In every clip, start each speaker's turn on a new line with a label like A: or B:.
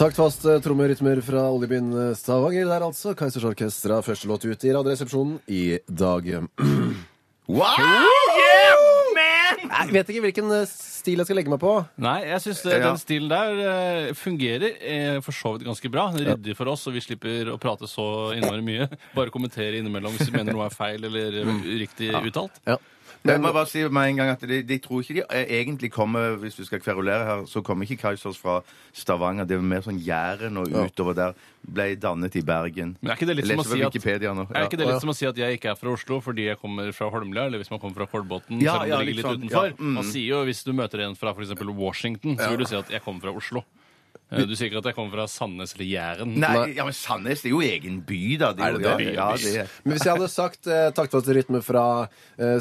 A: Taktfast eh, trommerytmer fra oljebyen eh, Stavanger der, altså. Kaizers Orkestra, første låt ut i Radioresepsjonen i dag.
B: Oh,
A: Wow! Jeg vet ikke hvilken eh, stil jeg skal legge meg på.
B: Nei, jeg syns den stilen der eh, fungerer eh, for så vidt ganske bra. Den er Ryddig for oss, og vi slipper å prate så innmari mye. Bare kommentere innimellom hvis vi mener noe er feil eller eh,
C: Mm.
B: uriktig uttalt.
A: Ja.
C: Men jeg må bare si med en gang at de, de tror ikke de eh, egentlig kommer Hvis du skal kverulere her, så kommer ikke Kaizers fra Stavanger. Det er mer sånn Jæren og utover der. Ble dannet i Bergen.
B: Men er ikke det litt
C: Jeg
B: som å
C: leser
B: si
C: på
B: at,
C: Wikipedia nå.
B: er ikke det
A: Ja.
B: litt som å si at jeg ikke er fra Oslo fordi jeg kommer fra Holmlia, eller hvis man kommer fra Kolbotn,
C: Ja,
B: selv om
C: ja,
B: det
C: litt
B: ligger litt
C: sånn,
B: utenfor?
C: ja, mm.
B: Man sier jo hvis du møter en fra f.eks. Washington, så vil du si at jeg kommer fra Oslo. Eh, Du sier ikke at jeg kommer fra Sandnes eller Jæren.
C: Nei, ja, men Sandnes det er jo egen by, da.
A: Er det
C: jo,
A: det?
C: Ja, ja, det er.
A: Men hvis jeg hadde sagt eh, taktfast rytme fra eh,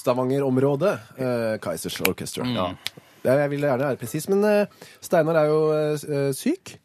A: Storstavanger-området, eh, Kaizers
C: Mm.
A: Orkestra ja. Det er- Jeg ville gjerne være presis, men eh, Steinar er jo eh, s- eh, syk.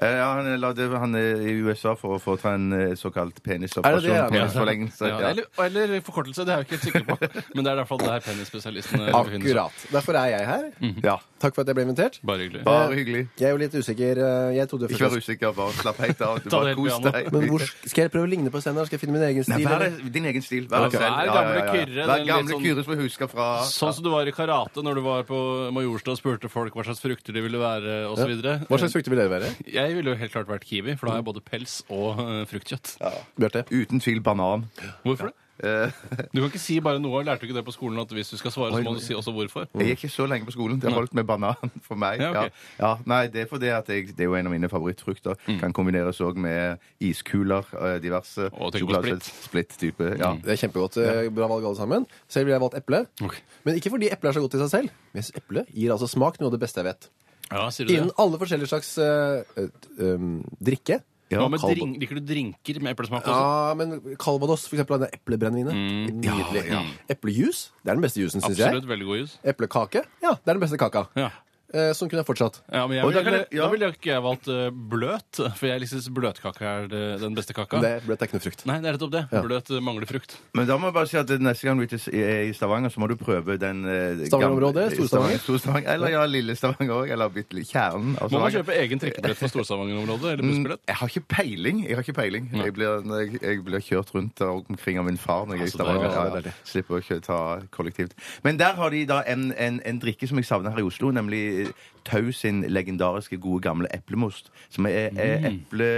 C: Eh, Ja, han, er- la det- han er i USA for å få ta en eh, såkalt
A: Er det det, ja?
C: penisoperasjon. Penisforlengelse.
B: Ja,
C: Ja.
B: eller, eller forkortelse, det er jeg ikke helt sikker på. Men det er i hvert fall der penisspesialistene befinner seg.
A: Akkurat. Derfor er jeg her.
C: Ja.
A: Takk for at jeg ble invitert.
B: Bare hyggelig.
C: Bare hyggelig.
A: Jeg er jo litt usikker. eh, Jeg trodde
C: Ikke vær
A: først
C: usikker. Bare slapp helt av. Du
B: Ta
C: bare
B: det helt
C: kos
B: piano.
C: deg.
A: Men hvor skal jeg prøve å ligne på Steinar? Skal jeg finne min egen
C: Nei,
A: stil?
C: vær
A: eller?
C: deg- din egen stil. Vær deg
B: Ja,
C: selv.
B: vær
C: Ja, ja,
B: gamle
C: ja, ja.
B: Kyrre,
C: Vær
B: den litt
C: gamle
B: sånn-
C: Kyrre som jeg husker fra
B: Sånn som du var i karate når du var på Majorstua og spurte folk hva slags frukter de ville være osv.
A: Hva slags frukter vil dere være?
B: Eh, Jeg ville jo helt klart vært kiwi, for da har jeg både pels og eh, fruktkjøtt.
A: Bjarte?
C: Uten tvil banan.
B: Hvorfor det?
C: Eh,
B: Du kan ikke si bare noe. Lærte du ikke det på skolen at hvis du skal svare, så må du si også hvorfor?
C: Jeg gikk ikke så lenge på skolen. Det holdt med banan for meg.
B: Ja, ok.
C: ja. Ja, nei, Det er fordi at jeg, det er jo en av mine favorittfrukter.
B: Mm.
C: Kan kombineres òg med iskuler. eh, Diverse.
B: Og tenker på Mm.
C: Sjokoladesett- Splitt-type. Ja.
A: Det er kjempegodt. eh, Bra valg, alle sammen. Selv ville jeg valgt eple.
B: Ok.
A: Men ikke fordi eple er så godt i seg selv. Men jeg synes eple gir altså smak noe av det beste jeg vet.
B: Ja, sier du det?
A: Innen alle forskjellige slags eh, eh, um, drikke.
B: Hva med
A: Calva-
B: drink, liker du drinker med eplesmak også?
A: Ja, men Calvados, for eksempel. Den eplebrennevinet. Nydelig. Eplejus. Det er den beste jusen, syns jeg.
B: Mm. Absolutt. Veldig god jus.
A: Eplekake. Ja, det er den beste kaka.
B: Ja.
A: Eh, sånn kunne jeg fortsatt.
B: Ja, men jeg
C: Og da
B: ville,
C: kan jeg- ja.
B: Da ville jo ikke jeg valgt eh, bløt, for jeg syns bløtkake er det- den beste kaka.
A: Det ble ikke noe frukt.
B: Nei, det er nettopp det. Bløt eh, mangler frukt.
C: Men da må jeg bare si at neste gang du er til- er i Stavanger, så må du prøve den eh,
A: Stavanger-området,
C: gamle-
A: Stor-Stavanger.
C: Stor-Stavanger. Eller ja, Lille Stavanger òg. Eller bitte litt kjernen av
B: Må man
C: Stavanger.
B: kjøpe egen trekkebillett fra Storstavanger-området? Eller
C: Mm,
B: bussbillett?
C: Jeg har ikke peiling. Jeg har ikke peiling. Jeg blir, jeg, jeg blir kjørt rundt der omkring av min far når jeg er i
B: Altså, det er
C: Stavanger.
A: veldig
C: Ja, ja.
A: deilig.
C: Slipper å kjø- ta kollektivt. Men der har de da en, en, en drikke som jeg savner her i Oslo, nemlig eh, Tau sin legendariske gode gamle eplemost. Som er,
B: Mm.
C: er eple,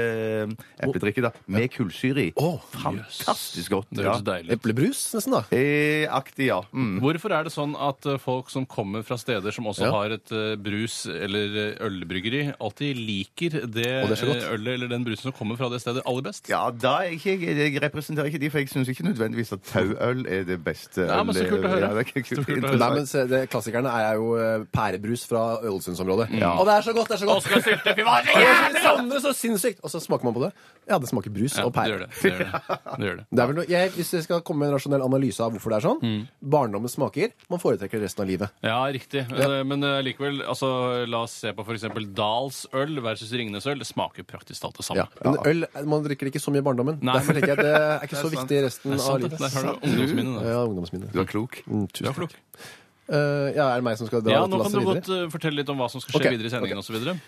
C: epledrikke da, med kullsyre i.
A: Å,
C: Fantastisk godt.
B: Det
C: Ja.
B: høres deilig ut.
A: Eplebrus, nesten, da.
C: Eh, Aktig, ja. Mm.
B: Hvorfor er det sånn at eh, folk som kommer fra steder som også
A: Ja.
B: har et eh, brus- eller eh, ølbryggeri, alltid liker det,
A: Og det er så godt.
B: eh, ølet eller den brusen som kommer fra det stedet aller best?
C: Ja, da er jeg, ikke, jeg representerer ikke de, for jeg syns ikke nødvendigvis at tauøl er det beste.
B: Ja, men så
C: ølet.
B: kult å høre.
C: Ja, det er kult-
B: Så kult å høre.
C: interessant.
A: Nei, men se, det, Klassikerne er jo eh, pærebrus fra Ålesundsområdet.
B: Mm.
A: Og det er så godt! det er så godt Jeg savner det så sinnssykt! Og så smaker man på det. Ja, det smaker brus
B: Ja,
A: og
B: det
A: pære.
B: gjør det. det, gjør det. det, gjør det.
A: Det er vel noe, jeg, hvis jeg skal komme med en rasjonell analyse av hvorfor det er sånn
B: Mm.
A: Barndommen smaker, man foretrekker resten av livet.
B: Ja, riktig. Eh, Men eh, likevel, altså, la oss se på f.eks. Dahls øl versus Ringnes øl. Det smaker praktisk talt det samme.
A: Men øl, man drikker ikke så mye i barndommen.
B: Nei.
A: Derfor tenker jeg at det er ikke så
C: sant.
A: viktig i resten av
B: Det er sant, det.
A: livet.
B: Der har du ungdomsminnet. da.
A: Ja, ungdomsminnet.
C: Du er klok.
A: Mm,
B: Du
A: tusen
B: er
A: takk.
B: klok.
A: Eh, ja, er det meg som skal dra
B: Ja,
A: dette
B: nå kan
A: lasset
B: du
A: videre?
B: godt eh, fortelle litt om hva som skal skje
A: Ok,
B: videre i sendingen og så videre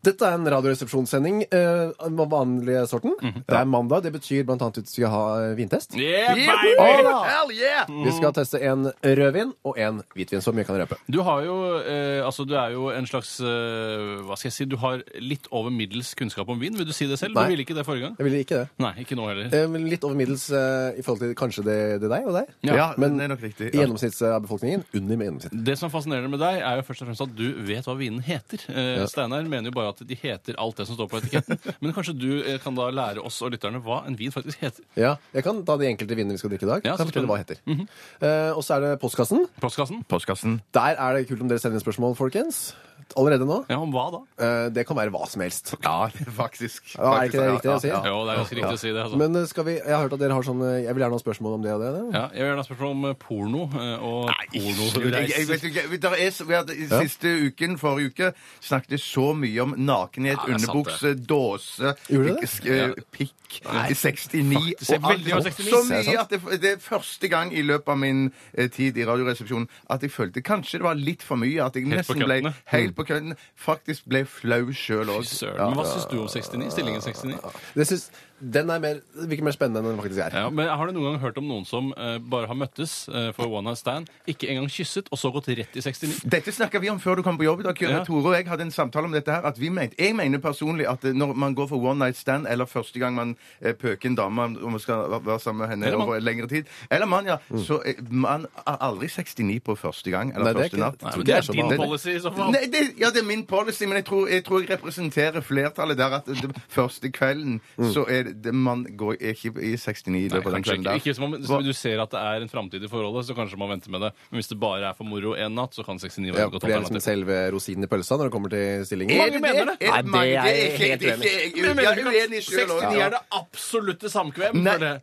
A: Dette er en radioresepsjonssending eh, av vanlige sorten.
B: Mhm.
A: Det er mandag. Det betyr blant annet at vi skal ha eh, vintest.
B: Yeah, baby!
A: Å,
C: Hell yeah!
A: Vi skal teste en rødvin og en hvitvin. Så mye kan jeg røpe.
B: Du har jo eh, Altså, du er jo en slags eh, Hva skal jeg si? Du har litt over middels kunnskap om vin. Vil du si det selv?
A: Nei.
B: Du ville ikke det forrige gang?
A: Jeg ville ikke det.
B: Nei, ikke nå heller.
A: Eh, men litt over middels eh, i forhold til kanskje det, det deg og deg.
C: Ja,
A: men
C: det er nok riktig.
A: I gjennomsnittet av befolkningen under med gjennomsnitt.
B: Det som er fascinerende med deg, er jo først og fremst at du vet hva vinen heter. Eh,
A: Ja.
B: Steinar mener jo bare at de heter alt det som står på etiketten. Men kanskje du eh, kan da lære oss og lytterne hva en vin faktisk heter.
A: Ja, Mhm. jeg kan ta de enkelte vinene vi skal drikke i dag.
B: Ja,
A: kan
B: så
A: jeg fortelle hva det heter. Eh, og så er det postkassen.
B: Postkassen?
C: Postkassen.
A: Der er det kult om dere sender inn spørsmål, folkens. Allerede nå?
B: Ja, om hva da?
A: Eh, Det kan være hva som helst.
C: Ja, faktisk.
A: Ja, er ikke det riktig å si?
C: Ja, ja.
B: Jo, det er ganske riktig å si det. Altså.
A: Men eh, skal vi, jeg har hørt at dere har sånn eh, Jeg vil gjerne ha spørsmål om det og det. det.
B: ja, jeg vil gjerne ha spørsmål om eh, porno eh, og
C: Jeg, jeg
B: pornoreiser.
C: vet ikke, der er, s- vi hadde, i Siste uken, forrige uke, snakket vi så mye om nakenhet,
B: Ja, det er sant,
C: underbukse, dåse,
A: Gjorde det?
C: sk- eh, pikk i 69
B: faktisk, jeg
C: og alt.
B: veldig over 69.
A: Det
C: Så
A: er
C: mye
A: sant.
C: at det, det er første gang i løpet av min eh, tid i Radioresepsjonen at jeg følte kanskje det var litt for mye. At jeg
B: Helt på Mm.
C: nesten ble
B: køntene.
C: helt på kønten. Faktisk ble flau sjøl òg.
B: Søren, men Hva syns du om 69? Stillingen 69?
A: Det synes, den er mer, virker mer spennende enn den faktisk er.
B: Ja, men Har du noen gang hørt om noen som eh, bare har møttes eh, for one night stand, ikke engang kysset, og så gått rett i 69?
C: Dette snakka vi om før du kom på jobb. da, Kyrre.
B: Ja.
C: Tore og jeg hadde en samtale om dette her, at vi mente, Jeg mener personlig at eh, når man går for one night stand, eller første gang man eh, pøker en dame om man skal va- være sammen med henne
B: Eller mann.
C: over lengre tid Eller mann, ja. Så eh, man er aldri 69 på første gang eller
A: Mm. Nei, det er
C: første
A: ikke-
C: natt.
A: Nei,
B: men
A: det er
B: det
A: så
B: er din
A: vanlig.
B: policy i så fall.
C: sånn Nei, det, ja, det er min policy, men jeg tror jeg, tror jeg representerer flertallet der at det, første kvelden
A: Mm.
C: så er det man går ikke i 69 i løpet av den
B: Kanskje
C: kvelden
B: ikke,
C: der.
B: ikke som om
C: Hva-
B: hvis du ser at det er en framtid i forholdet, så kanskje man venter med det. Men hvis det bare er for moro én natt, så kan 69 være
A: Ja,
B: et
A: for
B: godt
A: det er liksom
B: alternativ.
A: selve rosinen i pølsa når det kommer til stillingen.
C: Er det
B: Mange mener det.
A: Nei,
C: Er mange?
A: det er
C: Det
A: jeg helt
C: ikke- ikke-
B: Men
C: Jeg
B: mener
C: er
B: du ikke
C: uenig
B: at
C: sjøl
B: 69 er det absolutte samkvem?
C: Nei.
B: for det?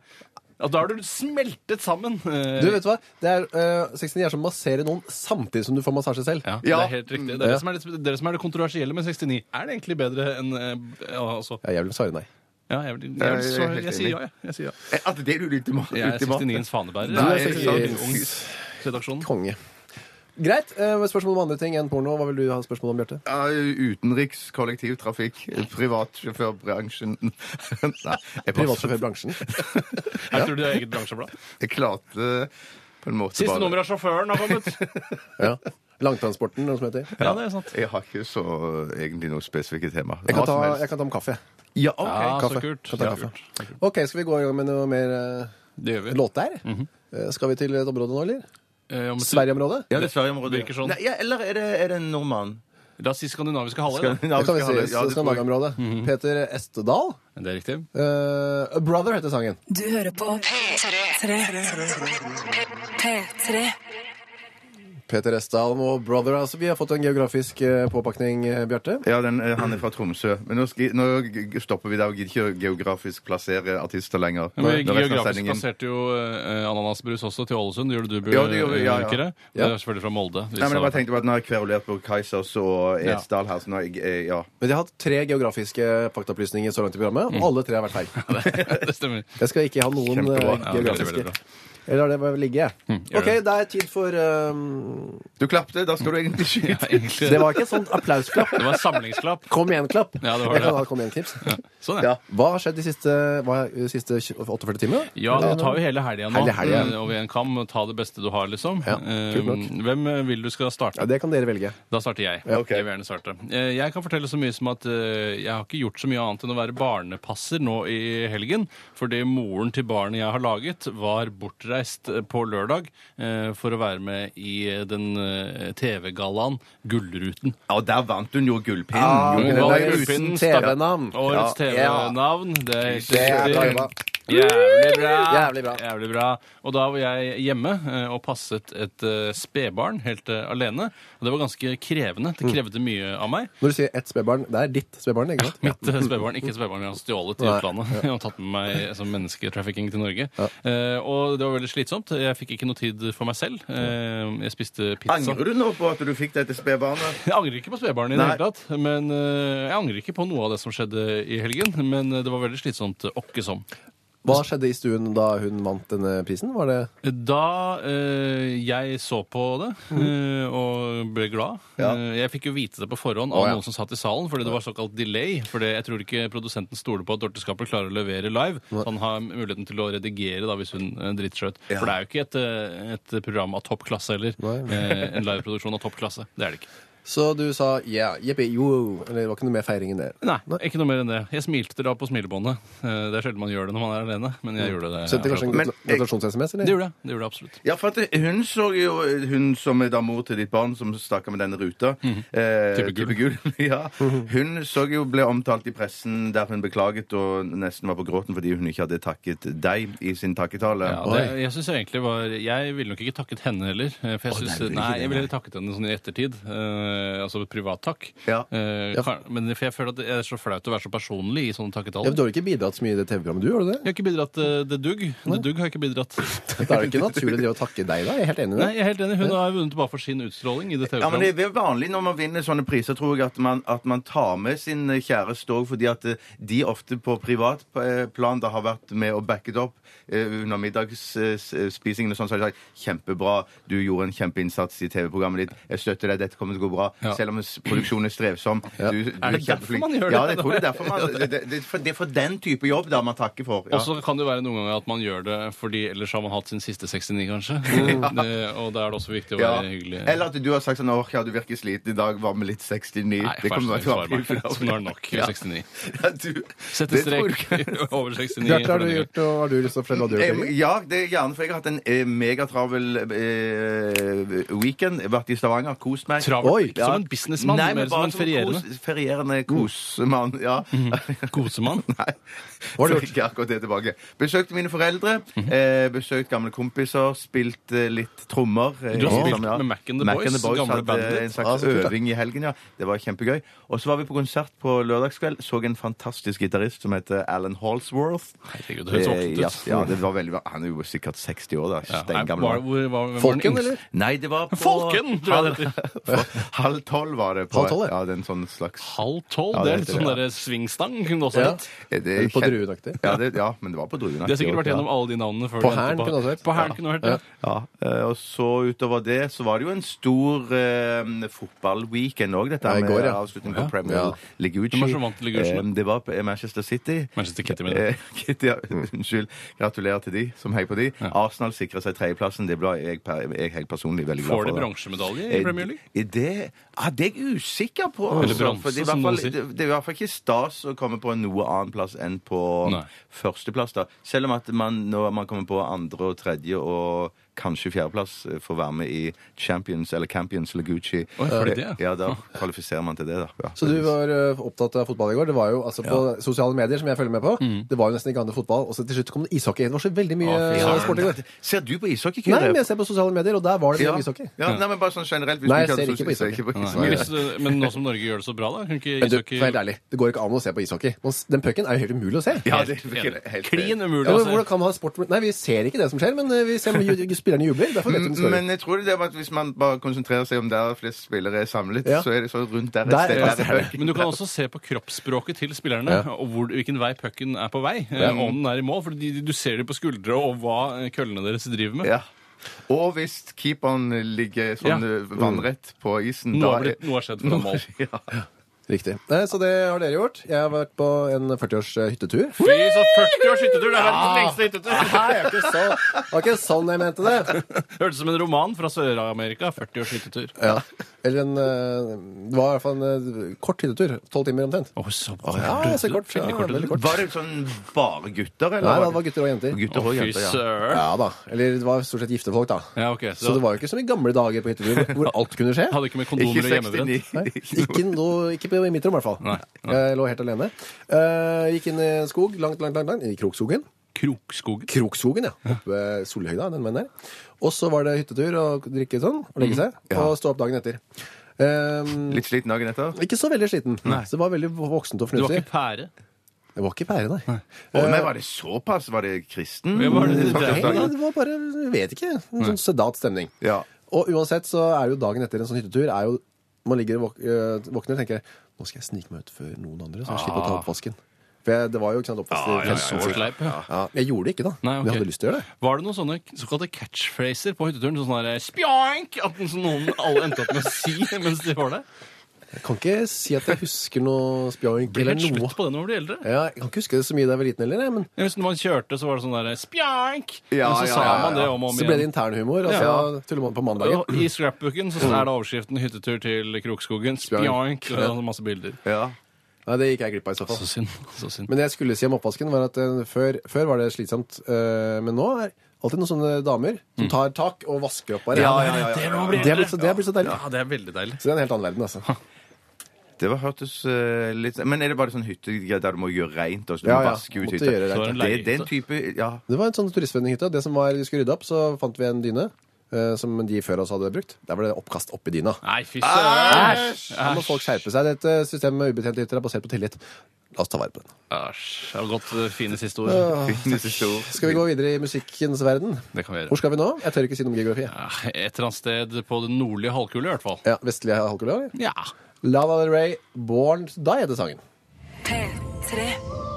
B: Ja, da har du smeltet sammen. eh,
A: Du, vet du hva? Det er, øh, 69 er som å massere noen samtidig som du får massasje selv.
B: Ja,
C: Ja.
B: det er helt riktig. Det er det som er, litt, det er det som er det kontroversielle med 69. Er det egentlig bedre enn eh, ja, altså,
A: Ja, jeg vil svare nei.
B: ja, jeg, vil- jeg,
C: Jeg er
B: vil svare-
C: helt
B: jeg sier
C: enig.
B: ja, jeg. jeg. sier ja.
C: At det er det ultimate.
B: Jeg er
C: ultimate.
B: 69-ens fanebærer.
C: Nei,
B: Jeg
A: jeg
B: er
A: er
B: ung- redaksjonen.
A: Konge. Greit. øh, spørsmål om andre ting enn porno. Hva vil du ha spørsmål om, Bjarte?
C: Ja, Utenriks kollektivtrafikk, privatsjåførbransjen Nei, jeg, bare,
A: Privatsjåførbransjen.
B: Her tror du det er eget bransjeblad.
C: jeg klarte på en måte
B: Siste
C: bare
B: nummer av sjåføren har kommet.
A: Ja. Langtransporten, noe som heter.
B: Ja, det er sant.
C: Jeg har ikke så egentlig noe spesifikke tema.
A: Jeg kan
C: Hva
A: ta,
C: som helst.
A: jeg kan ta med kaffe. jeg.
C: Ja, ok,
B: Ja,
C: kaffe.
B: så kult.
A: Kan ta
B: Ja,
A: kaffe.
B: kult.
A: OK, skal vi gå i gang med noe mer øh,
B: Det gjør vi.
A: låter? Eh, Skal vi til et område nå, eller?
B: Eh, om-
A: Sverigeområdet?
C: Ja, det er Sverige-området.
B: Virker sånn.
C: Nei, ja, eller er det, er det en nordmann?
B: La oss si skandinaviske halvøy. da.
A: Det
C: Skandinavisk
A: kan vi
C: halvøy.
A: si.
C: Ja, det tror jeg.
A: Skandinaviområdet. Peter Estedal.
B: Det er riktig.
A: Eh, A Brother heter sangen.
D: Du hører på P3. P3.
A: Peter Estdal og Brother. Altså, vi har fått en geografisk eh, påpakning, eh, Bjarte.
C: Ja, den, eh, han er fra Tromsø. Men nå, skal, nå g- stopper vi der og gidder ikke å geografisk plassere artister lenger.
B: Men vi
C: Når resten av
B: geografisk
C: sendingen-
B: plasserte jo eh, ananasbrus også til Ålesund. Det gjorde du,
C: Ja, det gjorde vi, ja, ja.
B: Bjørkere.
A: Ja.
B: Det er selvfølgelig fra Molde. Vi
C: Nei, men jeg bare
B: sa-
C: tenkte på at Nå har jeg kverulert på Kaizers og Edsdal her, så nå er jeg eh, Ja.
A: Men de har hatt tre geografiske faktaopplysninger så langt i programmet,
B: Mm.
A: og alle tre har vært feil.
B: det stemmer.
A: Jeg skal ikke ha noen eh,
C: Kjempebra.
B: Ja, veldig, veldig
A: geografiske.
B: bra. Mm,
A: Jeg lar det bare ligge, jeg.
B: gjør
A: OK, det er tid for ehm,
C: Du klapte, da skal du egentlig skyte.
B: Ja, egentlig.
A: Det var ikke et sånt applausklapp.
B: Det var en samlingsklapp.
A: Kom igjen-klapp.
B: Ja, det var
A: jeg kan
B: det.
A: ha kom igjen-knips.
B: Sånn, ja.
A: Hva har skjedd de siste, hva, de siste 48 timene?
B: Ja, du tar jo hele helga nå
A: Hele helgen.
B: eh, over en kam. og Ta det beste du har, liksom.
A: Ja,
B: Eh,
A: kult nok.
B: Hvem eh, vil du skal starte?
A: Ja, det kan dere velge.
B: Da starter jeg.
C: ok.
B: Jeg vil gjerne starte. Eh, Jeg kan fortelle så mye som at eh, jeg har ikke gjort så mye annet enn å være barnepasser nå i helgen. Fordi moren til barnet jeg har laget, var bortreist eh, på lørdag eh, for å være med i eh, den eh, TV-gallaen Gullruten.
C: Ja, der vant hun jo gullpinnen.
A: Ah,
C: Gjorde
B: Hun
C: hun
A: er
C: det? Nei,
B: var
A: uten
B: gullpinnen,
A: TV-navn.
B: stakk- Årets
A: Ja.
B: TV-navn. Det er helt
A: Det er
B: riktig.
A: bra.
B: Jævlig bra.
A: Jævlig bra.
B: Jævlig bra. Og da var jeg hjemme eh, og passet et eh, spedbarn helt eh, alene. Og det var ganske krevende. Det krevde mye av meg.
A: Når du sier ett spedbarn, det er ditt spedbarn, ikke sant?
B: Mitt eh, spedbarn, ikke spedbarn jeg har stjålet til
A: Nei.
B: utlandet og tatt med meg som mennesketrafficking til Norge. Eh, og det var veldig slitsomt. Jeg fikk ikke noe tid for meg selv. Eh, jeg spiste pizza.
C: Angrer du nå på at du fikk dette spedbarnet?
B: Jeg angrer ikke på spedbarnet i det
C: Nei.
B: hele tatt. Men eh, jeg angrer ikke på noe av det som skjedde i helgen. Men eh, det var veldig slitsomt, eh, åkke som.
A: Hva skjedde i stuen da hun vant denne prisen? Var det
B: Da eh, jeg så på det
A: Mm.
B: eh, og ble glad
C: Ja.
B: eh, Jeg fikk jo vite det på forhånd
A: Å,
B: av
A: ja.
B: noen som satt i salen, fordi det var såkalt delay. For det- jeg tror ikke produsenten stoler på at Dorte Skapel klarer å levere live. Så han har muligheten til å redigere da hvis hun eh, driter seg ut. For det er jo ikke et, eh, et program av topp klasse heller.
A: Nei.
B: Eh, en liveproduksjon av topp klasse. Det er det ikke.
A: Så du sa ja, jippi, jo, eller det var ikke noe mer feiring enn det?
B: Nei, ikke noe mer enn det. Jeg smilte da på smilebåndet. Eh, det er sjelden man gjør det når man er alene, men
A: Mm.
B: jeg gjorde det.
A: Sendte kanskje en
C: Men-
A: gratu- gratulasjons-SMS,
B: Det
A: eller?
B: gjorde jeg. Det gjorde jeg absolutt.
C: Ja, for at det- hun så jo Hun som er da mor til ditt barn, som snakka med denne ruta eh,
B: Type gull.
C: ja. Hun så jo ble omtalt i pressen der hun beklaget og nesten var på gråten fordi hun ikke hadde takket deg i sin takketale.
B: Ja, det, jeg synes egentlig var Jeg ville nok ikke takket henne heller. eh, For jeg,
C: nei,
B: synes,
C: du ville ikke
B: nei,
C: det,
B: jeg
C: nei.
B: ville heller takket henne sånn i ettertid. eh, eh, altså et privat takk.
C: Ja.
B: Eh,
A: Ja.
B: kan- Men for jeg føler at det er så flaut å være så personlig i sånne
A: Ja,
B: takketall.
A: men du har jo ikke bidratt så mye i det TV-programmet, du? har du det?
B: Jeg har ikke bidratt eh, The Dugg. The Dugg har jeg ikke bidratt.
A: Da er det ikke naturlig å drive og takke deg, da? Jeg er helt enig i det.
B: Nei, jeg er helt enig. Hun har vunnet bare for sin utstråling i det
C: Ja, men
B: TV-programmet.
C: Det er vanlig når man vinner sånne priser, tror jeg, at man, at man tar med sin kjæreste òg, fordi at eh, de ofte på privat eh, plan da har vært med og backet opp eh, under middagsspisingen og sånn. Så har de sagt 'kjempebra, du gjorde en kjempeinnsats i TV-programmet ditt', 'jeg støtter deg, dette kommer til å gå bra',
B: Ja.
C: selv om s- produksjonen er strevsom. Du, du
B: Er det derfor man gjør det?
C: Ja, jeg tror det er derfor man det, det, det, er for, det er for den type jobb da man takker for. Ja.
B: Og så kan det jo være noen ganger at man gjør det fordi ellers har man hatt sin siste 69, kanskje. Det, og da er det også viktig å
C: Ja.
B: være hyggelig.
C: Eller at du har sagt sånn 'Åh, ja, du virker sliten i dag. Hva med litt 69?'
B: Nei,
C: det kommer til å være
B: Nå er det nok.
C: Ja.
B: 69.
C: Ja, du,
B: Sett en
C: det tror
B: strek over 69.
A: Bjarte,
B: for
A: har du
B: denne gang.
A: gjort, og har du lyst til å fortelle hva du har gjort?
C: Eh, Ja, det er gjerne, for jeg har hatt en eh, megatravel eh, weekend. Vært i Stavanger, kost meg.
B: Travelt.
A: Oi,
B: Ikke som en businessmann,
C: Nei, men
B: mer som
C: bare
B: en ferierende Mm. Mhm.
C: Kos, ferierende kosmann, ja.
B: kosemann.
C: Nei,
A: Hva har du
C: fikk ikke akkurat det tilbake. Besøkte mine foreldre,
B: Mhm.
C: eh, besøkt gamle kompiser, spilt eh, litt trommer. eh,
B: Du har spilt
C: sammen, ja.
B: med Mac and the Boys, gamle
C: hadde
B: bandet ditt.
C: En slags
A: Ah, så kult, da.
C: øving i helgen, ja. Det var kjempegøy. Og så var vi på konsert på lørdagskveld, så en fantastisk gitarist som heter Alan Halsworth.
B: Herregud, det høres voksen ut.
C: Ja, ja, det var veldig, han er jo sikkert 60 år, da.
B: Ja. Nei,
C: Steingammel.
B: var- hvor- var- hvem var den
A: Folken,
B: yngste?
A: eller?
C: Nei, det var på
B: Folken, tror jeg det
C: heter. Halv tolv var det. På,
A: Halv tolv, ja.
C: ja. det er en sånn slags
B: Halv tolv?
C: Ja,
B: det
C: det
B: er litt
C: heter
B: sånn
C: det,
B: derre svingstang, kunne det også
A: Ja.
B: hett.
C: Er det
A: Eller på
C: kjent-
A: druenaktig?
C: Ja, det, ja, men det var på druenaktig.
B: De har sikkert vært gjennom alle de navnene før.
A: På
B: de endte
A: Hæren kunne det også vært.
B: På Hæren kunne det vært, ja.
C: Ja, eh, og så utover det så var det jo en stor eh, fotballweekend òg, dette
A: Ja, i
C: her med
A: går, ja.
C: avslutning på Premier
A: Ja.
C: Ligucci.
B: Hvem var det som vant Ligucci?
C: Eh, det var på- eh, Manchester City.
B: Manchester Kitty, mener jeg.
C: Eh, Kitty, ja, unnskyld. Gratulerer til de som heier på de. Arsenal sikra seg tredjeplassen. Det ble jeg, per- jeg helt personlig veldig glad for.
B: Får de
C: da.
B: bronsemedalje i Premier League?
C: Eh, Det, ah, det er jeg usikker på.
B: Eller
C: altså,
B: bronse,
C: for det, er i
B: som
C: hvert fall,
B: noen sier.
C: det, det er i hvert fall ikke stas å komme på noe annen plass enn på
B: Nei.
C: førsteplass. da. Selv om at man, når man kommer på andre og tredje og kanskje fjerdeplass, eh, får være med i Champions eller Campions eller Gucci. eh,
B: Oi, får de det, ja?
C: ja, da kvalifiserer man til det, da. Ja.
A: Så du var ø, opptatt av fotball i går. Det var jo altså På sosiale medier, som jeg følger med på, det var jo nesten ikke annet enn fotball. Og så til slutt kom det ishockey. Det var så veldig mye
B: Mm. Å, fy
A: ø,
B: søren.
A: sport i går.
C: Ser du på ishockey,
A: Nei,
C: Kyrre?
A: men jeg ser på sosiale medier, og der var det
C: ja.
A: mye ishockey.
C: Ja, nei, men bare sånn generelt. hvis
A: Nei,
C: du
A: jeg
C: hadde
A: ser ikke
C: så-
A: på
C: ser
A: ishockey.
B: Men hvis, men nå som Norge gjør det så bra, da? Kunne ikke
A: Men du, for
B: ishockey
A: helt ærlig, det går ikke an å se på ishockey. Man s- Den pucken er jo helt umulig å se.
C: Ja, det er helt, helt
B: Klin umulig
A: Ja, men
B: å se.
A: hvordan kan man ha sport med- Nei, vi ser ikke det som skjer, men ø, vi ser om ju- ju- spillerne jubler. Derfor vet vi om
C: Men
A: skårer.
C: jeg tror det er at hvis man bare konsentrerer seg om der flest spillere er samlet,
A: Ja.
C: så er det så rundt der et
A: Der, ja,
C: sted. der
A: det altså er
C: er
A: det.
C: pucken.
B: Men du kan også se på kroppsspråket til spillerne, og hvor, hvilken vei pucken er på vei. eh, Om den er i mål. For de, du ser dem på skuldre, og hva eh, køllene deres driver med.
C: Ja. Og hvis keeperen ligger sånn
B: Ja.
C: eh, vannrett på isen
B: Noe, har
C: da er-
B: blitt, noe har skjedd for mål.
C: Ja.
A: Riktig. Nei, så det har dere gjort. Jeg har vært på en 40-års ø, hyttetur.
B: Fy, så 40 års hyttetur! Det er verdens lengste hyttetur!
A: Nei, det var ikke sånn- det var ikke sånn jeg mente det.
B: Hørtes ut som en roman fra Sør-Amerika. 40 års hyttetur.
A: Ja. Eller en ø, Det var i hvert fall en ø, kort hyttetur. Tolv timer omtrent.
B: Å, så
A: Ja, så kort. Ja,
B: Veldig kort.
A: veldig kort.
C: Var det sånn bare gutter, eller?
A: Nei, det var gutter og jenter.
C: Gutter
B: Å,
C: og
B: fy
C: jenter, ja.
B: søren!
A: Ja da. Eller det var stort sett gifte folk, da.
B: Ja, ok. Så,
A: Så det var jo ikke som i gamle dager på hyttetur, hvor- hvor alt kunne skje.
B: hadde ikke med
C: Ikke
B: kondomer og hjemmebrent.
C: 69.
A: Nei, Ikke, noe, ikke på- i mitt rom, i hvert fall.
B: Nei,
A: Jeg lå helt alene. Eh, gikk inn i en skog, langt, langt, langt, langt i Krokskogen.
B: Krokskogen.
A: Krokskogen, ja. Oppe ved Solhøyda, den veien der. Og så var det hyttetur og drikke sånn, og legge seg, og stå opp dagen etter. Eh,
C: Litt sliten dagen etter? Å,
A: ikke så veldig sliten. Så det var veldig voksent og
B: Du var
A: fornuftig.
B: ikke pære.
A: Det var ikke pære, nei.
C: men var det såpass? Var det kristen?
B: Ja, var det
A: Mm,
B: det?
A: Nei, det var bare, jeg vet ikke, en sånn sedat stemning.
C: Ja.
A: Og uansett så er jo dagen etter en sånn hyttetur, er jo, man ligger og våk- øh, våkner og tenker, nå skal jeg snike meg ut før noen andre, så jeg slipper å ta oppvasken. For jeg, det var jo ikke sant oppvask. i
B: Ah. Ja, ja, ja,
A: fjernsynet.
B: så sleip, ja.
A: Ja, jeg gjorde det ikke da,
B: Nei,
A: men
B: ok.
A: jeg hadde lyst til å gjøre det.
B: Var det noen sånne k- såkalte catchphraser på hytteturen? Sånn der, spjank! At den- som noen alle endte opp med å si mens de var der?
A: Jeg kan ikke si at jeg husker noe spjønk
B: Blir
A: eller
B: helt
A: noe.
B: slutt på det når man blir eldre.
A: Ja, jeg kan ikke huske det så mye da jeg var liten heller, jeg, men
B: Jeg husker når man kjørte, så var det sånn der spjank!
C: Ja,
B: Men så
C: ja,
B: sa
C: ja, ja.
B: man det om og om
A: så ble det
B: igjen.
A: internhumor, og så
B: Ja.
A: tuller man på mandagen.
B: Og I scrapbooken så er det overskriften 'Hyttetur til Krokskogen'. Spjank! Og masse bilder.
C: Ja.
A: Nei, det gikk jeg glipp av i så fall.
B: Så synd. Så synd.
A: Men det jeg skulle si om oppvasken var at eh, før, før var det slitsomt, eh, men nå er alltid noen sånne damer
B: Mm.
A: som tar tak og vasker opp bare.
B: Det må bli
A: Det er
B: eldre!
A: blitt så, det er blitt så deilig.
B: Ja, det er veldig deilig.
A: Så det er en helt annen verden, altså.
C: Det var hørtes eh, litt Men er det bare sånn hyttegreie der du må gjøre reint? Og så du
A: Ja,
C: må
A: ja.
C: vaske ut
A: Måtte
C: hytta?
A: gjøre
C: Det
B: rent.
C: er den type Ja.
A: Det var en sånn turistvennehytte. Det som var, vi skulle rydde opp, så fant vi en dyne. eh, som de før oss hadde brukt. Der var det oppkast oppi dyna.
B: Nei, fy søren!
A: Da må folk skjerpe seg. Dette systemet med ubetjente hytter er basert på tillit. La oss ta vare på den.
B: Æsj. Det var godt eh, fine siste ord.
A: Ah. Skal vi gå videre i musikkens verden?
B: Det kan vi
A: Hvor
B: gjøre.
A: skal vi nå? Jeg tør ikke si noe om geografi.
B: Ja, Et eller annet sted på den nordlige halvkule, i hvert fall.
A: Ja, Vestlige halvkule? eller?
B: Ja.
A: Lana Del Rey, Born to Die heter sangen.
D: P3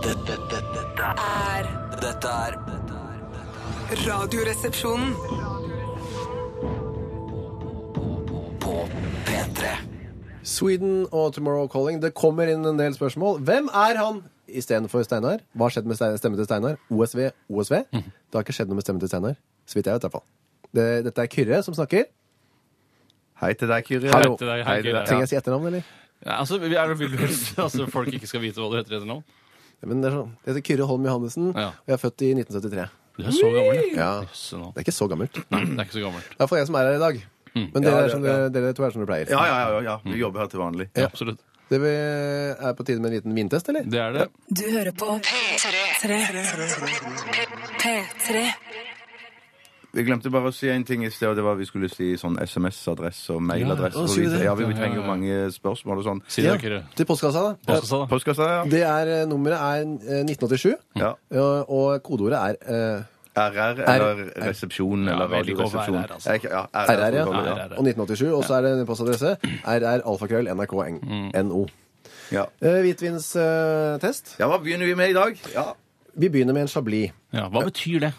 E: Dette, dette, dette, er-
D: er
E: dette er dette er- dette er
D: Radioresepsjonen.
E: På P3
A: Sweden og Tomorrow Calling. Det kommer inn en del spørsmål. Hvem er han? Istedenfor Steinar. Hva har skjedd med Stein- stemmen til Steinar? OSV, OSV.
B: Mhm.
A: Det har ikke skjedd noe med stemmen til Steinar. Så vidt jeg vet, i hvert fall. Det, dette er Kyrre som snakker.
C: Hei til deg, Kyrie.
A: Hallo.
B: Hei til deg, hei,
C: Hei til
B: Kyrre.
C: deg.
A: Trenger jeg si etternavn, eller?
B: Ja, Altså, vi er, vil du altså, folk ikke skal vite hva du heter etter navn?
A: Men det er sånn. Jeg heter Kyrre Holm Johannessen,
B: Ja.
A: og jeg er født i 1973.
B: Du er så gammel,
A: Ja.
B: Jøsse navn.
A: Det er ikke så gammelt. Det
B: Nei, det er ikke så gammelt.
A: er for jeg som er her i dag.
B: Mm.
A: Men dere,
C: Ja,
A: er som
C: det-
A: dere, dere to er som dere pleier.
C: Ja, ja, ja, ja. Vi jobber her til vanlig.
B: Absolutt.
A: Det vi- er på tide med en liten vintest, eller?
B: Det er det.
D: Du hører på P3. P3.
C: Vi glemte bare å si en ting i sted, og det var vi skulle si sånn SMS-adresse og
A: Ja, ja.
C: mailadresse.
A: Å,
C: og
A: sier vi
C: så
A: det?
C: videre. ja, vi trenger jo mange spørsmål og sånn.
B: Si det, Kyrre.
A: Til postkassa, da.
B: Postkassa, da.
C: Postkassa, ja.
A: Det er, eh, nummeret er eh, 1987,
C: ja.
A: og, og kodeordet er eh,
C: RR eller resepsjon
B: Ja,
C: eller
B: vi liker å være
C: radioresepsjon.
B: RR, altså.
C: Jeg- Ja,
A: RR, ja.
C: RR,
B: RR.
C: ja.
A: Og 1987. Og så er det en postadresse rralfakrøll.nrk.no. Mm.
C: ja.
A: Eh, Hvitvinstest.
C: Ja, hva begynner vi med i dag? Ja.
A: Vi begynner med en chablis.
B: Ja, hva betyr det?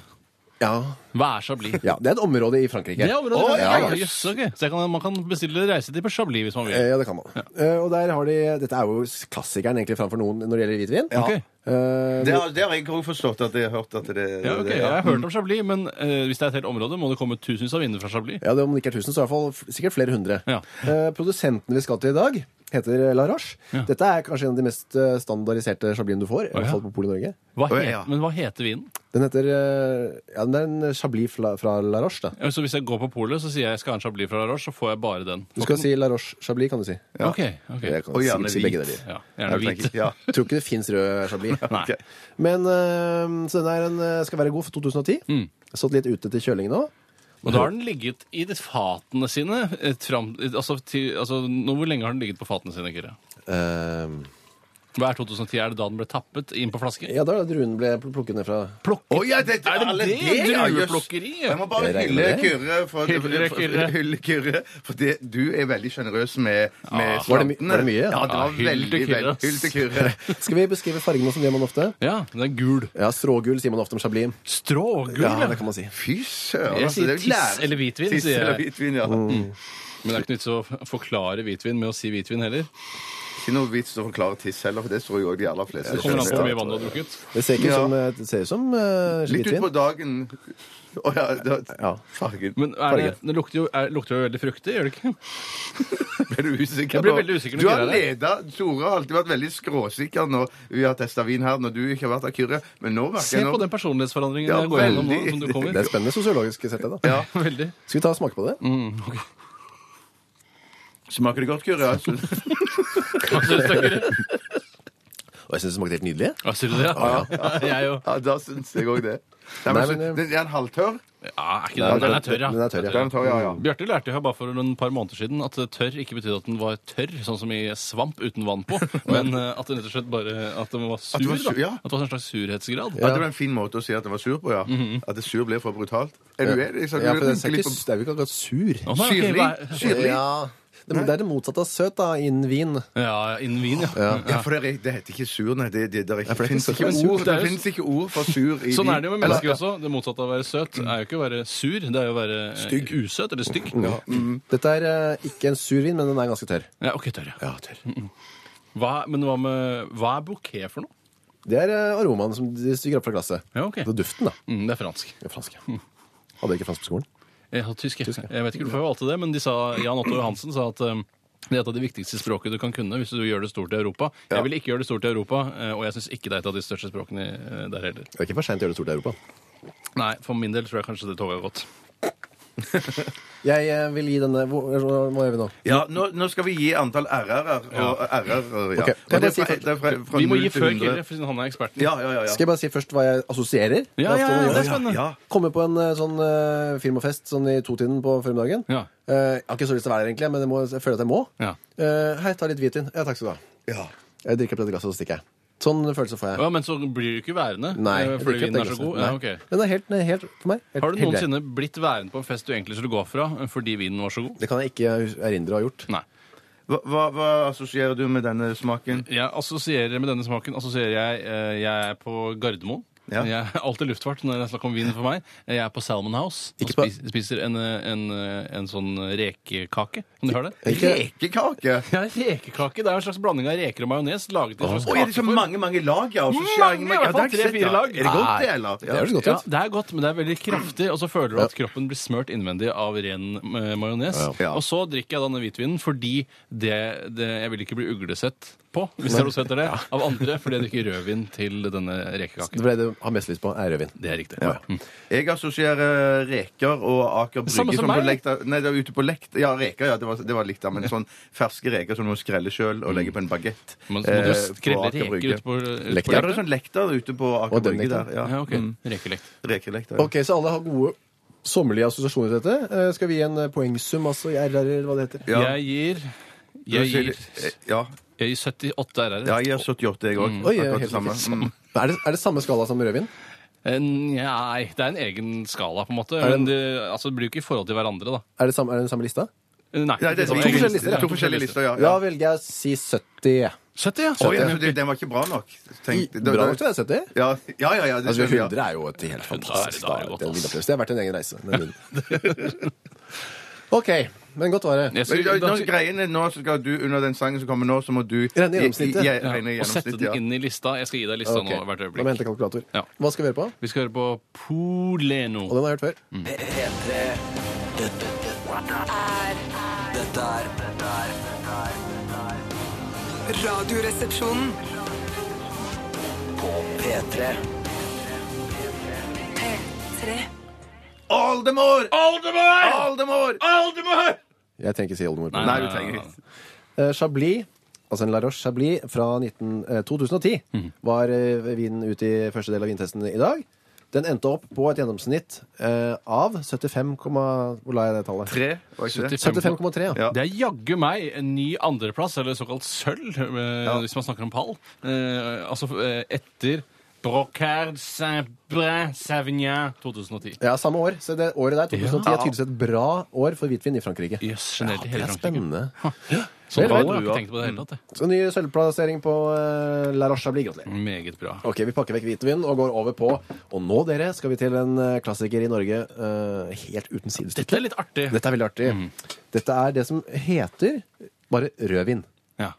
A: Ja.
B: Hva er Chablis?
A: ja. Det er et område i Frankrike.
B: Det er området.
C: Å,
B: ja,
C: ja,
B: ja, jøss, ok. Så jeg kan, man kan bestille reise til på Chablis hvis man
A: Eh,
B: vil.
A: Ja, det kan man. Eh, Og der har de Dette er jo klassikeren egentlig framfor noen når det gjelder hvitvin.
C: Ja.
B: Ok.
A: Eh,
C: Det har, det har jeg også forstått at jeg har hørt at det,
B: Ja, ok,
C: det- Mm.
B: Jeg har hørt om Chablis, men eh, hvis det er et helt område, må det komme tusenvis av viner fra Chablis.
A: Ja, det Om det ikke er 1000, så er det i hvert fall f- sikkert flere hundre.
B: Ja.
A: Eh, produsenten vi skal til i dag, heter La Roche. Dette er kanskje en av de mest eh, standardiserte chabliene du får. I
B: Å, ja.
A: hvert fall på Polet Norge.
B: Hva
C: Å,
B: he-
C: ja.
B: Men hva heter vinen?
A: Den heter eh, Ja, den er en chablis fra, fra La Roche, da.
B: Ja, Så hvis jeg går på polet så sier jeg jeg skal ha en Chablis fra La Roche, så får jeg bare den.
A: Du skal si La Roche Chablis, kan du si.
B: Ok, ok.
A: Jeg kan
C: Og
A: si-
C: gjerne
A: si
C: hvit.
A: begge deler.
B: Ja,
C: Ja,
B: gjerne
C: jeg
B: hvit.
C: tenker- Ja.
A: Jeg tror ikke det fins rød Chablis.
B: Nei.
C: Ok.
A: Men eh, Så den er en, eh, skal være god for 2010.
C: Mm.
A: Satt litt ute til kjølingen nå.
B: Og da har den ligget i de fatene sine eh, fram altså, til, altså, nå, Hvor lenge har den ligget på fatene sine, Kyrre?
A: Eh,
B: Hva er 2010? Er det da den ble tappet inn på flaske?
A: ja, da er det druene ble pl- plukket ned fra
C: Å ja, det,
B: Er det
C: alle
B: det?
C: ja, jøss.
B: Drueplukkeriet?
C: Jeg må bare
A: Jeg regner
C: hylle
A: med det.
C: Kyrre. For,
B: Hylle Kyrre.
C: hylle Kyrre, for det, du er veldig sjenerøs med, med
A: Var det my-
C: slantene.
A: var det mye, ja?
C: Ja, det
B: Ja,
C: var
B: hyll til
C: veldig
B: Ah. Kyrre,
C: vel-
B: ass.
C: Hyll til Kyrre.
A: Skal vi beskrive fargene som gjør man ofte?
B: Ja, den er gul.
A: Ja, Strågull sier man ofte om chablis.
B: Strågul,
A: Ja,
B: ja.
A: det kan man si.
C: Fy søren.
B: Jeg
C: altså,
B: sier
C: det er jo
B: tiss
C: lære-
B: eller hvitvin,
C: Tiss
B: sier jeg.
C: eller hvitvin, ja.
A: Mm.
B: Men det er ikke nytt å f- forklare hvitvin med å si hvitvin heller.
C: Ikke noe vits å forklare tiss heller, for det tror jeg òg de aller fleste
B: Det kommer an på hvor mye vann du har
C: skjønner.
B: drukket.
A: Det ser ikke ut
C: Ja.
A: som, eh, det ser ut som eh,
C: Litt
A: hvitvin.
C: utpå dagen Å ja, da,
A: Ja.
C: fargen.
B: Men er det, det lukter, jo, er, lukter jo veldig fruktig, gjør det ikke?
C: Ble du usikker?
B: Jeg ble
C: nå?
B: veldig usikker når
C: Du har
B: Kyrre er
C: leda Tore har alltid vært veldig skråsikker når vi har testa vin her, når du ikke har vært av Kyrre. Men nå merker
B: Se
C: jeg nå-
B: på den personlighetsforandringen
C: Ja,
B: jeg går gjennom nå
C: veldig.
B: som du kommer.
A: Det er spennende sosiologisk sett, det. da.
C: Ja. Mm.
B: Veldig.
A: Skal vi ta og smake på det?
C: Smaker det godt, Kyrre? Ja, jeg synes-
A: Og jeg syns det smakte helt nydelig.
B: Ja, Sier du det? Ja, jeg jo.
C: Ja, da syns jeg òg det. Nei, men,
A: Nei, men,
C: så- den er en halvtørr?
B: Ja, er ikke det? Den er tørr,
A: Den
B: ja. Mm.
A: er tørr,
C: Den er
A: ja.
C: tørr, ja, ja.
B: Bjarte lærte jo her bare for noen par måneder siden at tørr ikke betydde at den var tørr, sånn som i svamp uten vann på, men eh, at den rett og slett bare at den var sur.
C: den var sur,
B: da.
C: ja.
B: At det var en slags surhetsgrad.
C: Ja, det var en fin måte å si at den var sur på, ja. At det sur blir for brutalt. Er du enig? Jeg sa-
A: ja for
C: du
A: det er,
C: tenker litt
A: ikke,
C: på-
A: det er jo ikke akkurat sur.
B: Å, nei, ok,
C: Syrlig.
B: hva-
C: Syrlig.
A: Ja, det, det er det motsatte av søt, da, innen vin.
B: Ja, innen vin, ja.
C: Ja, for det, er, det heter ikke sur, nei. Det, det, det, er ikke-
A: for det er
C: finnes
A: ikke
C: ikke,
B: sur,
C: ord,
B: det er
C: det
B: jo-
C: finnes ikke ord for sur i
B: Sånn er det jo med mennesker
C: Eller-
B: også. Det motsatte av å være søt er jo ikke å være sur, det er jo å være eh, usøt eller stygg.
A: Dette er eh, ikke en sur vin, men den er ganske tørr.
B: Ja, ok, tørr, ja.
A: Ja, tørr.
B: Hva, men hva, med, hva er bouquet for noe?
A: Det er eh, aromaen som de stiger opp fra glasset.
B: Ja, ok.
A: Det er duften, da.
B: Mm, det er fransk.
A: Det er fransk. ja. Hadde jeg ikke fransk på skolen?
B: Jeg har tysk, jeg. Jeg vet ikke hvorfor jeg valgte det, men de sa, Jan Otto Johansen sa at um, det er et av de viktigste språket du kan kunne hvis du gjør det stort i Europa. Jeg vil ikke gjøre det stort i Europa, eh, og jeg syns ikke det er et av de største språkene eh, der heller.
A: Det er ikke for seint å gjøre det stort i Europa.
B: Nei, for min del tror jeg kanskje det toget har gått.
A: Jeg eh, vil gi denne Hvor hvor- hva gjør vi nå?
C: Ja, nå, nå skal vi gi antall RR-er. Og RR-er ja.
A: Ok,
C: Og
A: jeg
C: det
A: bare
C: er
A: sier
C: fra,
A: først-
C: det er fra, fra
B: Vi må
C: 0
B: gi
C: til
B: før
C: 100.
B: Kyrre, for siden han er eksperten.
C: Ja, ja, ja. ja.
A: Skal jeg bare si først hva jeg assosierer? Det
B: Ja,
A: er
B: ja,
A: ofte man
B: ja,
A: gjør
B: det er spennende.
C: Ja.
A: Komme på en eh, sånn eh, firmafest sånn i totiden på formiddagen.
B: Ja.
A: Eh, jeg har ikke så lyst til å være der, egentlig, men jeg, må, jeg føler at jeg må.
B: Ja.
A: Eh, hei, ta litt hvitvin. Ja, takk skal du ha.
C: Ja.
A: Jeg drikker opp dette glasset, og så stikker jeg. Sånn følelse får jeg.
B: Ja, men så blir du ikke værende
A: Nei.
B: eh,
A: jeg drikker
B: fordi
A: opp
B: vinen
A: det
B: er så
A: glasset.
B: god?
A: sånn. Nei.
B: Ja, ok.
A: Den er helt, den er helt for meg. Helt,
B: Har du
A: helt grei.
B: noensinne blitt værende på en fest du egentlig skulle gå fra eh, fordi vinen var så god?
A: Det kan jeg ikke erindre å ha gjort.
B: Nei.
C: Hva, hva, hva assosierer du med denne smaken?
B: Jeg assosierer med denne smaken assosierer jeg eh, Jeg er på Gardermoen.
C: Ja.
B: Jeg er alltid luftfart når det er snakk om vin for meg. Jeg er på Salmon House og
A: Ikke på-
B: spiser, spiser en, eh, en, eh, en sånn rekekake. Om du har det?
A: Ikke,
C: Rekekake?
B: Ja, rekekake. Det er en slags blanding av reker og majones. Laget i en slags
C: Å, er det så
B: kakeform.
C: mange, mange lag? Ja, mange,
B: Mange, i hvert fall tre-fire lag.
C: Er det godt, det, eller?
A: det høres godt
B: Ja,
A: ut.
B: det er godt, men det er veldig kraftig, og så føler du at kroppen blir smørt innvendig av ren eh, majones.
C: Ja.
B: Og så drikker jeg denne hvitvinen fordi det, det, jeg vil ikke bli uglesett på, hvis jeg rosetter det, av andre, fordi jeg drikker rødvin til denne rekekaken.
A: Det ble det du har mest lyst på, er rødvin.
B: Det er riktig.
A: Ja.
B: Mm.
C: Jeg assosierer eh, reker og Aker Brygge
B: Samme
C: på
B: som meg.
C: lekta, Nei, det var ute på lekt Ja, reker, ja, det var, det var likt, ja, men sånn ferske reker som du må skrelle sjøl og legge på en bagett. eh,
B: Mm. Men så må du
C: på
B: skrelle
C: Aker
B: reker
C: Brygge.
B: ut på, ut
A: Lekter.
B: på
C: Ja, det er sånn lekter ute på
A: Og
C: Aker
A: den
C: Brygge
A: lekter.
C: der. Ja,
B: Ja, ok. Rekelekt.
C: Rekelekter. ja.
A: Ok, Så alle har gode sommerlige assosiasjoner til dette. Eh, skal vi gi en eh, poengsum, altså i RR, eller hva det heter?
C: Ja.
B: Jeg gir
C: Du
B: jeg gir,
C: sier- Ja,
B: jeg gir 78 RR.
C: ja, jeg er 78, jeg
B: Mm.
C: òg.
A: Oi,
C: Akkurat
A: helt
C: det samme.
A: riktig.
C: Mm.
A: Er det, er det samme skala som rødvin?
B: Eh, Nei, det er en egen skala, på en måte.
A: det en-
B: Men det, altså, det blir jo ikke i forhold til hverandre, da.
A: Er det, samme, er det den samme lista?
B: Nei,
C: Nei, det er
B: ikke
C: to
B: sånn.
C: forskjellige
A: lister,
C: lister.
A: ja.
C: To forskjellige lister, ja.
A: Da
C: ja.
A: velger jeg å si 70.
B: 70, ja.
C: Oi, ja, så det- den var ikke bra nok. Tenk- det-
A: Bra nok til deg, 70.
C: Ja, ja, ja. ja det
A: Altså,
C: skjønner jeg.
A: 100 er jo et helt fantastisk
B: Da er det- da er det
A: da,
B: godt,
A: det, er en
B: ass.
A: vinopplevelse. det har vært en egen reise. den vinen. OK. Men godt var det.
B: Jeg
C: Men,
B: synes-
C: ja, nå,
B: da-
C: greiene, nå så skal du Under den sangen som kommer nå, så må du
A: Regne gjennomsnittet.
C: Jeg, jeg,
B: Ja,
C: regne
B: og sette
C: gjennomsnittet,
B: den inn i lista. Jeg skal gi deg lista
A: Ok,
B: nå hvert
A: Da må jeg hente
B: øyeblikk.
A: kalkulator.
B: Ja.
A: Hva skal vi høre på?
B: Vi skal høre på
A: Og
B: Poleno.
A: den har jeg hørt før.
B: Mm.
E: P3 Dette, dette er Dette er dette er- dette er
D: Radioresepsjonen.
E: På P3
D: P3.
C: Oldemor!
B: Oldemor! Ah!
C: Oldemor!
B: Oldemor!
A: Jeg trenger ikke si oldemor.
B: Nei,
C: Nei, du trenger ikke.
A: Eh, Chablis, altså en La Roche Chablis fra 19, eh, 2010,
C: Mhm.
A: var eh, vinen ut i første del av vintesten i dag. Den endte opp på et gjennomsnitt eh, av 75, komma- hvor la jeg det tallet?
C: Tre, var ikke det?
A: 75,3, ja.
C: Ja.
B: Det er jaggu meg en ny andreplass, eller såkalt sølv, eh, hvis man snakker om pall. Eh, altså eh, etter Brocard Saint-Brin Savignan 2010.
A: Ja, samme år. Så det året der, 2010,
C: Ja.
A: er tydeligvis et bra år for hvitvin i Frankrike.
B: Jøss, yes, generelt i
A: Det
B: hele
A: er
B: Frankrike.
A: spennende.
B: Så
A: Vel,
B: bra,
A: vel,
B: jeg har
C: ja.
B: ikke tenkt på det i det hele tatt. jeg.
A: Så ny sølvplassering på eh, La Roche Chablis.
C: Mm.
A: Gratulerer.
B: Meget bra.
A: Ok, Vi pakker vekk hvitvin og går over på Og nå, dere, skal vi til en eh, klassiker i Norge eh, helt uten sidestykke.
B: Dette er litt artig.
A: Dette er veldig artig.
B: Mm.
A: Dette er det som heter bare rødvin.
B: Ja.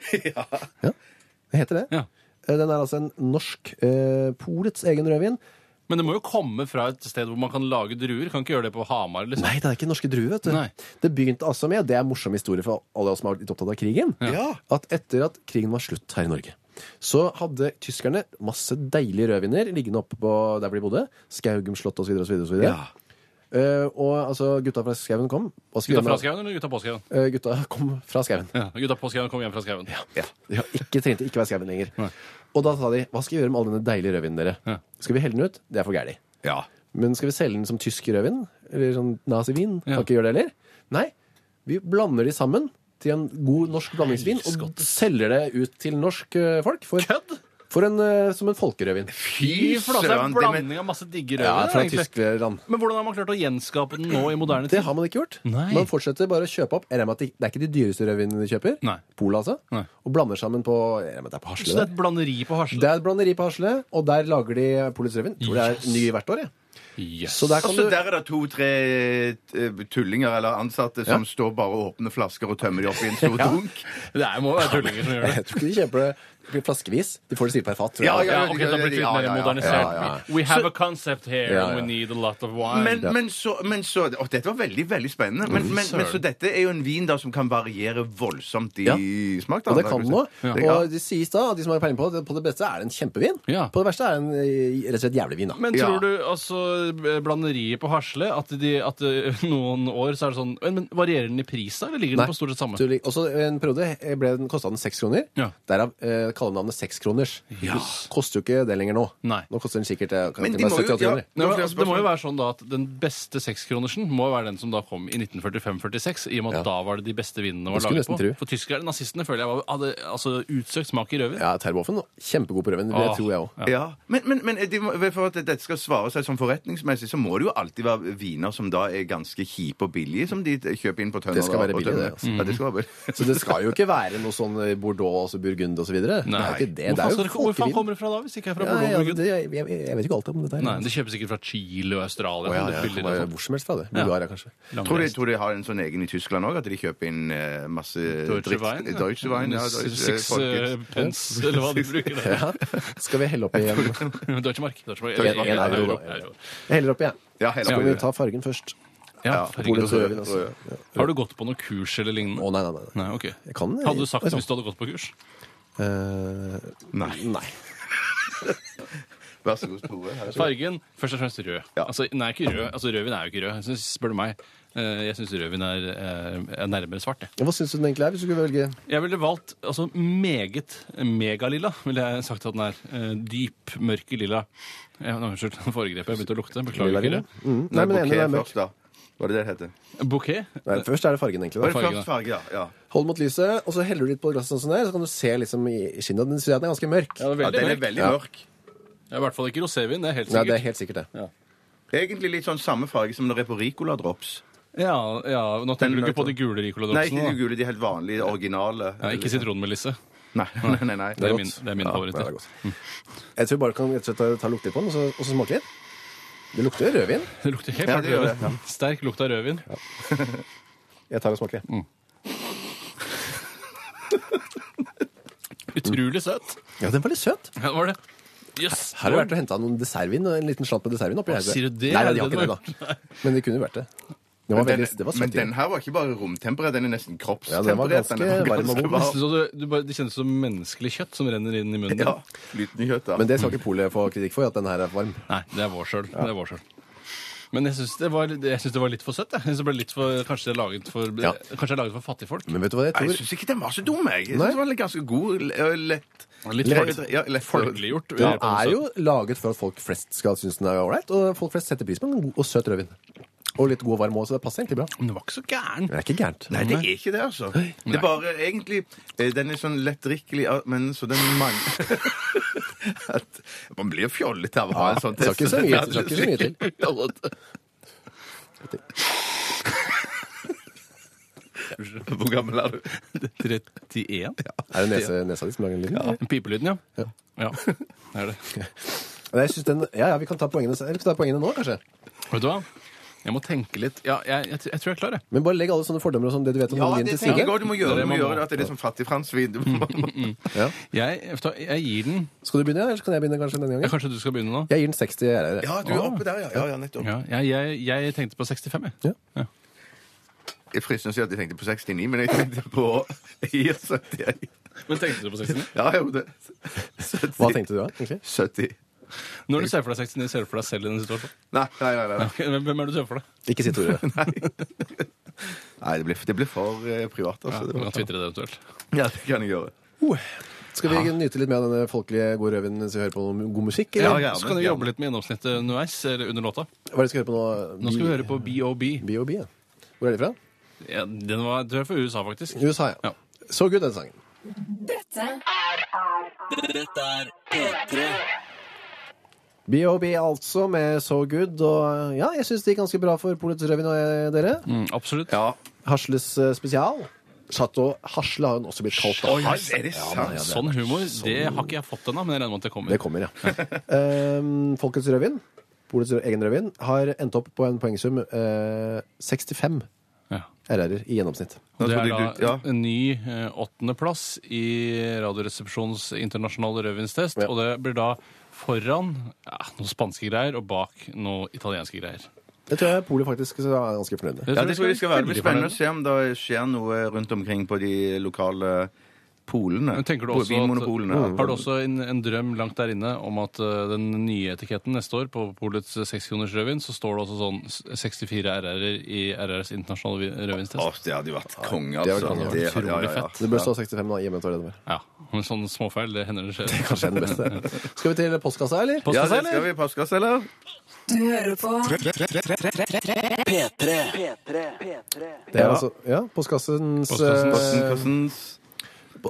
A: Det heter det.
B: Ja.
A: Eh, Den er altså en norsk eh, Polets egen rødvin.
B: Men det må jo komme fra et sted hvor man kan lage druer. Kan ikke gjøre det på Hamar. liksom.
A: Nei, det er ikke norske druer, vet du.
B: Nei.
A: Det begynte altså med, og det er en morsom historie for alle oss som har vært litt opptatt av krigen, at etter at krigen var slutt her i Norge, så hadde tyskerne masse deilige rødviner liggende oppe på der hvor de bodde. Skaugum slott osv. osv. osv.
C: Ja.
A: Uh, og altså, gutta fra skauen kom. Hva skal vi
B: Gutta
A: gjøre
B: fra
A: med-
B: skauen eller gutta på skauen?
A: Eh, gutta kom fra skauen.
B: Ja, gutta på skauen kom hjem fra skauen.
A: Ja, ikke trengte ikke være skauen lenger. Og da sa de hva skal vi gjøre med all denne deilige rødvinen dere?
B: Ja.
A: Skal vi helle den ut? Det er for gærent.
C: Ja.
A: Men skal vi selge den som tysk rødvin? Eller sånn nazivin?
B: Ja.
A: Kan ikke gjøre det heller? Nei. Vi blander de sammen til en god norsk blandingsvin og selger det ut til norsk eh, folk for,
B: Kødd!
A: for en, eh, som en folkerødvin.
C: Fy
B: I flate det er
C: søren! det
B: en
C: med-
B: blanding av masse digge
A: Ja,
B: rødvin.
A: fra
B: egentlig.
A: Tyskland.
B: men hvordan har man klart å gjenskape den nå i moderne
A: eh, Det
B: tid?
A: har man ikke gjort.
B: Nei.
A: Man fortsetter bare å kjøpe opp. Jeg regner med at det det er ikke de dyreste rødvinene de kjøper.
B: Nei.
A: Pola, altså.
B: Nei.
A: Og blander sammen på jeg regner med at det er på
B: Så det
A: Hasle.
B: er et blanderi på
A: Det
B: Hasle.
A: er et blanderi på Hasle, og der lager de Polets rødvin. Tror det er
B: Yes.
A: ny hvert år, jeg.
B: Yes.
A: Så der kan
C: Altså,
A: du
C: der er det to-tre eh, tullinger eller ansatte som
A: Ja.
C: står bare og åpner flasker og tømmer de opp i en stor dunk.
B: Det er, må være tullinger som gjør det.
A: Jeg tror ikke de kjøper det Det blir flaskevis. De får det sikkert per fat. tror
C: Ja,
A: jeg.
C: ja.
B: Ja, ok, da blir det litt
C: Ja,
B: mer
C: ja, ja,
B: modernisert.
C: ja, ja,
B: We have a concept here,
A: Ja,
B: and we
A: ja.
B: need a lot of wine.
C: Men, men så, men så å, Dette var veldig veldig spennende.
A: Mm,
C: Men, men, men så dette er jo en vin da som kan variere voldsomt i
A: Ja.
C: smak. Da,
A: Og det kan den òg.
C: Ja.
A: Og det sies da, at de som har peiling på det, på det beste er det en kjempevin.
B: Ja.
A: På det verste er det en eh, rett og slett jævlig vin. da.
B: Men
C: Ja.
B: tror du altså blanderiet på Hasle at, de, at eh, noen år så er det sånn Men varierer den i pris da, eller ligger den på stort sett samme?
A: Så lik- Også en periode eh, ble den kosta den seks kroner.
B: Ja.
A: Derav eh, kallenavnet sekskroners.
B: Ja.
A: Koster jo ikke det lenger nå.
B: Nei.
A: Nå koster den sikkert eh, kan
C: Men
A: ikke
C: de
A: være
C: må jo-
A: 70-80
C: ja.
A: kroner.
B: Nei, men,
C: Det var flere
B: altså, det må jo
C: spørsmål.
B: være sånn da at Den beste sekskronersen må jo være den som da kom i 1945-46, i og med at da var det de beste vinene
A: Det
B: var
A: skulle
B: laget
A: nesten
B: på.
A: tro.
B: For tyskerne, nazistene, føler jeg var, hadde altså, utsøkt smak i rødvin.
A: Ja, Terboven kjempegod på rødvin. Det
B: Åh.
A: tror jeg òg.
C: Ja. Men, men, men de må, for at dette skal svare seg sånn forretningsmessig, så må det jo alltid være viner som da er ganske kjipe og billige, som de kjøper inn på
A: Det
C: tønner.
A: skal være
C: og- og
A: billig,
C: tønner.
A: det, altså.
C: Ja, det skal være billig.
A: Så det skal jo ikke være noe sånn eh, Bordeaux altså Burgund og så videre. Det er jo ikke det. Det er jo
B: Hvorfor, skal det, hvor faen
A: folkevin.
B: kommer det fra da, hvis det ikke er fra
A: Ja,
B: Bordeaux?
A: ja,
B: Burgund?
A: det, jeg, jeg, jeg vet ikke alt om dette. her.
B: Nei, det kjøpes sikkert fra Chile og Australia.
A: Å, ja,
B: men
A: ja,
B: det fyller
A: det er
B: sånn
A: Hvor som helst fra det. Bulgaria, kanskje.
B: langreist.
C: Tror de, tror de har en sånn egen i Tyskland òg, at de kjøper inn eh, masse
B: Deutsche
C: dritt-
B: Wein, ja.
C: Deutsche Wein, ja, Deutsche-
B: Six
C: folket.
B: eh, pence, eller hva de bruker der.
A: Ja. Skal vi helle oppi en,
B: Deutsche Mark. Deutsche Mark.
A: en, en euro, da? Jeg heller oppi, jeg.
C: Ja, heller
A: Så kan
C: oppi
A: vi
C: det.
A: ta fargen først.
B: Ja,
A: Polen,
B: herregud.
A: så gjør vi det. altså.
C: rød.
A: Ja.
B: Har du gått på noe kurs eller lignende?
A: Å, nei, nei, nei.
B: Nei, ok.
A: Jeg kan det.
B: Hadde du sagt
A: Oi,
B: det
A: sånn.
B: hvis du hadde gått på kurs?
A: Eh,
C: Nei.
A: nei.
C: Vær så god, Tore. Her er så-
B: Fargen, først og fremst rød.
C: Ja.
B: Altså, nei, ikke rød. Altså, rødvin er jo ikke rød, jeg synes, spør du meg. Eh, Jeg syns rødvin er, eh, er nærmere svart. Jeg.
A: Ja, Hva syns du den egentlig er, hvis du skulle velge?
B: jeg ville valgt altså, meget megalilla, ville jeg sagt at den er. Eh, Dyp, mørk lilla. Ja, nå, Unnskyld, nå foregrep jeg. Begynte å lukte. Beklager.
A: Lilla
B: ikke
A: vin,
B: det.
A: ja. Mm. Nei, men
C: Nei,
A: enig, det er
C: bouquet
A: mørk.
C: først, da. Var det det det heter?
B: Bouquet?
A: Nei, først er det fargen, egentlig.
C: Var
A: Da.
C: det
B: Farge,
C: først
B: da.
C: farge, da? Ja.
A: Hold mot lyset, og så heller du litt på glasset, sånn der, så kan du se liksom i i skinnet. Den synes jeg den er ganske mørk.
B: Ja, det er
C: ja,
B: veldig
C: den er
B: mørk.
C: veldig
A: Ja.
C: mørk.
B: Det er i hvert fall ikke rosévin. Det er helt
A: Nei, det
B: sikkert.
A: er helt sikkert det.
C: Egentlig litt sånn samme farge som når det er på Ricola Drops.
B: Ja, ja, Nå tenker du
C: Den-
B: ikke på de gule
C: Nei, ikke de
B: Ricola-dropsene? da?
C: gule, de helt vanlige, originale.
B: Ja, ikke sitronmelisse.
C: Nei, nei, nei. nei.
B: Det er
A: godt.
B: min, det er min
A: Ja,
B: favoritt.
A: det
B: ja.
A: er
B: Mm.
A: godt. Jeg tror vi bare kan rett og slett ta, ta lukte litt på den, og så, og så smake litt. Det lukter rødvin.
B: Det lukter helt
C: Ja,
B: klart
C: det gjør det,
B: rødvin. Sterk lukt av rødvin.
A: Jeg tar og smaker.
B: Mm.
A: jeg.
B: Utrolig søt.
A: Ja, den var litt søt.
B: Ja, det var det. Jøss.
A: Her har det vært og henta noen dessertvin, og en liten slant med dessertvin oppi. her.
B: sier du det?
A: Nei, nei, de
B: Er det
A: har ikke
B: det du
A: det, da. Men det kunne jo vært det. Det var,
C: Den,
A: veldig, det var
C: men
A: søt.
C: den her var ikke bare romtemperert, den er nesten
A: Ja, den var
C: kroppstemperert.
A: ganske
C: er
A: varm og god.
C: varm.
B: Nesten så du, du bare, det kjennes som menneskelig kjøtt som renner inn i munnen. din.
C: Ja, flytende kjøtt, da.
A: Men det skal ikke polet få kritikk for, at den her er varm.
B: Nei, det er vår sjøl. Det er vår sjøl. Men jeg syns det, var- jeg synes det var litt for søtt. Jeg. Jeg synes det ble litt for, kanskje det er laget for,
A: Ja.
B: kanskje det er laget for fattigfolk.
A: Men vet du hva jeg
C: Nei, jeg
A: tror?
C: syns ikke den var så dum, jeg. Jeg
A: Nei.
C: synes den var litt ganske god. l- og Lett.
B: Litt
C: Lett-
B: folk-
C: ja, lett-
B: Folkeliggjort.
A: Den er jo laget for at folk flest skal synes den er ålreit, og folk flest setter pris på en god og søt rødvin. Og litt god og varm òg, så det passer egentlig bra.
B: Men den var ikke så gæren.
A: Men det er ikke gærent.
C: Nei, det er ikke det, altså. Det er bare egentlig eh, Den er sånn lettdrikkelig, ja, men så den mangler At Man blir jo fjollete av å ha en sånn
A: det skal ikke så mye- det skal ikke så mye til.
C: til. Hvor gammel er du?
B: 31?
A: Er det nese, nesa di som lager en liten?
B: Den Pipelyden, ja. Ja, det er det.
A: Men jeg synes den, ja, ja, vi kan ta poengene, eller skal vi ta poengene nå, kanskje.
B: Vet du hva? Jeg må tenke litt. Ja, jeg, jeg, jeg tror jeg er klar, jeg.
A: Men bare legg alle sånne fordommer og sånn, det du vet om
C: Ja,
A: noen
C: det
A: til
C: tenker
A: side.
C: jeg også du må gjøre. Du
B: Det er det
C: må
B: man må.
C: gjøre det at det er litt sånn fattigfransvin. Du må-
A: Ja.
B: Jeg, vet du hva, jeg gir den
A: Skal du begynne, eller kan jeg begynne kanskje denne
B: ja,
A: gangen?
B: Kanskje du skal begynne nå?
A: Jeg gir den 60 RR.
C: Ja, du er oppe der, ja. Ja, ja nettopp.
B: Ja, jeg, jeg, jeg tenkte på 65, jeg.
A: Ja.
C: Jeg fristende å si at jeg tenkte på 69, men jeg tenkte på jeg gir 71.
B: Men tenkte du på 69?
C: Ja, jeg gjorde det. 70.
A: Hva tenkte du da, egentlig?
C: 70.
B: Når du ser for deg 69, ser du for deg selv i den situasjonen?
C: Nei, nei, nei. nei.
B: Ok, men Hvem er det du ser for deg?
A: Ikke si Tore.
C: nei det, blir, det blir for eh, privat,
B: Ja,
C: altså.
B: du kan
C: det,
B: twitre det eventuelt.
C: var- ja, det kan jeg gjøre.
A: Skal vi nyte litt mer av denne folkelige gode rødvinen mens vi hører på noe god musikk?
B: Ja,
C: Ja,
A: Eller?
C: gjerne,
B: så kan du
C: gjerne.
B: jobbe litt med gjennomsnittet underveis, eller under låta.
A: Hva er det vi skal høre på nå?
B: Nå skal vi høre på BOB.
A: B.O.B. ja. Hvor er de fra?
B: Ja, den var tror jeg fra USA, faktisk.
A: USA, ja.
B: Ja.
A: Så good, den sangen.
E: Dette er P3.
A: B.O.B. altså med So Good. Og ja, jeg syns det gikk ganske bra for Polets rødvin og jeg- dere.
B: Mm, absolutt.
C: Ja.
A: Hasles eh, spesial. Chateau Hasle har hun også blitt kalt. da.
C: Oi, er det sant?
A: Ja, det er-
B: Sånn humor det har ikke jeg fått ennå, men jeg regner med at det kommer.
A: Det kommer, ja. um, Folkets rødvin, Polets rød- egen rødvin, har endt opp på en poengsum eh, 65.
B: Ja.
A: RR-er i gjennomsnitt.
C: Nå
B: Det er
C: trodde jeg du-
B: da
C: ja.
B: en ny eh, åttendeplass i Radioresepsjonens internasjonale rødvinstest.
A: Ja.
B: Og det blir da foran ja, noen spanske greier og bak noen italienske greier.
A: Det tror jeg Polet faktisk skal være ganske fornøyd med.
C: Ja,
B: tror
C: det
B: jeg
C: tror jeg vi skal være. Det blir
B: veldig
C: spennende å
B: fornøyd.
C: se om det skjer noe rundt omkring på de lokale polene.
B: Men tenker du
C: På
B: også
C: Vinmonopolene.
B: at, Mm. har du også en, en drøm langt der inne om at eh, den nye etiketten neste år på Polets sekskroners rødvin, så står det også sånn s- 64 RR-er i RRs internasjonale vi-
C: Å,
B: rødvinstest?
C: det hadde jo vært konge,
A: Det
C: altså.
A: hadde vært
C: hadde- ja, ja, ja.
B: utrolig
A: Det bør stå 65 da, i og med at det var
B: Ja. Men sånn småfeil, det hender det skjer.
A: Kanskje er den beste. Skal vi til postkassa, eller?
C: Ja,
B: Postkassa,
C: det skal vi postkasse, eller?
D: Du hører på
E: P3. P3. P3.
A: Det er
C: Ja.
A: altså, ja, postkassens
B: Postkassens-
C: Posten,
A: eh,
C: postens-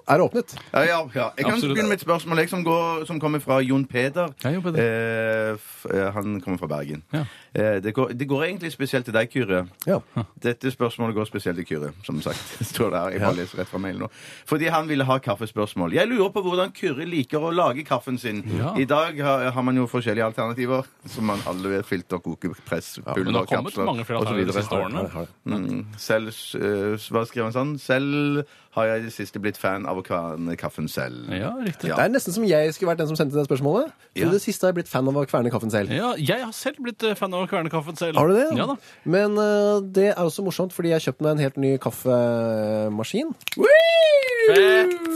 A: er åpnet.
C: Ja, ja, ja. Jeg kan
B: Absolutt.
C: begynne med et spørsmål jeg, som, går, som kommer fra Jon Peder.
B: Ja, Jon Peder.
C: Eh, f, eh, han kommer fra Bergen.
B: Ja.
C: Eh, det, går, det går egentlig spesielt til deg, Kyrre.
A: Ja.
C: Hm. Dette spørsmålet går spesielt til Kyrre, som sagt. Står der, jeg bare leser rett fra mailen nå. Fordi han ville ha kaffespørsmål. Jeg lurer på hvordan Kyrre liker å lage kaffen sin.
B: Ja.
C: I dag har, har man jo forskjellige alternativer, som man alle vet. Filter, kokepress,
B: Men det
C: pulver,
B: har kommet
C: kapsler
B: mange flere
C: og så
B: alternativer de
C: videre.
B: siste årene.
C: Mm, selv, eh, hva skriver han sånn? Selv har jeg i det siste blitt fan av å kverne kaffen selv.
B: Ja, riktig.
C: Ja.
A: Det er nesten som jeg skulle vært den som sendte det spørsmålet. For
C: Ja.
A: det siste har jeg blitt fan av å kverne kaffen selv.
B: Ja, jeg har selv blitt eh, fan av kvernekaffen selv.
A: Har du det?
B: Ja da.
A: Men eh, det er også morsomt, fordi jeg kjøpte meg en helt ny kaffemaskin.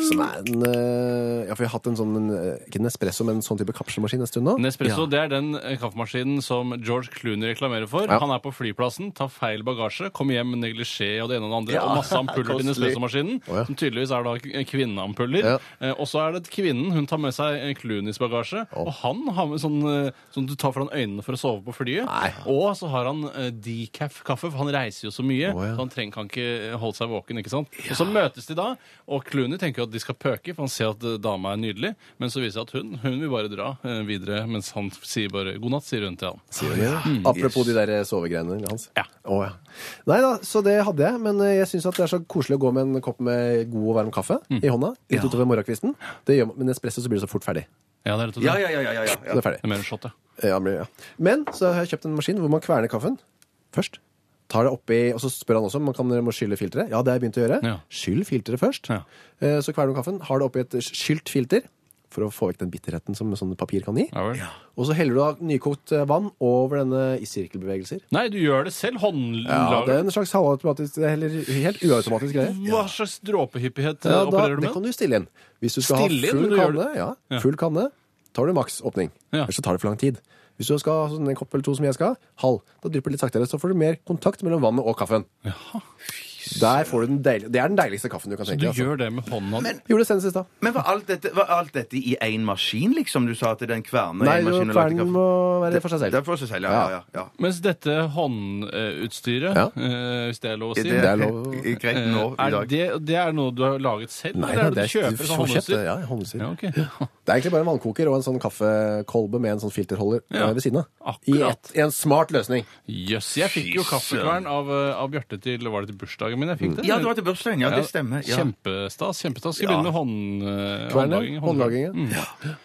A: Som er en eh, Ja, for jeg har hatt en sånn eh, Ikke en espresso, men en sånn type kapselmaskin en stund nå.
B: Nespresso
A: Ja.
B: det er den eh, kaffemaskinen som George Clooney reklamerer for.
A: Ja.
B: Han er på flyplassen, tar feil bagasje, kommer hjem med neglisjé og det ene og det andre,
C: Ja,
B: og masse ampuller til
C: kostelig.
B: Nespresso-maskinen,
A: Å, ja.
B: som tydeligvis er da k- eh, kvinneampuller.
A: Ja.
B: Eh, og så er det kvinnen. Hun tar med seg eh, Clooneys bagasje, og han har med sånn eh, som du tar foran øynene for å sove på flyet. Og så har han eh, decaf-kaffe, for han reiser jo så mye,
A: Å, ja.
B: så han treng, kan ikke holde seg våken. ikke sant? Og så møtes de da, og Clooney tenker jo at de skal pøke, for han ser at eh, dama er nydelig, men så viser det at hun, hun vil bare dra eh, videre, mens han sier bare god natt, sier hun til han.
A: Mm. Apropos de der eh, sovegreiene hans.
B: Mm. Ja.
A: Å, ja. Nei da, så det hadde jeg. Men eh, jeg syns det er så koselig å gå med en kopp med god og varm kaffe
B: Mm.
A: i hånda. Litt utover morgenkvisten. Det gjør, man- men espresso så blir det så fort ferdig.
B: Ja, det er rett og
C: Ja,
B: slett.
C: ja, ja, ja, ja, ja.
A: Så det er ferdig.
B: Det er mer en shot, ja.
A: Ja, men, ja. men så har jeg kjøpt en maskin hvor man kverner kaffen først. Tar det oppi, og Så spør han også om man kan, må skylle filteret. Ja, det har jeg begynt å gjøre.
B: Ja.
A: Skyll filteret først.
B: Ja.
A: Eh, Så kverner du kaffen, har det oppi et skylt filter for å få vekk den bitterheten som sånn papir kan gi.
B: Ja vel.
A: Og så heller du da nykokt eh, vann over denne i sirkelbevegelser.
B: Nei, du gjør det selv.
A: Ja,
B: Håndlager.
A: det er en slags halvautomatisk, det er heller helt uautomatisk greie.
B: Hva slags dråpehyppighet eh,
A: Ja, da,
B: opererer du
A: det
B: med?
A: kan du stille inn. Hvis du skal
B: Stille
A: ha
B: inn,
A: full
B: men du gjør
A: kanne, ja, full kanne, tar du maks åpning.
B: Ja.
A: Ellers så tar det for lang tid. Hvis du skal ha sånn en kopp eller to som jeg skal, halv. Da drypper det litt saktere, så får du mer kontakt mellom vannet og kaffen. Der får du den deilige, det er den deiligste kaffen du kan
B: Du
A: tenke deg. Altså.
B: gjør det med hånda.
C: Men-
A: Gjorde det senest i stad.
C: Men var alt dette, var alt dette i én maskin, liksom? Du sa at den kverner
A: Nei,
C: en
A: du,
C: maskin og lagde
A: kvernen
C: kaffe.
A: må være for seg
C: Det
A: selv.
C: er for seg selv, ja. ja, ja, ja.
B: Mens dette håndutstyret,
A: Ja.
B: eh, hvis det er lov å si
C: Det
A: er
C: er
A: lov.
C: greit nå i
B: er
C: dag.
B: det, det er noe du har laget selv?
A: Nei,
B: eller er
A: det
B: det du
A: er-
B: kjøper
A: du
B: som
A: får kjøpt det,
B: håndutstyr?
A: Ja, håndutstyr.
B: Ja, ok.
A: Det er egentlig bare en vannkoker og en sånn kaffekolbe med en sånn filterholder
B: Ja.
A: eh, ved siden av. I
B: Akkurat.
A: et, en smart løsning.
B: Jøss, jeg fikk jo
C: Fy
B: kaffekvern av, eh, av Bjarte til Var det til bursdagen min jeg fikk det?
C: Ja, det var til bursdagen. Ja, det
B: Ja,
C: stemmer. Ja.
B: Kjempestas. kjempestas. Skal
C: Ja.
B: begynne med hånd, eh, Mm. håndlaging.
A: Kvernen, håndlagingen.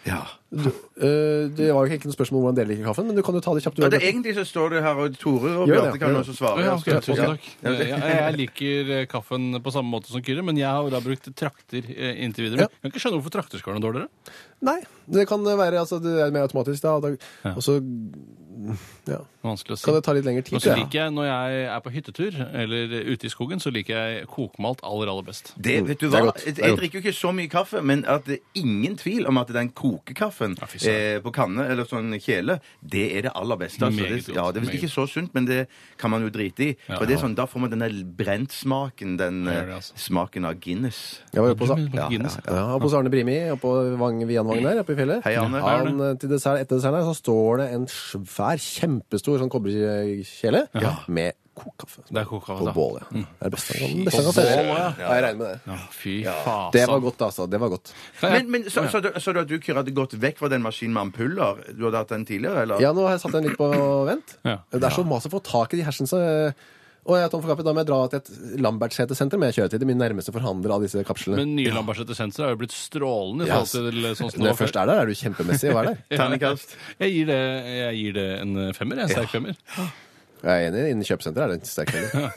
C: Ja.
A: Eh, det var jo ikke noe spørsmål om hvordan dere liker kaffen, men du kan jo ta det kjapt. du,
C: Ja, det,
A: Bjarte.
C: egentlig så står det her, og Tore
A: Gjør
C: og
A: det,
C: Bjarte kan
A: gjør
C: også
B: Å,
C: svare.
B: Ja, ok,
C: Ja,
B: tusen
C: ja.
B: takk. Eh, Jeg, jeg liker eh, kaffen på samme måte som Kyrre, men jeg har jo da brukt trakter eh, inntil videre.
A: Ja.
B: Men jeg kan ikke skjønne hvorfor trakter skal være noe dårligere.
A: Nei, det kan være altså, det er mer automatisk. Da, og da, Og så ja.
B: Vanskelig å si.
A: kan det ta litt lengre tid.
B: Og så
A: tror jeg.
B: liker jeg, Når jeg er på hyttetur eller ute i skogen, så liker jeg kokmalt aller aller best.
C: Det, vet du
A: Det er
C: hva?
A: godt. Det
C: Jeg,
A: er
C: jeg
A: godt.
C: drikker jo ikke så mye kaffe, men at det er ingen tvil om at den kokekaffen
B: fy
C: eh,
B: søren.
C: på kanne eller sånn kjele, det er det aller beste. Altså.
B: Meget
C: Det, ja, det er visst
B: godt.
C: ikke så sunt, men det kan man jo drite i. For det er sånn, Da får man den der brentsmaken, den
B: Det gjør
C: eh,
B: det, altså.
C: smaken av Guinness.
A: Jeg var oppe hos,
B: Ja, Guinness.
A: ja, oppe hos Arne Brimi oppe på Vang, Vianvangen der oppe i fjellet.
C: Hei, Arne.
B: Hei,
A: Han, eh, til dessert, etter desserten her så står det en svær, kjempestor sånn kobberkjele med kokkaffe.
B: Det er kokekaffe,
A: På
B: da.
A: bål, ja. Det er det beste han kan- det beste han kan selge.
B: bål, ja.
A: Ja, jeg regner med det.
B: Fy faen.
A: Det var godt, altså. Det var godt.
C: Men, men så, så, du- så du at du, Kyrre, hadde gått vekk fra den maskinen med ampuller? Du hadde hatt den tidligere, eller?
A: Ja, nå har jeg satt den litt på vent.
B: Ja.
A: Det er så mas å få tak i de hersens eh, Og jeg er tom for kaffe. Da må jeg dra til et Lambertseter-senter, men jeg kjører til det min nærmeste forhandler av disse kapslene.
B: Men nye Lambertseter Senser er jo blitt strålende. i
A: Ja,
B: forhold til sånn
A: Når
B: som det var
A: jeg først
B: før.
A: er der, er du kjempemessig å være der.
C: Terningkast.
B: eh, Jeg gir det, jeg gir det en femmer. jeg. En sterk femmer.
A: Jeg er enig, innen kjøpesenter er det en sterk melding.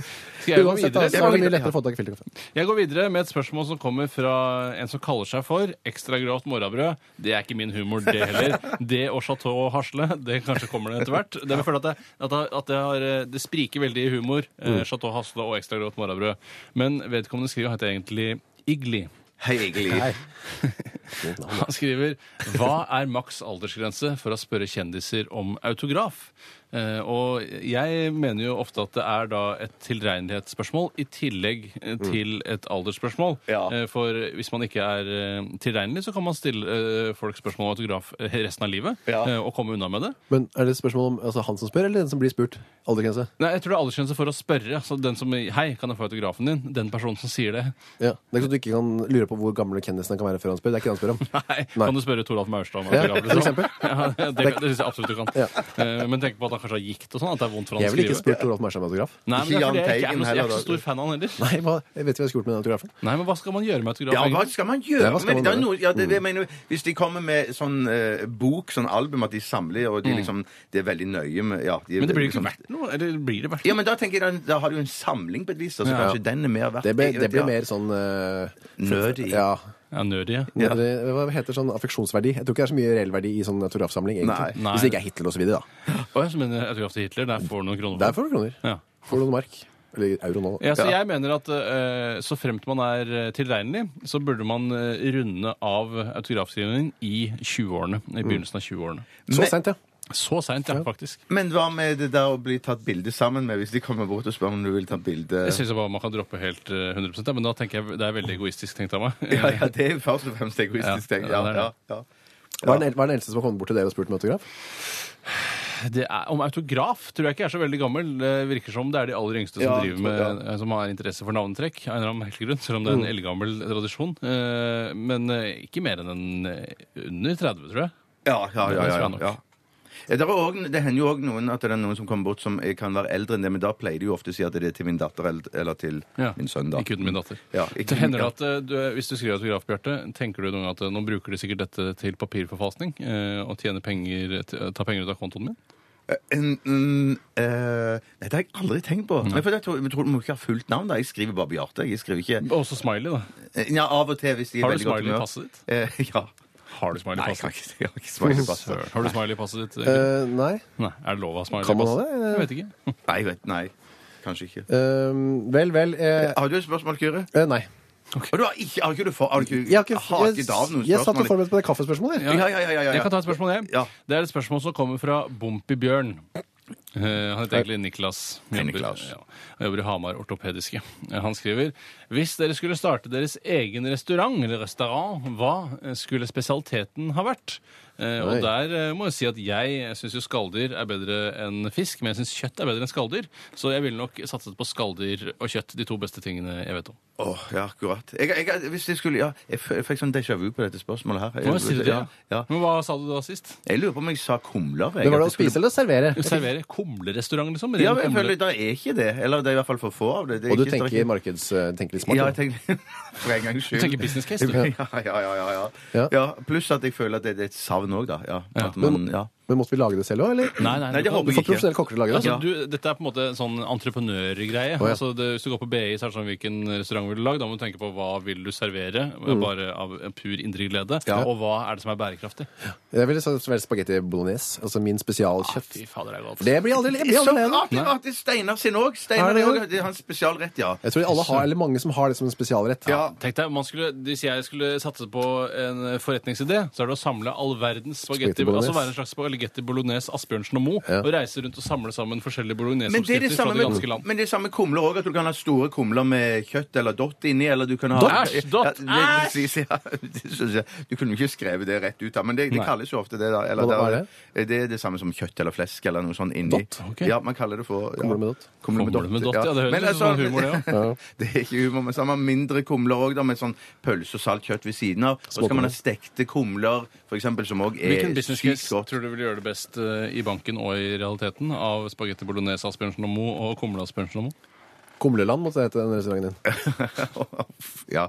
B: Skal jeg gå
A: Uansett,
B: videre?
A: altså, er
B: Jeg går
A: det mye
B: videre.
A: lettere å få tak i filterkaffe.
B: Jeg går videre med et spørsmål som kommer fra en som kaller seg for Ekstra grovt morrabrød. Det er ikke min humor, det heller. Det og Chateau Hasle. Det kanskje kommer det etter hvert. Det, jeg føler at det, at det, at det, har, eh, det spriker veldig i humor, eh, Chateau Hasle og Ekstra grovt morrabrød. Men vedkommende skriver heter egentlig Igli.
C: Hei, egentlig.
B: Han skriver Hva er maks aldersgrense for å spørre kjendiser om autograf? Eh, og jeg mener jo ofte at det er da et tilregnelighetsspørsmål i tillegg eh, til et aldersspørsmål.
C: Mm. Ja.
B: Eh, for hvis man ikke er eh, tilregnelig, så kan man stille eh, folk spørsmål om autograf eh, resten av livet
C: Ja.
B: eh, og komme unna med det.
A: Men er det et spørsmål om altså, han som spør, eller den som blir spurt? Aldergrense?
B: Nei, jeg tror det er aldersgrense for å spørre. Så den som Hei, kan jeg få autografen din? Den personen som sier det.
A: Ja. Det er ikke sånn at du ikke kan lure på hvor gamle kjendisene kan være før han spør. Det er ikke det han spør om.
B: Nei.
A: Nei.
B: Kan du spørre Toralf Maurstad om
A: Ja,
B: autograf?
A: for eksempel.
B: Ja, det det, det syns jeg absolutt du kan. Eh, Men tenk på at han kanskje har gikt og sånn. At det er vondt for han
A: Jeg
B: å
A: ville ikke
B: skrive.
A: spurt Toralf Marsheim om autograf.
B: Nei, men
C: Ikke
B: det er fordi
C: Jahn
B: jeg, ikke er
C: Teigen
B: noe, jeg er
C: heller,
B: ikke så
C: da.
B: stor fan av han heller.
A: Nei, hva, jeg vet ikke hva jeg skulle gjort med den autografen.
B: Nei, men hva skal man gjøre med autograf?
C: Ja, hva
B: egentlig?
C: skal man gjøre?
A: Ja, hva skal
C: Men
A: man
C: det er
A: gjøre?
C: noe- ja, det,
B: Mm.
C: jeg mener, hvis de kommer med sånn eh, bok, sånn album, at de samler, og de liksom Det er veldig nøye med ja, de, er
B: Mm. Men det blir jo ikke
C: liksom-
B: verdt noe. Eller blir det verdt
C: Ja, men da tenker jeg, da- da har du en samling på et vis, da, så
B: Ja.
C: kanskje den er mer verdt.
A: Det ble,
C: Jeg
A: det
C: vet,
A: ble
C: ja.
A: mer sånn eh,
C: Nerdy.
A: Ja.
B: Ja, nødig, ja.
C: Ja.
A: Det, hva heter sånn affeksjonsverdi? Jeg tror ikke det er så mye reell verdi i sånn autografsamling.
C: Nei.
A: egentlig.
B: Nei.
A: Hvis det ikke er Hitler og så videre, da.
B: Og jeg som mener autograf til Hitler, der får du noen kroner.
A: Der får du kroner.
B: Ja.
A: Får du noen mark. Eller euro nå.
B: Ja, så
C: Ja.
B: jeg mener at eh, så fremt man er eh, tilregnelig, så burde man eh, runde av autografskrivingen i 20-årene. I begynnelsen av 20-årene.
A: Så
C: Men-
A: sent, ja.
B: Så seint, ja, faktisk.
C: Men hva med det der å bli tatt bilde sammen med, hvis de kommer bort og spør om du vil ta bilde?
B: Jeg syns bare man kan droppe helt eh, 100 ja, men da tenker jeg det er veldig egoistisk tenkt av meg.
C: Ja, ja, det er først og fremst egoistisk,
B: Ja,
C: tenker
B: ja, det
C: jeg.
B: er
C: Ja,
B: det.
C: ja.
A: Hva er, den, el- hva er den eldste som har kommet bort til dere og spurt om autograf?
B: Det er, om autograf tror jeg ikke er så veldig gammel. Det virker som det er de aller yngste som
C: Ja, Mm.
B: driver
C: tror
B: med, eh,
C: jeg,
B: som har interesse for navnetrekk, av en eller annen merkelig grunn, selv om det er en eldgammel tradisjon. Eh, Men eh, ikke mer enn en eh, under 30, tror jeg.
C: Ja, ja, ja,
B: Det
C: ja,
B: tror jeg
C: ja,
B: nok.
C: ja. Ja, Det, er også, det hender jo òg noen at det er noen som kommer bort som eh, kan være eldre enn det, men da pleier de jo ofte å si at det er til min datter eller, eller til min sønn. da.
B: Ikke uten min datter.
C: Ja, ikke
B: det hender
C: ja.
B: at eh, du, Hvis du skriver autograf, Bjarte, tenker du noen gang at eh, nå bruker de sikkert dette til papirforfalskning eh, og tjener penger, t- tar penger ut av kontoen min?
C: Eh, mm, eh, nei, det har jeg aldri tenkt på. Men for jeg tror, jeg tror Du må ikke ha fullt navn. da. Jeg skriver bare Bjarte. Jeg skriver ikke
B: Og så smiley, da.
C: Eh, Ja, Av og til, hvis de er
B: Har
C: veldig
B: du
C: godt
B: smiley i
C: humør.
B: passet ditt?
C: Eh, ja.
B: Har du smiley
C: Nei,
B: i
C: jeg kan
B: passet?
C: ikke, jeg har ikke smiley i passet.
B: Søren. Har du smiley i passet ditt? Egil?
A: Eh, nei.
B: Nei, er det lov å ha smiley
A: Kan
B: i
A: man
B: passet?
A: ha det?
B: Jeg vet ikke.
C: Nei, jeg vet, nei, kanskje ikke.
A: Eh, vel, vel. eh,
C: Har du et spørsmål, Kyrre?
A: eh, nei.
C: Og du har ikke, har ikke du for, har du ikke,
A: Jeg har ikke
C: haket av noen
A: jeg, jeg satt og
C: spørsmål?
A: forberedte på det kaffespørsmålet.
C: Ja, ja, ja, ja, ja.
B: Jeg kan ta et spørsmål, jeg.
C: Ja.
B: Det er et spørsmål som kommer fra Bompi Bjørn. Eh, han heter egentlig Niklas.
C: Hei,
B: Jobber-
C: Niklas.
B: Ja, han jobber i Hamar Ortopediske. Eh, Han skriver Hvis dere skulle starte deres egen restaurant, eller restaurant, hva skulle spesialiteten ha vært? Eh, og
A: Oi.
B: der eh, må jeg si at jeg syns jo skalldyr er bedre enn fisk, men jeg syns kjøtt er bedre enn skalldyr. Så jeg ville nok satset på skalldyr og kjøtt, de to beste tingene jeg vet om.
C: Åh, ja, akkurat. Jeg, jeg, hvis jeg skulle, ja, jeg f- jeg fikk sånn déjà vu på dette spørsmålet her.
B: Hva sier du til
C: ja,
B: det?
C: ja.
B: Men hva sa du da sist?
C: Jeg lurer på om jeg sa kumler. jeg,
A: Det var det å
C: at jeg skulle-
A: spise eller å servere.
B: Servere kumlerestaurant, liksom?
C: Ja, men
B: Ren
C: jeg
B: kumle.
C: føler det er ikke det. Eller det er i hvert fall for få av det. det er
A: Og du
C: ikke- det er
A: tenker,
C: ikke-
A: markeds, eh, tenker litt smart.
C: Ja,
A: da.
C: jeg tenker For en gangs skyld.
B: Du tenker business case, du.
C: Ja, ja, ja. ja, ja.
A: Ja.
C: ja. Pluss at jeg føler at det, det er et savn òg, da. Ja, at man, ja.
A: Men måtte vi lage det selv òg, eller?
B: Nei, nei,
C: Nei,
B: du
C: det
B: kan-
C: håper
A: Du
C: jeg
A: får
C: ikke.
A: profesjonelle kokker til å lage det.
B: Altså, du, dette er på en måte sånn
A: ja.
B: entreprenørgreie. altså, det, hvis du går på BI, så er det sånn hvilken restaurant vil du lage? Da må du tenke på hva vil du servere,
C: Mm.
B: bare av en pur indre glede. Og hva er det som er bærekraftig?
A: Jeg ville så vel spagetti bolognese. Altså min spesialkjøtt.
B: Fy fader, det er godt.
A: Det blir aldri, jeg blir
C: Så
A: aldri lei av det.
C: rart det var at det er Steinar sin òg. Steinar
A: Er det
C: er
A: det?
C: også- det er hans spesialrett, ja.
A: Jeg tror alle har, eller mange som har det som en spesialrett.
C: Ja.
B: Tenk deg, om man skulle, Hvis jeg skulle satse på en forretningsidé, så er det å samle all verdens spagetti
A: Spagetti bolognese.
B: Altså være en slags spagetti bolognese Asbjørnsen og Moe, og reise rundt og samle sammen forskjellige
C: Men det er det
B: bologneseoppskrifter fra
C: samme
B: det ganske
C: med,
B: land.
C: men det er samme kumler òg. At du kan ha store kumler med kjøtt eller dott inni. Eller du kan ha
B: Dott? Æsj, dott,
C: Ja, det- det sies, ja. Det synes jeg. Du kunne jo ikke skrevet det rett ut, da. Men det, det
B: Nei.
C: kalles jo ofte det. da eller,
A: Hva
C: det, er- det er det samme som kjøtt eller flesk eller noe sånt inni.
A: Dott,
B: ok.
C: Ja, man kaller det for ja.
A: Kumler med dott.
C: Kumler med
B: Kumler
C: dott,
B: med dott, ja, det høres
C: Men
B: ut
C: altså,
B: som sånn humor, det,
C: det er ikke humor, men så har man mindre kumler òg, med sånn pølse og salt kjøtt ved siden av. Og så kan man ha stekte kumler, for eksempel, som
A: Eh,
C: òg er
B: Hvilken business
C: sykt
B: case
C: godt.
B: tror du vil gjøre det best eh, i banken og i realiteten av spagetti bolognese Asbjørnsen og Moe og kumle Asbjørnsen og Moe?
A: Kumleland måtte det hete den restauranten din.
C: ja,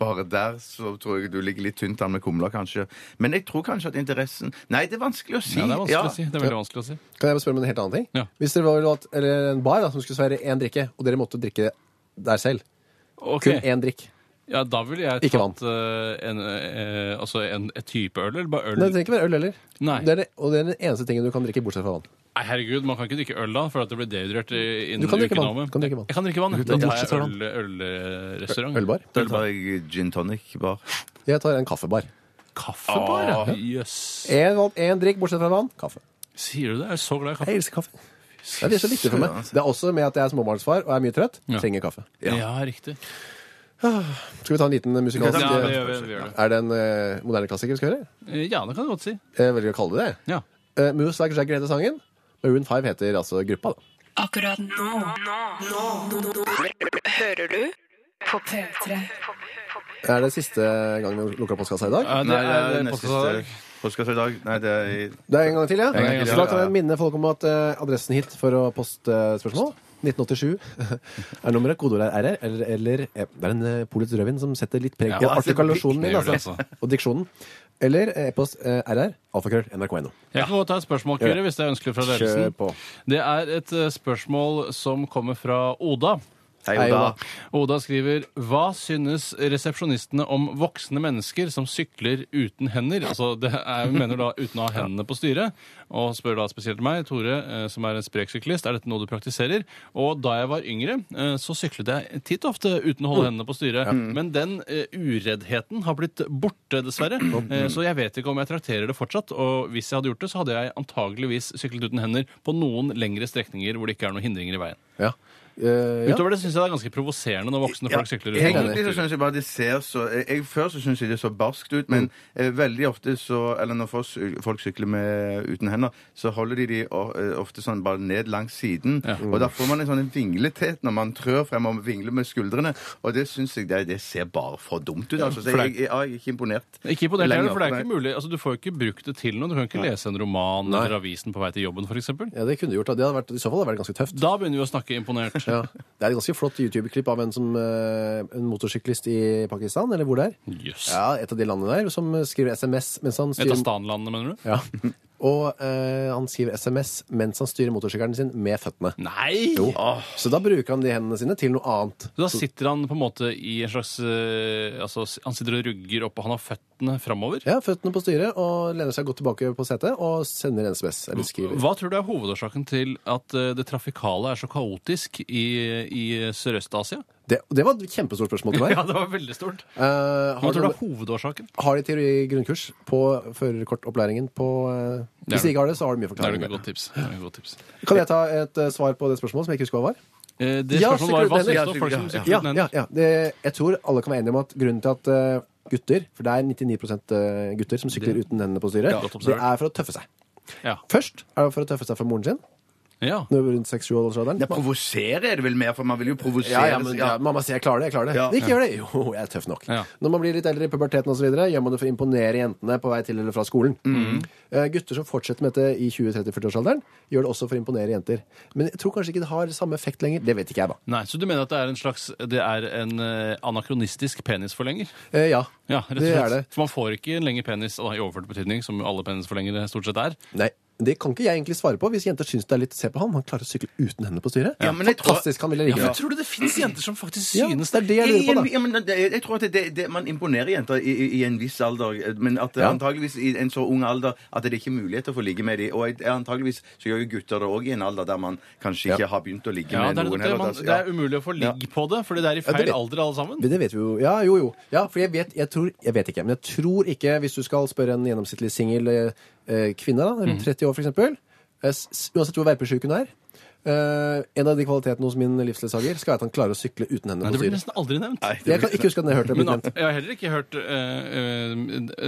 C: bare der så tror jeg du ligger litt tynt an med kumler, kanskje. Men jeg tror kanskje at interessen Nei, det er vanskelig å si.
B: Ja, det er vanskelig
C: Ja.
B: å si. Det er veldig vanskelig å si.
A: Kan jeg bare spørre om en helt annen ting?
B: Ja.
A: Hvis dere var at- eller en bar da, som skulle servere én drikke, og dere måtte drikke der selv,
B: Ok.
A: kun én drikk
B: Ja, da ville jeg
A: Ikke
B: tatt eh, en, eh, altså en, et type øl, eller bare øl.
A: Nei, Det trenger ikke være øl heller.
B: Nei.
A: Det er det, og det er den eneste tingen du kan drikke bortsett fra vann.
B: Nei, herregud, man kan ikke drikke øl da, for at det blir dehydrert i- innen
A: Du kan drikke
B: uken
A: vann.
B: over.
A: Du kan drikke vann.
B: Jeg kan drikke vann. ja.
A: Du kan
B: Da tar jeg
A: drikke vann.
B: øl- ølrestaurant.
A: Ølbar.
C: Da tar jeg gin tonic-bar.
A: Jeg tar en kaffebar.
B: Kaffebar,
A: Ah,
B: ja.
C: Åh.
B: Jøss.
A: Én valg, én drikk bortsett fra vann. Kaffe.
B: Sier du det? Jeg er så glad i kaffe.
A: Jeg elsker kaffe. Det er det som er viktig for meg. Det er også med at jeg er småbarnsfar og er mye trøtt.
B: Ja.
A: Trenger kaffe.
B: Ja, riktig.
A: Skal vi ta en liten musikalsk
B: Ja, det gjør vi, vi gjør det.
A: Er det en eh, moderne klassiker vi skal høre?
B: Eh, Ja, det kan du godt si.
A: Jeg velger å kalle det det.
B: Ja.
A: Eh, Moose Like Jagger heter sangen. Maroon 5 heter altså gruppa. da.
F: Akkurat nå. Nå. Nå. Hører du på P3?
A: Er det siste gang vi lukker opp postkassa i dag?
B: Eh, Det
C: Nei,
B: er
C: det er
B: postkassa
C: neste
B: i dag.
C: postkassa i dag. Nei, det er i
A: Det er en gang til, ja.
C: En gang til,
A: Så
C: ja,
A: da
C: ja,
A: kan
C: ja.
A: jeg minne folk om at eh, adressen hit for å poste eh, spørsmål 1987 er nummeret. Kodeordet er RR. Eller, eller eh, Det er en eh, Polets rødvin som setter litt preg på
C: Ja, altså,
A: artikulasjonen min.
B: det gjør det,
A: Altså. Og diksjonen. Eller eh, e-post eh, RR. Alfakrøll. NRK.no.
B: Jeg kan godt ta et spørsmål, Kyrre, hvis det er ønskelig fra
A: Kjør
B: ledelsen.
A: på.
B: Det er et eh, spørsmål som kommer fra Oda.
C: Hei,
A: Hei,
C: Oda.
A: Oda.
B: Oda skriver Hva synes resepsjonistene om voksne mennesker som sykler uten hender? Altså, det er, hun mener da uten å ha hendene på styret. Og spør da spesielt meg, Tore, eh, som er en sprek syklist, er dette noe du praktiserer? Og da jeg var yngre, eh, så syklet jeg titt og ofte uten å holde hendene på styret. Men den eh, ureddheten har blitt borte, dessverre. Eh, Så jeg vet ikke om jeg trakterer det fortsatt. Og hvis jeg hadde gjort det, så hadde jeg antageligvis syklet uten hender på noen lengre strekninger hvor det ikke er noen hindringer i veien.
A: Ja. Eh, ja.
B: Utover det syns jeg det er ganske provoserende når voksne folk sykler rundt.
C: Egentlig så synes jeg bare det ser så jeg, Før så syns jeg det så barskt ut, men eh, veldig ofte så Eller når folk, sy- folk sykler med, uten hender, så holder de de o- eh, ofte sånn bare ned langs siden. Og da får man en sånn vinglethet når man trør frem og vingler med skuldrene. Og det syns jeg det, det ser bare for dumt ut. Altså. Så jeg, jeg, jeg er ikke imponert.
B: Ikke imponert
C: lenger,
B: heller, for det er
C: nei.
B: ikke mulig. Altså, du får jo ikke brukt det til noe. Du kan ikke lese en roman eller avisen på vei til jobben, f.eks.
A: ja, det kunne du gjort. da. Det hadde vært, I så fall hadde det vært ganske tøft.
B: Da begynner vi å snakke imponert.
A: Ja. Det er et ganske flott YouTube-klipp av en, som, eh, en motorsyklist i Pakistan, eller hvor det er.
B: Jøss.
A: Ja, Et av de landene der, som eh, skriver SMS mens han
B: Et
A: styrer
B: av stanlandene, mener du?
A: Ja. Og eh, han skriver SMS mens han styrer motorsykkelen sin med føttene.
B: Nei!
A: Jo. Så da bruker han de hendene sine til noe annet.
B: Så da sitter han på en måte i en slags eh, altså, Han sitter og rugger opp, og han har føttene framover.
A: Ja, Føttene på styret og lener seg godt tilbake på setet og sender en SMS. Eller skriver.
B: Hva tror du er hovedårsaken til at eh, det trafikale er så kaotisk i, i Sørøst-Asia?
A: Det, det var et kjempestort spørsmål til meg.
B: Ja, det var veldig stort.
A: Eh,
B: Hva
A: har,
B: tror du
A: du,
B: er hovedårsaken?
A: har de teori grunnkurs på førerkortopplæringen på eh,
B: er
A: Hvis de ikke har det, så har de mye
B: Det er
A: forklaring.
B: et godt tips. Det er et godt tips.
A: Kan jeg ta et eh, svar på det spørsmålet som jeg ikke husker hva var?
B: Eh, Det
A: Ja,
B: spørsmålet var hva
A: sykler-
B: syns
C: ja,
B: du om folk som
C: ja,
B: sykler
A: Ja,
B: uten hender?
A: ja, ja. Det, jeg tror alle kan være enige om at grunnen til at eh, gutter, for det er 99 gutter som sykler uten hendene på styret,
B: Ja, godt
A: det
B: observert.
A: er for å tøffe seg.
B: Ja.
A: Først er det for å tøffe seg for moren sin.
B: Ja.
A: Når rundt 6-7
C: Det
A: årsalderen.
C: provoserer er det vel mer, for man vil jo provosere.
A: Ja, ja, men,
C: ja.
A: ja, mamma sier 'jeg klarer det', jeg klarer det.
C: Ja.
A: Ikke gjør det! Jo, jeg er tøff nok.
B: altså. Ja.
A: Når man blir litt eldre i puberteten osv., gjør man det for å imponere jentene på vei til eller fra skolen.
B: Mm.
A: Eh, gutter som fortsetter med dette i 20-30-40-årsalderen, gjør det også for å imponere jenter. Men jeg tror kanskje ikke det har samme effekt lenger. Det vet ikke jeg, da.
B: Nei, Så du mener at det er en slags Det er en eh, anakronistisk penisforlenger?
A: Eh, ja.
B: Ja, rett og
A: Det er
B: slett.
A: det.
B: For man får ikke en lengre penis da, i overført betydning, som alle penisforlengere stort sett er.
A: Nei, det kan ikke jeg egentlig svare på. Hvis jenter syns det er litt Se på han, han klarer å sykle uten henne på styret.
C: Ja, men jeg tror-
A: Fantastisk, han ville ligge der.
B: tror du det fins jenter som faktisk
A: Ja, det er det jeg lurer på, da.
C: Ja, men det- jeg tror at det, det, man imponerer jenter i, i, i en viss alder, men at det
A: Ja.
C: antageligvis i en så ung alder at det ikke er mulighet til å få ligge med dem. Og jeg- antageligvis så gjør jo gutter det òg i en alder der man kanskje ikke har begynt å ligge
B: Ja,
C: med
B: det er,
C: noen
B: det, man,
C: altså,
B: det
C: ja.
B: er um- umulig å få ligg
C: Ja.
B: på det, fordi det er i feil
A: vet-
B: alder alle sammen.
A: Men det vet vi jo. Ja, jo, jo. Ja, for jeg vet, jeg, tror, jeg vet ikke. Men jeg tror ikke, hvis du skal spørre en gjennomsnittlig singel eh, eh, kvinne, da,
C: Mm.
A: rundt 30 år f.eks., uansett hvor verpesjuk hun er eh, En av de kvalitetene hos min livsledsager skal være at han klarer å sykle uten henne
B: Nei,
A: på
B: det blir
A: styret.
B: nesten aldri nevnt.
C: Nei, det
A: Jeg kan ikke huske at jeg har hørt det.
B: Men
A: blitt nevnt.
B: jeg har heller ikke hørt eh,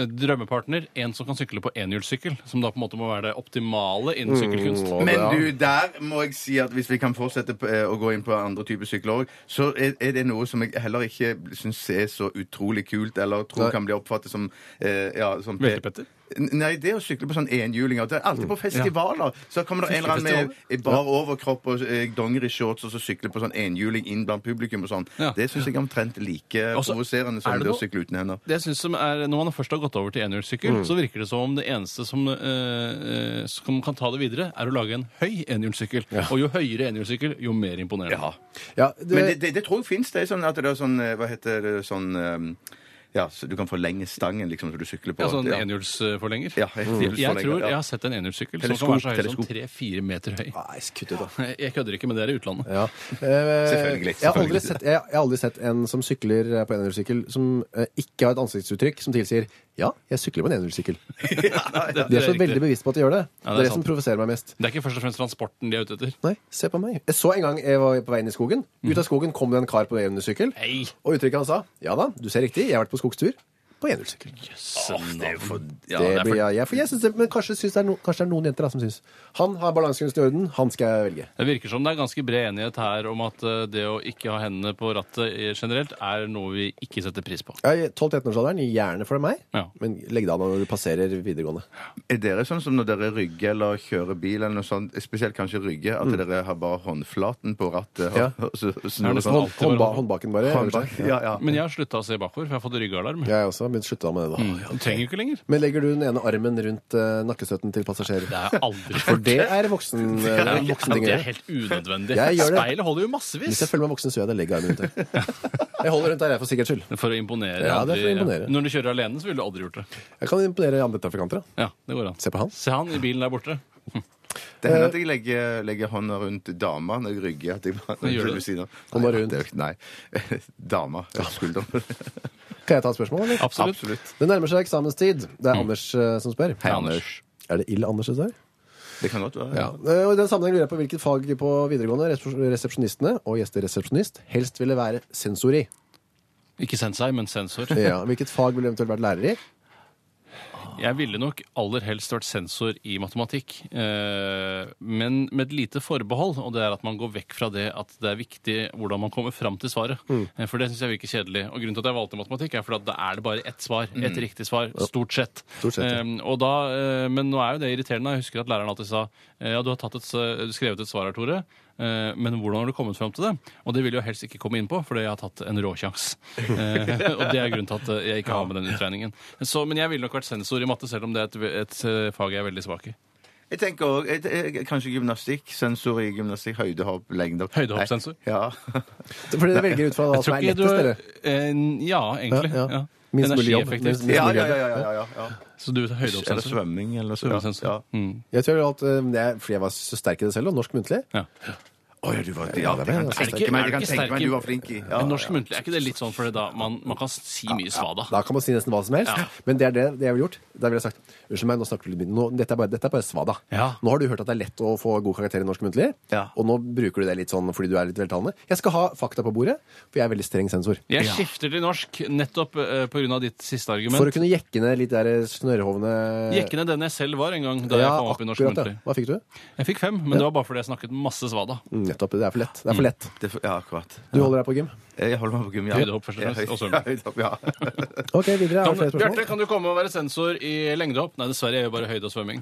B: eh, drømmepartner, en som kan sykle på enhjulssykkel, som da på en måte må være det optimale innen sykkelkunst.
C: Men du, der må jeg si at hvis vi kan fortsette på, eh, å gå inn på andre typer sykler òg, så er, er det noe som jeg heller ikke syns er så utrolig kult, eller tror
A: Nei.
C: kan bli oppfattet som eh, ja, som
B: Veltepetter?
C: Nei, det er å sykle på sånn enhjulinger. Det er alltid
B: Mm.
C: på festivaler. Så kommer det en eller annen med bar overkropp og eh, dongeri shorts og så sykler på sånn enhjuling inn blant publikum og sånn.
B: Ja.
C: Det syns jeg er omtrent like
B: Også,
C: provoserende
B: er
C: som
B: det
C: det, å
B: noe-
C: sykle uten hender.
B: Det jeg synes som er, Når man først har gått over til enhjulssykkel,
C: Mm.
B: så virker det som om det eneste som, eh, eh, som kan ta det videre, er å lage en høy enhjulssykkel. Og jo høyere enhjulssykkel, jo mer imponerende.
A: Ja, det,
C: Men det, det, det tror jeg fins. Det er sånn at det er sånn eh, Hva heter det sånn eh, Ja, så du kan forlenge stangen, liksom, så du sykler på.
B: Ja, sånn
C: Ja.
B: enhjulsforlenger.
C: Ja, enhjulsforlenger,
B: jeg tror
C: ja.
B: jeg har sett en enhjulssykkel som kan
C: Teleskop,
B: være så høy som
C: teleskop.
B: tre-fire meter høy.
A: Nei, kutt ut, da.
B: Jeg kødder ikke, men det er i utlandet.
A: Ja. Eh,
C: Selvfølgelig,
A: Jeg har aldri
C: selvfølgelig.
A: sett, jeg, jeg har aldri sett en som sykler eh, på enhjulssykkel, som eh, ikke har et ansiktsuttrykk som tilsier 'ja, jeg sykler på en enhjulssykkel'.
B: Det,
A: De er så
B: riktig.
A: veldig bevisst på at de gjør det.
B: Ja, det er
A: det er det
B: sant.
A: som provoserer meg mest.
B: det er ikke først og fremst transporten de er ute etter.
A: Nei, se på meg. Jeg så en gang jeg var på veien i skogen. Ut av skogen kom det en kar på enhjulssykkel.
B: Nei.
A: Og uttrykket han sa, ja da, du ser riktig, jeg har vært på skogstur på enhjulssykkel.
B: det er for...
A: det
C: Ja, det er for-
A: blir jeg, jeg, for jeg synes det, men kanskje, synes det er no, kanskje det er noen jenter da, som syns han har balansekunsten i orden, han skal jeg velge.
B: Det virker som det er ganske bred enighet her om at eh, det å ikke ha hendene på rattet eh, generelt er noe vi ikke setter pris på.
A: Ja, i 12-13-årsalderen, gjerne for meg,
B: Ja.
A: men legg det an når du passerer videregående.
C: Er dere sånn som når dere rygger eller kjører bil, eller noe sånt, spesielt kanskje rygger, at dere har bare håndflaten på rattet?
A: Ja.
C: Og, og så,
B: Mm. Er
C: snur
B: det
C: det sånn.
B: sånn?
A: Hånd,
B: alltid
A: håndba,
B: bare-
A: håndbaken bare.
C: Hånd bak.
A: Ja.
C: Ja, ja.
B: Men jeg har slutta å se bakover, for jeg har fått ryggealarm.
A: Jeg har også begynt å slutte da med det da.
B: Du trenger jo ikke lenger.
A: Men legger du den ene armen rundt eh, nakkestøtten til passasjerer?
B: Det er aldri
A: For det er voksen, eh, det
B: Det
A: er
B: er,
A: en voksen ting å
B: det er
A: gjøre.
B: helt unødvendig.
A: Jeg gjør det.
B: Speilet holder jo massevis.
A: Hvis jeg føler meg voksen, så gjør jeg det. Legger armen rundt der. Jeg holder rundt der, jeg, for sikkerhets skyld.
B: For å imponere.
A: Ja, det er for å
B: andre-
A: imponere.
B: Når du kjører alene, så ville du aldri gjort det.
A: Jeg kan imponere andre trafikanter. da.
B: Ja, det går an.
A: Se på han.
B: Se han i bilen der borte.
C: Det hender at jeg legger, legger hånda rundt dama når jeg rygger. At jeg bare,
B: Hva gjør du?
C: ved siden av.
A: Hånda
C: Nei,
A: rundt.
C: det er jo ikke- Nei. Dama. Skulderen.
A: Kan jeg ta et spørsmål, eller?
B: Absolutt.
C: Absolutt.
A: Det nærmer seg eksamenstid. Det er Anders eh, som spør.
C: Hei, Anders.
A: Er det ille Anders det står?
C: Det kan godt være.
A: Ja. Eh, Og I den sammenheng lurer jeg på hvilket fag på videregående resepsjon- resepsjonistene og gjesteresepsjonist helst ville være sensor i.
B: Ikke sensei, men sensor.
A: Ja. Hvilket fag ville eventuelt vært lærer i?
B: Jeg ville nok aller helst vært sensor i matematikk, eh, men med et lite forbehold, og det er at man går vekk fra det at det er viktig hvordan man kommer fram til svaret.
A: Mm.
B: Eh, For det syns jeg virker kjedelig. Og grunnen til at jeg valgte matematikk, er fordi at da er det bare ett svar. Ett riktig svar. Stort sett.
A: Mm. Stort sett, ja.
B: Eh, og da, eh, men nå er jo det irriterende. Jeg husker at læreren alltid sa eh, ja, du har tatt et, s- skrevet et svar her, Tore. eh, Men hvordan har du kommet fram til det? Og det vil jeg jo helst ikke komme inn på, fordi jeg har tatt en råkjangs. Eh, og det er grunnen til at eh, jeg ikke har med den utregningen. Så, men jeg ville nok vært sensor i matte, selv om det er et, et eh, fag jeg er veldig svak i.
C: Jeg tenker òg kanskje gymnastikk. Sensor i gymnastikk. Høydehopp, lengder.
B: Høydehoppsensor.
C: Nei, Ja.
A: Fordi dere velger ut fra hva som er
B: ikke
A: lettest, dere.
B: eh, Ja, egentlig.
A: Ja,
B: Ja,
A: ja. Minst mulig jobb. Minst-
B: Energieffektivt.
A: minst-
C: Ja, ja, ja, ja, ja, ja, ja.
B: Så du er
C: Eller
B: høydehoppsensor.
C: svømming. Eller
B: Svømmesensor.
C: Ja.
A: Jeg tror at, eh, det er fordi jeg var så sterk i det selv, og norsk muntlig.
B: Ja.
C: Å ja, du var ja, det kan
A: Er det
C: tenke meg- jeg
B: ikke- er det
C: kan
B: ikke
C: tenke
B: sterk
C: meg
B: i-
C: du var flink i. Ja,
B: Men norsk muntlig, er ikke det litt sånn fordi da man, man kan si mye svada?
A: Da kan man si nesten hva som helst.
B: Ja.
A: Men det er det, det jeg ville gjort. Da ville jeg sagt Unnskyld meg, nå snakker du litt mye. Nå, dette, er bare, dette er bare svada.
B: Ja.
A: Nå har du hørt at det er lett å få god karakter i norsk muntlig,
C: Ja.
A: og nå bruker du det litt sånn fordi du er litt veltalende. Jeg skal ha fakta på bordet, for jeg er veldig streng sensor.
B: Jeg skifter til norsk nettopp eh, på grunn av ditt siste argument.
A: For å kunne jekke ned litt der eh, snørrhovne
B: Jekke ned den jeg selv var en gang da jeg kom opp i norsk muntlig.
A: Hva fikk du? Mm,
B: Jeg fikk fem, men det var bare fordi jeg snakket masse svada.
A: Nettopp. Det er for lett. Det er
B: Mm.
A: for lett.
C: det, ja, akkurat.
A: Du holder deg på gym.
C: Jeg holder meg på gym. Ja.
B: Høydehopp først og fremst, og svømming.
C: Ja, høydehopp, ja.
A: OK, videre. Har
B: Kan,
A: du flere
B: Bjarte,
A: spørsmål?
B: kan du komme og være sensor i lengdehopp? Nei, dessverre. Jeg gjør bare høyde og svømming.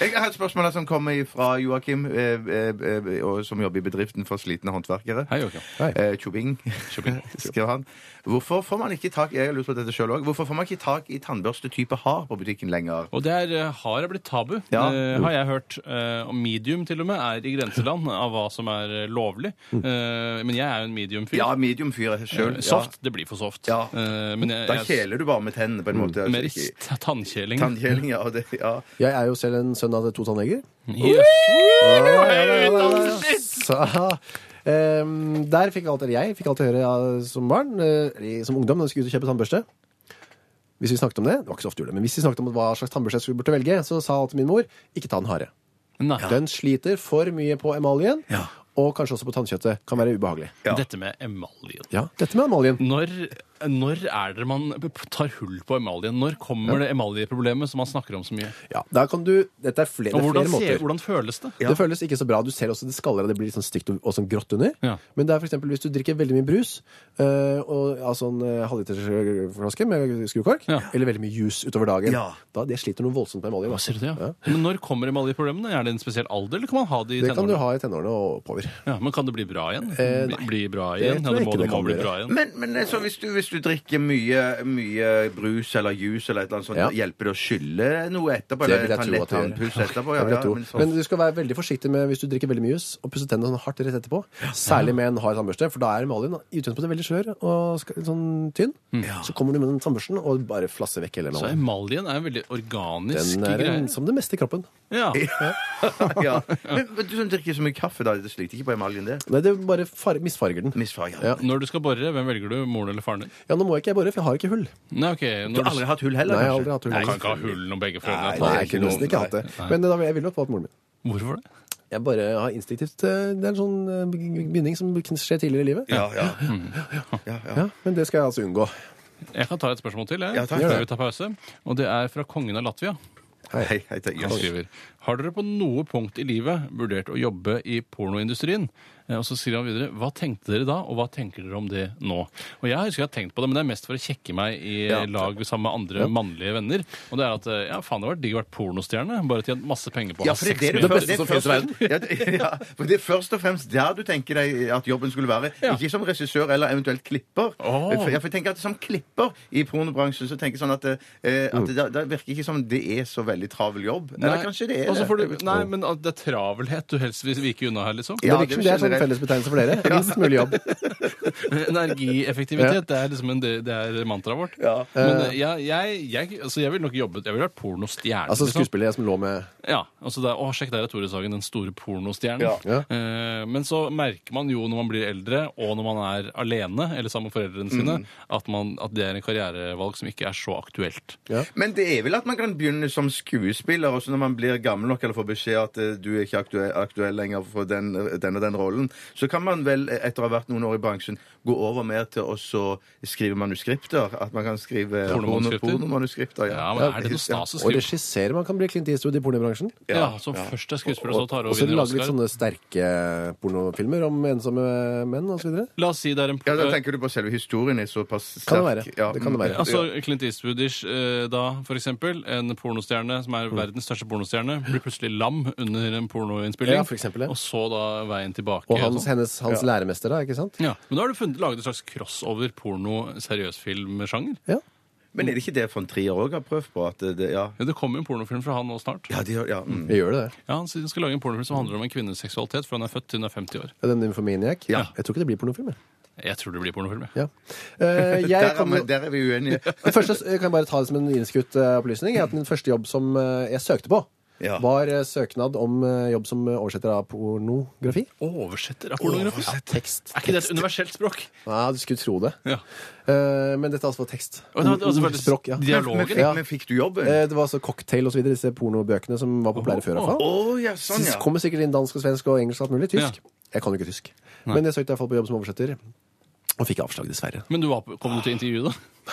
C: Jeg har et spørsmål her som kommer fra Joakim, eh, eh, eh, og som jobber i bedriften for slitne håndverkere.
B: Hei, Joakim.
A: Hei.
C: Eh, Tjobing, skriver han. Hvorfor får man ikke tak jeg har lurt på dette selv også, hvorfor får man ikke tak i tannbørste type har på butikken lenger?
B: Og det er, eh, har jeg blitt tabu,
C: Ja.
B: eh, har jeg hørt. Eh, og medium til og med er i grenseland av hva som er eh, lovlig. Eh, men jeg er jo en medium-fyr.
C: Ja, medium fyr sjøl.
B: Eh, soft, det blir for soft.
C: Ja.
B: Eh, men jeg,
C: Da
B: jeg,
C: kjeler du bare med tennene, på en
A: Mm,
C: måte.
B: mer
C: Altså, ikke-
B: t- tannkjeling.
C: Tannkjeling, ja. og Det, ja.
A: Jeg er jo selv en sønn av to tannleger.
B: Yes.
A: Ja, ja, ja, ja, ja. Så, ehm, der fikk alt, eller jeg fikk alltid høre ja, som barn, eh, eller som ungdom, når vi skulle ut og kjøpe tannbørste. Hvis vi snakket om det, det var ikke så ofte vi gjorde det, men hvis vi snakket om hva slags tannbørste jeg skulle burde velge, så sa alltid min mor, ikke ta den harde.
B: Nei.
A: Den sliter for mye på emaljen,
C: Ja.
A: og kanskje også på tannkjøttet. Kan være ubehagelig.
C: Ja.
B: Dette med emaljen.
A: Ja, dette med emaljen.
B: Når Når er det man tar hull på emaljen? Når kommer det emaljeproblemet som man snakker om så mye?
A: Ja, da kan du, dette er flere,
B: Og
A: flere
B: hvordan,
A: måter.
B: ser, hvordan føles det?
A: Det føles ikke så bra. Du ser også det skaller, og det blir litt sånn stygt og og sånn grått under.
B: Ja.
A: Men det er for eksempel hvis du drikker veldig mye brus, øh, og, altså en øh, halvlitersflaske med skrukork,
B: Ja.
A: eller veldig mye juice utover dagen,
C: Ja.
A: da det sliter noe voldsomt med emaljen. altså.
B: Ser du det, ja? Men når kommer emaljeproblemene? Er det en spesiell alder, eller kan man ha det i
A: Det kan du
B: tenårene?
A: ha i tenårene og oppover.
B: Ja, men kan det bli bra igjen?
A: Eh,
B: Bli-
A: nei.
B: bli bra
A: Det
B: igjen?
A: tror
B: Ja, det
A: jeg ikke
B: må, det
A: det
B: må
A: kan
B: bli
A: bli.
B: bra igjen.
C: Men, men altså, hvis, du, hvis du drikker mye, mye brus eller juice eller et eller annet sånt,
A: Ja.
C: hjelper det å skylle noe etterpå?
A: Det
C: Eller
A: vil jeg
C: ta en
A: tro
C: lett
A: at det gjør.
C: tannpuss etterpå? Ja,
A: Jeg vil
C: ja,
A: tro.
C: men så-
A: Men du skal være veldig forsiktig med hvis du drikker veldig mye juice og pusser tennene sånn hardt rett etterpå. Særlig med en hard tannbørste, for da er emaljen i utgangspunktet veldig skjør og sk- sånn tynn. Så kommer du med den tannbørsten og bare flasser vekk hele
B: Mm. Så
A: emaljen.
B: emaljen er en veldig organisk
A: Den er
B: greie.
A: en, som det meste i kroppen.
B: Ja.
C: ja. men, men du sånn, som drikker så mye kaffe, da, det sliter ikke på emaljen, det?
A: Nei, det bare far misfarger den.
C: Misfarga.
A: Ja.
B: Når du skal borre, hvem velger du? Moren eller faren din?
A: Ja, nå må jeg ikke jeg bore, for jeg har ikke hull.
B: Nei, ok.
C: Du
B: Når
C: har aldri hatt hull heller?
A: Nei, jeg har
C: kanskje?
A: aldri hatt hull.
B: Nei, kan ikke ha hull om begge foreldrene.
A: Nei,
B: tar
A: jeg kunne
B: noe.
A: nesten ikke hatt det. Men eh, da, jeg ville nok valgt moren min.
B: Hvorfor det?
A: Jeg bare har instinktivt eh, Det er en sånn eh, binding som kan skje tidligere i livet.
C: Ja, ja. ja, ja.
A: Ja, Men det skal jeg altså unngå.
B: Jeg kan ta et spørsmål til jeg,
C: Ja, takk.
B: før vi tar pause. Og det er fra kongen av Latvia.
C: Hei, hei, takk.
B: Han skriver Har dere på noe punkt i livet vurdert å jobbe i pornoindustrien? Eh, Og så sier han videre Hva tenkte dere da, og hva tenker dere om det nå? Og jeg husker jeg har tenkt på det, men det er mest for å kjekke meg i lag sammen med andre mannlige venner. Og det er at eh, ja, faen, det hadde vært digg å være pornostjerne. Bare tjent masse penger på å
C: Ja,
B: ha
C: for det,
B: sex
C: er det,
B: med
C: du
B: jenter.
C: først- det, er først- Ja, det- ja, for det er først og fremst der du tenker deg at jobben skulle være.
B: Ja.
C: Ikke som regissør eller eventuelt klipper. Eh,
B: Åh.
C: For, jeg får tenke at Som klipper i pornobransjen så tenker jeg sånn at, eh, at det, da- da virker ikke som det er så veldig travel jobb. Eller kanskje det er
B: Og så får
C: det.
B: du, nei, men at det er travelhet du helst vil vike unna her, liksom.
C: Ja,
A: det virker som det er sånn
C: generelt.
A: fellesbetegnelse for dere. Minst mulig jobb.
B: Energieffektivitet, det er liksom en, det det er mantraet vårt. Men eh, jeg, jeg, jeg, altså, jeg ville nok jobbet Jeg ville vært pornostjerne.
A: Altså
B: liksom.
A: skuespiller jeg som lå med
B: Ja, altså det er, å, sjekk der er Tore Sagen, den store pornostjernen.
C: Ja.
A: Ja.
B: Eh, men så merker man jo når man blir eldre, og når man er alene eller sammen med foreldrene sine,
A: Mm.
B: at, man, at det er en karrierevalg som ikke er så aktuelt.
C: Men det er vel at man kan begynne som skuespiller, og så når man blir gammel nok eller får beskjed at eh, du er ikke aktuell, aktuell lenger for den, den og den rollen, så kan man vel, eh, etter å ha vært noen år i bransjen, gå over mer til å så skrive manuskripter. At man kan skrive porno-
B: Pornomanuskripter?
C: pornomanuskripter.
B: Ja, men Er det noe stas å
A: Og
B: skrive?
A: regisserer man kan bli Clint Eastwood i pornobransjen.
B: Ja, Som først er skuespiller, så tar
A: Og
B: og
A: så
B: vinner
A: lage litt
B: Oscar.
A: sånne sterke pornofilmer om ensomme menn osv.
B: La oss si det er en
C: Ja, da tenker du på selve historien er såpass sterk.
A: Kan det være.
C: Ja,
A: Det kan det være.
B: Altså Clint Eastwoodish eh, da, for eksempel. En pornostjerne som
A: Mm.
B: er verdens største pornostjerne, blir plutselig lam under en pornoinnspilling.
A: Ja, for eksempel, ja.
B: Og så da veien tilbake.
A: Og hans,
B: sånn.
A: hennes, hans læremester, da. ikke sant?
B: ja. Men da har du funnet, laget en slags crossover porno-seriøsfilmsjanger.
A: Ja.
C: Men er det ikke det von Trier òg har prøvd på? At det, ja.
B: Ja, det kommer jo en pornofilm fra han nå snart.
C: ja, de, ja mm.
A: Vi gjør det. det.
B: Ja, Han sier han skal lage en pornofilm som handler om en kvinnes seksualitet fra hun er født til hun er 50 år.
A: Ja, Den Nymphomaniac.
C: Ja.
A: Jeg tror ikke det blir pornofilm. jeg.
B: Jeg tror det blir pornofilm. jeg.
A: Ja. Eh, jeg
C: der, er,
A: kommer-
C: vi- der er vi uenige.
A: Det første, jeg kan bare ta det som en innskutt eh, opplysning, er at min første jobb som eh, jeg søkte på,
C: Ja.
A: var eh, søknad om eh, jobb som eh, oversetter av pornografi.
B: Oversetter av pornografi?
A: Ja, tekst.
B: Er ikke det et universelt språk?
A: Ja, du skulle tro det.
B: Ja.
A: Eh, men dette altså var tekst.
B: Og det var- det var selvfølgelig
A: Ordspråk, ja.
C: Men
B: dialogen.
C: fikk, men fikk du jobben? Å
A: Eh, det var altså cocktail og så videre, disse pornobøkene som var populære før. i hvert fall.
C: ja, sånn,
A: Så
C: ja.
A: kommer sikkert inn dansk og svensk og engelsk og alt mulig. Tysk. Jeg kan jo ikke tysk. Men jeg søkte i hvert fall på jobb som oversetter, og fikk avslag, dessverre.
B: Men du var, på- kom du til intervjuet, da?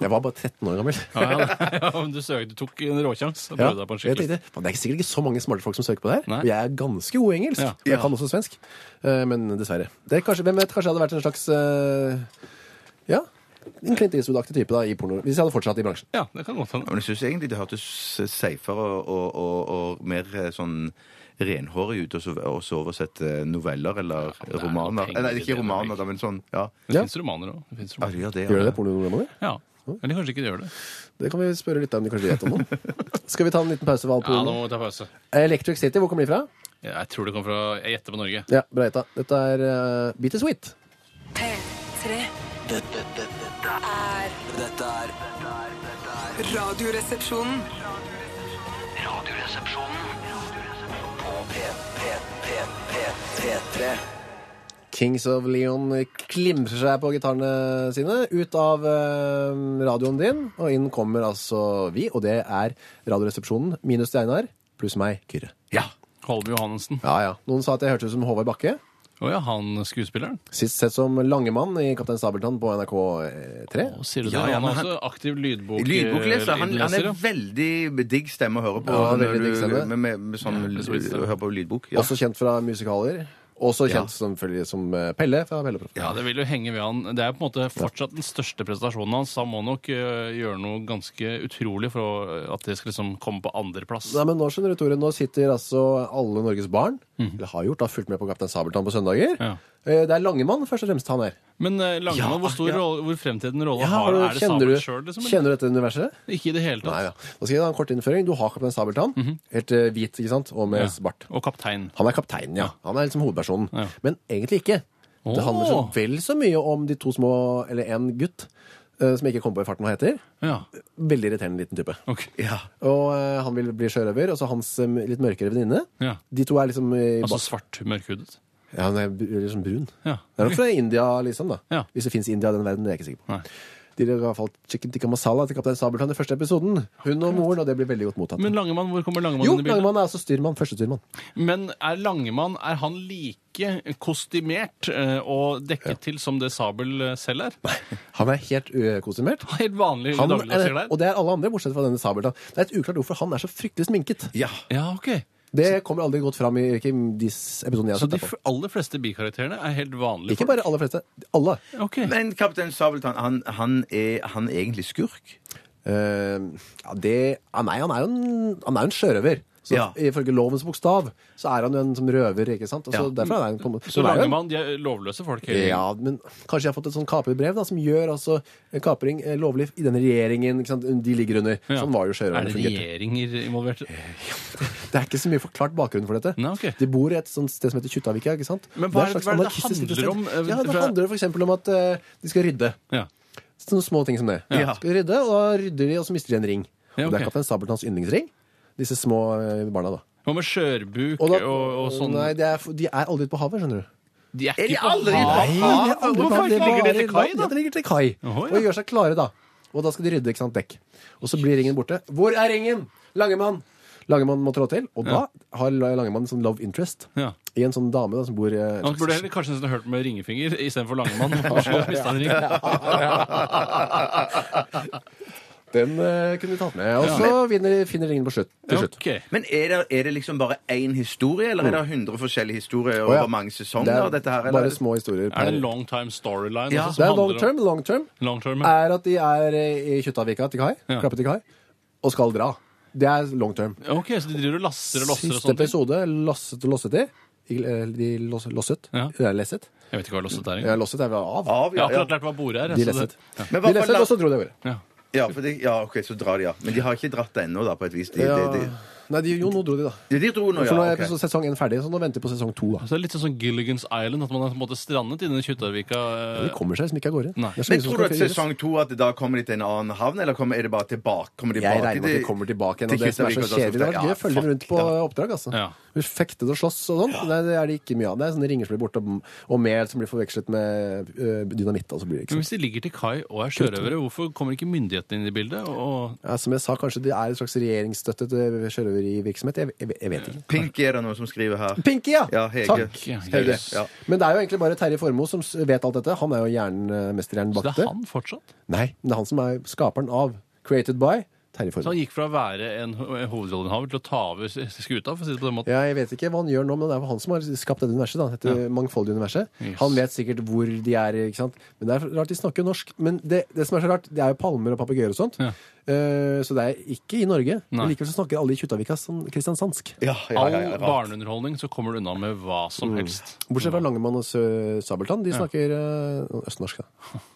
A: Jeg var bare 13 år gammel.
B: Ja, ja, ja, men du, søkte, du tok en råsjanse og
A: Ja,
B: prøvde deg på en
A: jeg
B: skikkelig
A: tenkte, "Fan, Det er sikkert ikke så mange smarte folk som søker på det her.
B: Nei.
A: Og jeg er ganske god i engelsk.
B: Ja.
A: Og jeg kan også svensk. Eh, Men dessverre. Det er kanskje, hvem vet, kanskje jeg hadde vært en slags eh, Ja, en Clint Eastwood-aktig type da, i porno. Hvis jeg hadde fortsatt i bransjen.
B: Ja, det kan godt hende.
C: Ja, Men jeg syns egentlig det hørtes safere og, og, og, og mer eh, sånn renhårig ut og så- og så oversette noveller eller
B: men det er noe
C: romaner.
B: penger
C: Eller
B: i
C: ikke
B: det,
C: romaner,
B: det
C: da, men sånn. Ja.
B: Det
A: Ja.
B: finnes romaner òg.
C: Ja, det gjør det,
A: Gjør
C: ja.
A: det det, pornodramaene?
B: Ja. Eller kanskje ikke det gjør det.
A: Det kan vi spørre litt om de kanskje vet om noe. Skal vi ta en liten pause for all
B: Ja, Nå
A: porno?
B: må vi ta pause.
A: Electric City, hvor kommer de fra?
B: Ja, Jeg tror det kommer fra Jeg gjetter på Norge.
A: Ja, bra gjetta. Dette er uh, Beat It Sweet.
F: P3.
E: Dette, dette, dette er Dette er dette er- dette er
D: Radioresepsjonen.
E: Radioresepsjonen på P, P, P, P, P3.
A: Kings of Leon klimser seg på gitarene sine ut av eh, radioen din, og inn kommer altså vi, og det er Radioresepsjonen minus Steinar pluss meg, Kyrre.
B: Ja. Holme Johannessen.
A: Ja, ja. Noen sa at jeg hørtes ut som Håvard Bakke.
B: Å ja, han skuespilleren?
A: Sist sett som Langemann i Kaptein Sabeltann på eh, NRK3.
B: Å, sier du
C: Ja,
B: det?
C: ja,
B: Han
C: men
B: er
C: han-
B: også aktiv lydbok...
C: Lydbokleser. Han, han er
B: leser, ja.
C: veldig digg stemme å høre på.
A: Ja,
C: når
A: veldig digg
C: du-
A: stemme.
C: Med, med, med sånn
B: Ja, det er spist, ja.
C: hør på lydbok. Ja.
A: Også kjent fra musikaler. Også
C: Ja.
A: kjent selvfølgelig som eh, Pelle fra Pelleproff.
B: Ja, det vil jo henge ved han. Det er på en måte fortsatt den største prestasjonen hans. Han må nok øh, gjøre noe ganske utrolig for å- at det skal liksom komme på andreplass.
A: Nei, men nå skjønner du, Tore, nå sitter altså alle Norges barn, eller har gjort, da fulgt med på Kaptein Sabeltann på søndager.
B: Mhm. Ja.
A: Eh, Det er Langemann først og fremst han er.
B: Men eh, Langemann,
C: Ja,
B: hvor stor
C: ja.
B: rolle, hvor fremtredende rolle har Er det
A: kjenner,
B: Sabel
A: du,
B: sjøl, liksom? eller?
A: kjenner du dette universet?
B: Ikke i det hele
A: Nei,
B: tatt.
A: ja. Nå skal jeg ha en kort innføring. Du har Kaptein Sabeltann, helt eh, hvit, ikke sant, og med
B: Mhm. Ja.
A: svart.
B: Og kaptein.
A: Han er kapteinen, ja. Han er liksom hovedpersonen.
B: Ja.
A: Men egentlig ikke. Det
B: Åh.
A: handler så vel så mye om de to små, eller en gutt, eh, som jeg ikke kom på i farten hva heter.
B: Ja.
A: Veldig irriterende liten type.
B: ok.
C: Ja.
A: Og eh, han vil bli sjørøver, og så hans eh, litt mørkere venninne.
B: Ja.
A: De to er liksom i
B: Altså
A: ba-
B: svart, mørkhudet.
A: Ja, hun er br- liksom brun.
B: Ja.
A: Det er nok fra India, liksom. da
B: Ja.
A: Hvis det fins India i den verden, det er jeg ikke sikker på.
B: Nei.
A: De lager i hvert fall chicken tikka masala til Kaptein Sabeltann i første episoden. Hun og moren, og det blir veldig godt mottatt.
B: Men Langemann, hvor kommer Langemann
A: jo,
B: inn i bildet?
A: Langemann er altså styrmann. Førstestyrmann.
B: Men er Langemann er han like kostymert eh, og dekket til som det Sabel eh, selv er?
A: Han er helt ukostymert.
B: Helt vanlig
A: Han
B: dagligdags
A: er,
B: der?
A: og det er alle andre, bortsett fra denne Sabeltann. Det er et uklart hvorfor han er så fryktelig sminket.
C: ja.
B: Ja, ok.
A: Det kommer aldri godt fram i ikke i de s- episodene jeg har
B: Så
A: sett.
B: de
A: det på.
B: f- aller fleste bikarakterene er helt vanlige
A: Ikke bare aller fleste. Alle.
B: folk? Ok.
C: Men Kaptein Sabeltann, han, han, er, han er egentlig skurk?
A: Eh, ja, det, ja, nei, han er jo en, han er jo en sjørøver. Så
C: Ja.
A: Ifølge lovens bokstav så er han jo en som røver. ikke sant? Og så
C: Ja.
A: derfor er han på en måte...
B: Så
A: han sånn er jo en-
B: Langemann, de er lovløse folk? hele
A: Ja, men kanskje jeg har fått et sånn kaperbrev da, som gjør altså eh, kapring eh, lovlig i den regjeringen ikke sant? de ligger under.
B: tiden? Ja.
A: Sånn var jo Eh.
B: Er
A: sjørøverne.
B: det
A: fungerte.
B: regjeringer involvert?
A: Det er ikke så mye forklart bakgrunn for dette.
B: Nei, ok.
A: De bor i et sånt sted som heter Kjuttaviga. ikke sant?
B: Men hva er
A: et
B: det-
A: slags
B: hva er det det
A: anarkistisk
B: handler
A: sted.
B: om, eh,
A: Ja, Det
B: fra-
A: handler f.eks. om at eh, de skal rydde.
B: Ja.
A: Sånne små ting som det.
C: Ja.
A: Skal de rydde, og da rydder de, og så mister de en ring.
B: Ja,
A: Og Det
B: ok.
A: er Kaptein Sabeltanns yndlingsring. Disse små eh, barna, da.
B: Hva med skjørbuk og,
A: Og da-
B: og, sånn?
A: Nei, de er, de er aldri ute på havet, skjønner du.
B: de er
C: Er de
B: ikke på
C: aldri-
B: havet?
C: Nei,
A: de er aldri på havet,
B: Hvorfor
A: er
B: ligger de
A: bare
B: til kai,
A: i land.
B: da?
A: Ja, de ligger til kai.
B: Jaha, ja.
A: Og de gjør seg klare, da. Og da skal de rydde, ikke sant, dekk. Og så blir ringen borte. Hvor er ringen? Langemann! Langemann må trå til, og da har Langemann en sånn love interest
B: Ja.
A: i en sånn dame da, som bor eh,
B: Han burde heller kanskje nesten hørt med ringefinger istedenfor Langemann. Kanskje han mistet en ring.
A: Den eh, kunne de tatt med. Og så vinner, finner ringen på slutt. Til slutt.
B: Ok.
C: Men er det, er det liksom bare én historie, eller er det 100 forskjellige historier
A: Oh. Å, ja.
C: over mange
A: Det
C: sesonger?
A: er
C: dette her, eller?
A: bare små historier.
B: Er det en
A: per-
B: long time storyline?
C: Ja.
B: også,
A: det
B: som
A: er
B: handler
A: long
B: om-
A: term. Long term
B: Long term, ja.
A: er at de er eh, i Kjuttaviga til kai,
B: Mm. Ja.
A: klappe til kai, og skal dra. Det er long term.
B: Ok, så de driver og lasser og losser og
A: Siste
B: sånt?
A: episode losset og losset de. Ikke, eh, De loss- losset.
B: Ja.
A: Det er lesset.
B: Jeg vet ikke hva losset er
A: Ja,
B: engang.
A: losset er vel av.
C: Av,
B: Jeg
C: ja, ja.
B: har akkurat lært hva bordet er.
A: De
B: så det-
A: lesset. De
C: Men hva for
A: lesset,
C: la-
A: og så dro de av gårde.
B: Ja.
C: ja, for de, ja, ok, så drar de, ja. Men de har ikke dratt det ennå, da, på et vis. De, de,
A: Ja.
C: de,
A: Nei, de, jo, nå dro de, da.
C: de, de dro nå,
A: For
C: ja.
A: nå er
C: ok.
A: episode- sesong én ferdig, så nå venter vi på sesong to. da.
B: Så det er litt sånn Gilligan's Island, at man er på en måte strandet i denne Kjuttaviga. eh,
A: De kommer seg liksom ikke av gårde.
B: Nei.
A: Det er så
C: Men
A: mye som
C: tror du
A: skal
C: at
A: fyres.
C: sesong to at det da kommer de til en annen havn, eller kommer, er det bare tilbake? Kommer de
A: Jeg
C: tilbake
A: regner med at de kommer tilbake igjen. og Det som er
C: Kjuttaviga,
A: så
C: da, så
A: kjedelig, det har
C: ja,
A: vært gøy å følge dem
C: fuck,
A: rundt på
C: ja.
A: oppdrag. altså.
B: Ja.
A: Fektet og slåss og sånn. Nei, det er det ikke mye av. Det er sånne ringer som blir borte, og mel som blir forvekslet med ø, dynamitt. og så blir det ikke
B: Men
A: sånn.
B: hvis de ligger til kai og er sjørøvere, hvorfor kommer ikke myndighetene inn i bildet? Og...
A: Ja, som jeg sa, kanskje det er en slags regjeringsstøttet ø, sjørøverivirksomhet. Jeg, jeg, jeg vet ikke.
C: Pinky er det noen som skriver her.
A: Pinky, ja!
C: Ja, Hege.
A: Takk.
B: Ja,
A: Hege.
B: yes.
C: Ja.
A: Men det er jo egentlig bare Terje Formoe som s- vet alt dette. Han er jo jernmesterhjernen
B: Så
A: bak
B: det er han fortsatt?
A: Nei, men det er han som er skaperen av Created by Terje
B: Så
A: Formoe.
B: han gikk fra å være en ho- en hovedrolleinnehaver til å ta over s- skuta, for å si det på den måten.
A: Ja, jeg vet ikke hva han gjør nå, men det er jo han som har skapt dette universet. Da, dette mangfoldige universet.
B: Yes.
A: Han vet sikkert hvor de er, ikke sant. Men det er rart de snakker jo norsk. Men det, det som er så rart, det er jo palmer og papegøyer og sånt.
B: Ja.
A: Eh, så det er ikke i Norge.
B: Nei.
A: Men likevel så snakker alle i Kjuttaviga sånn kristiansandsk.
C: Ja, ja,
B: All
C: ja, ja, rart. Mm.
B: barneunderholdning så kommer du unna med hva som helst.
A: Bortsett fra Langemann og Sø Sabeltann. De snakker eh, østnorsk, da.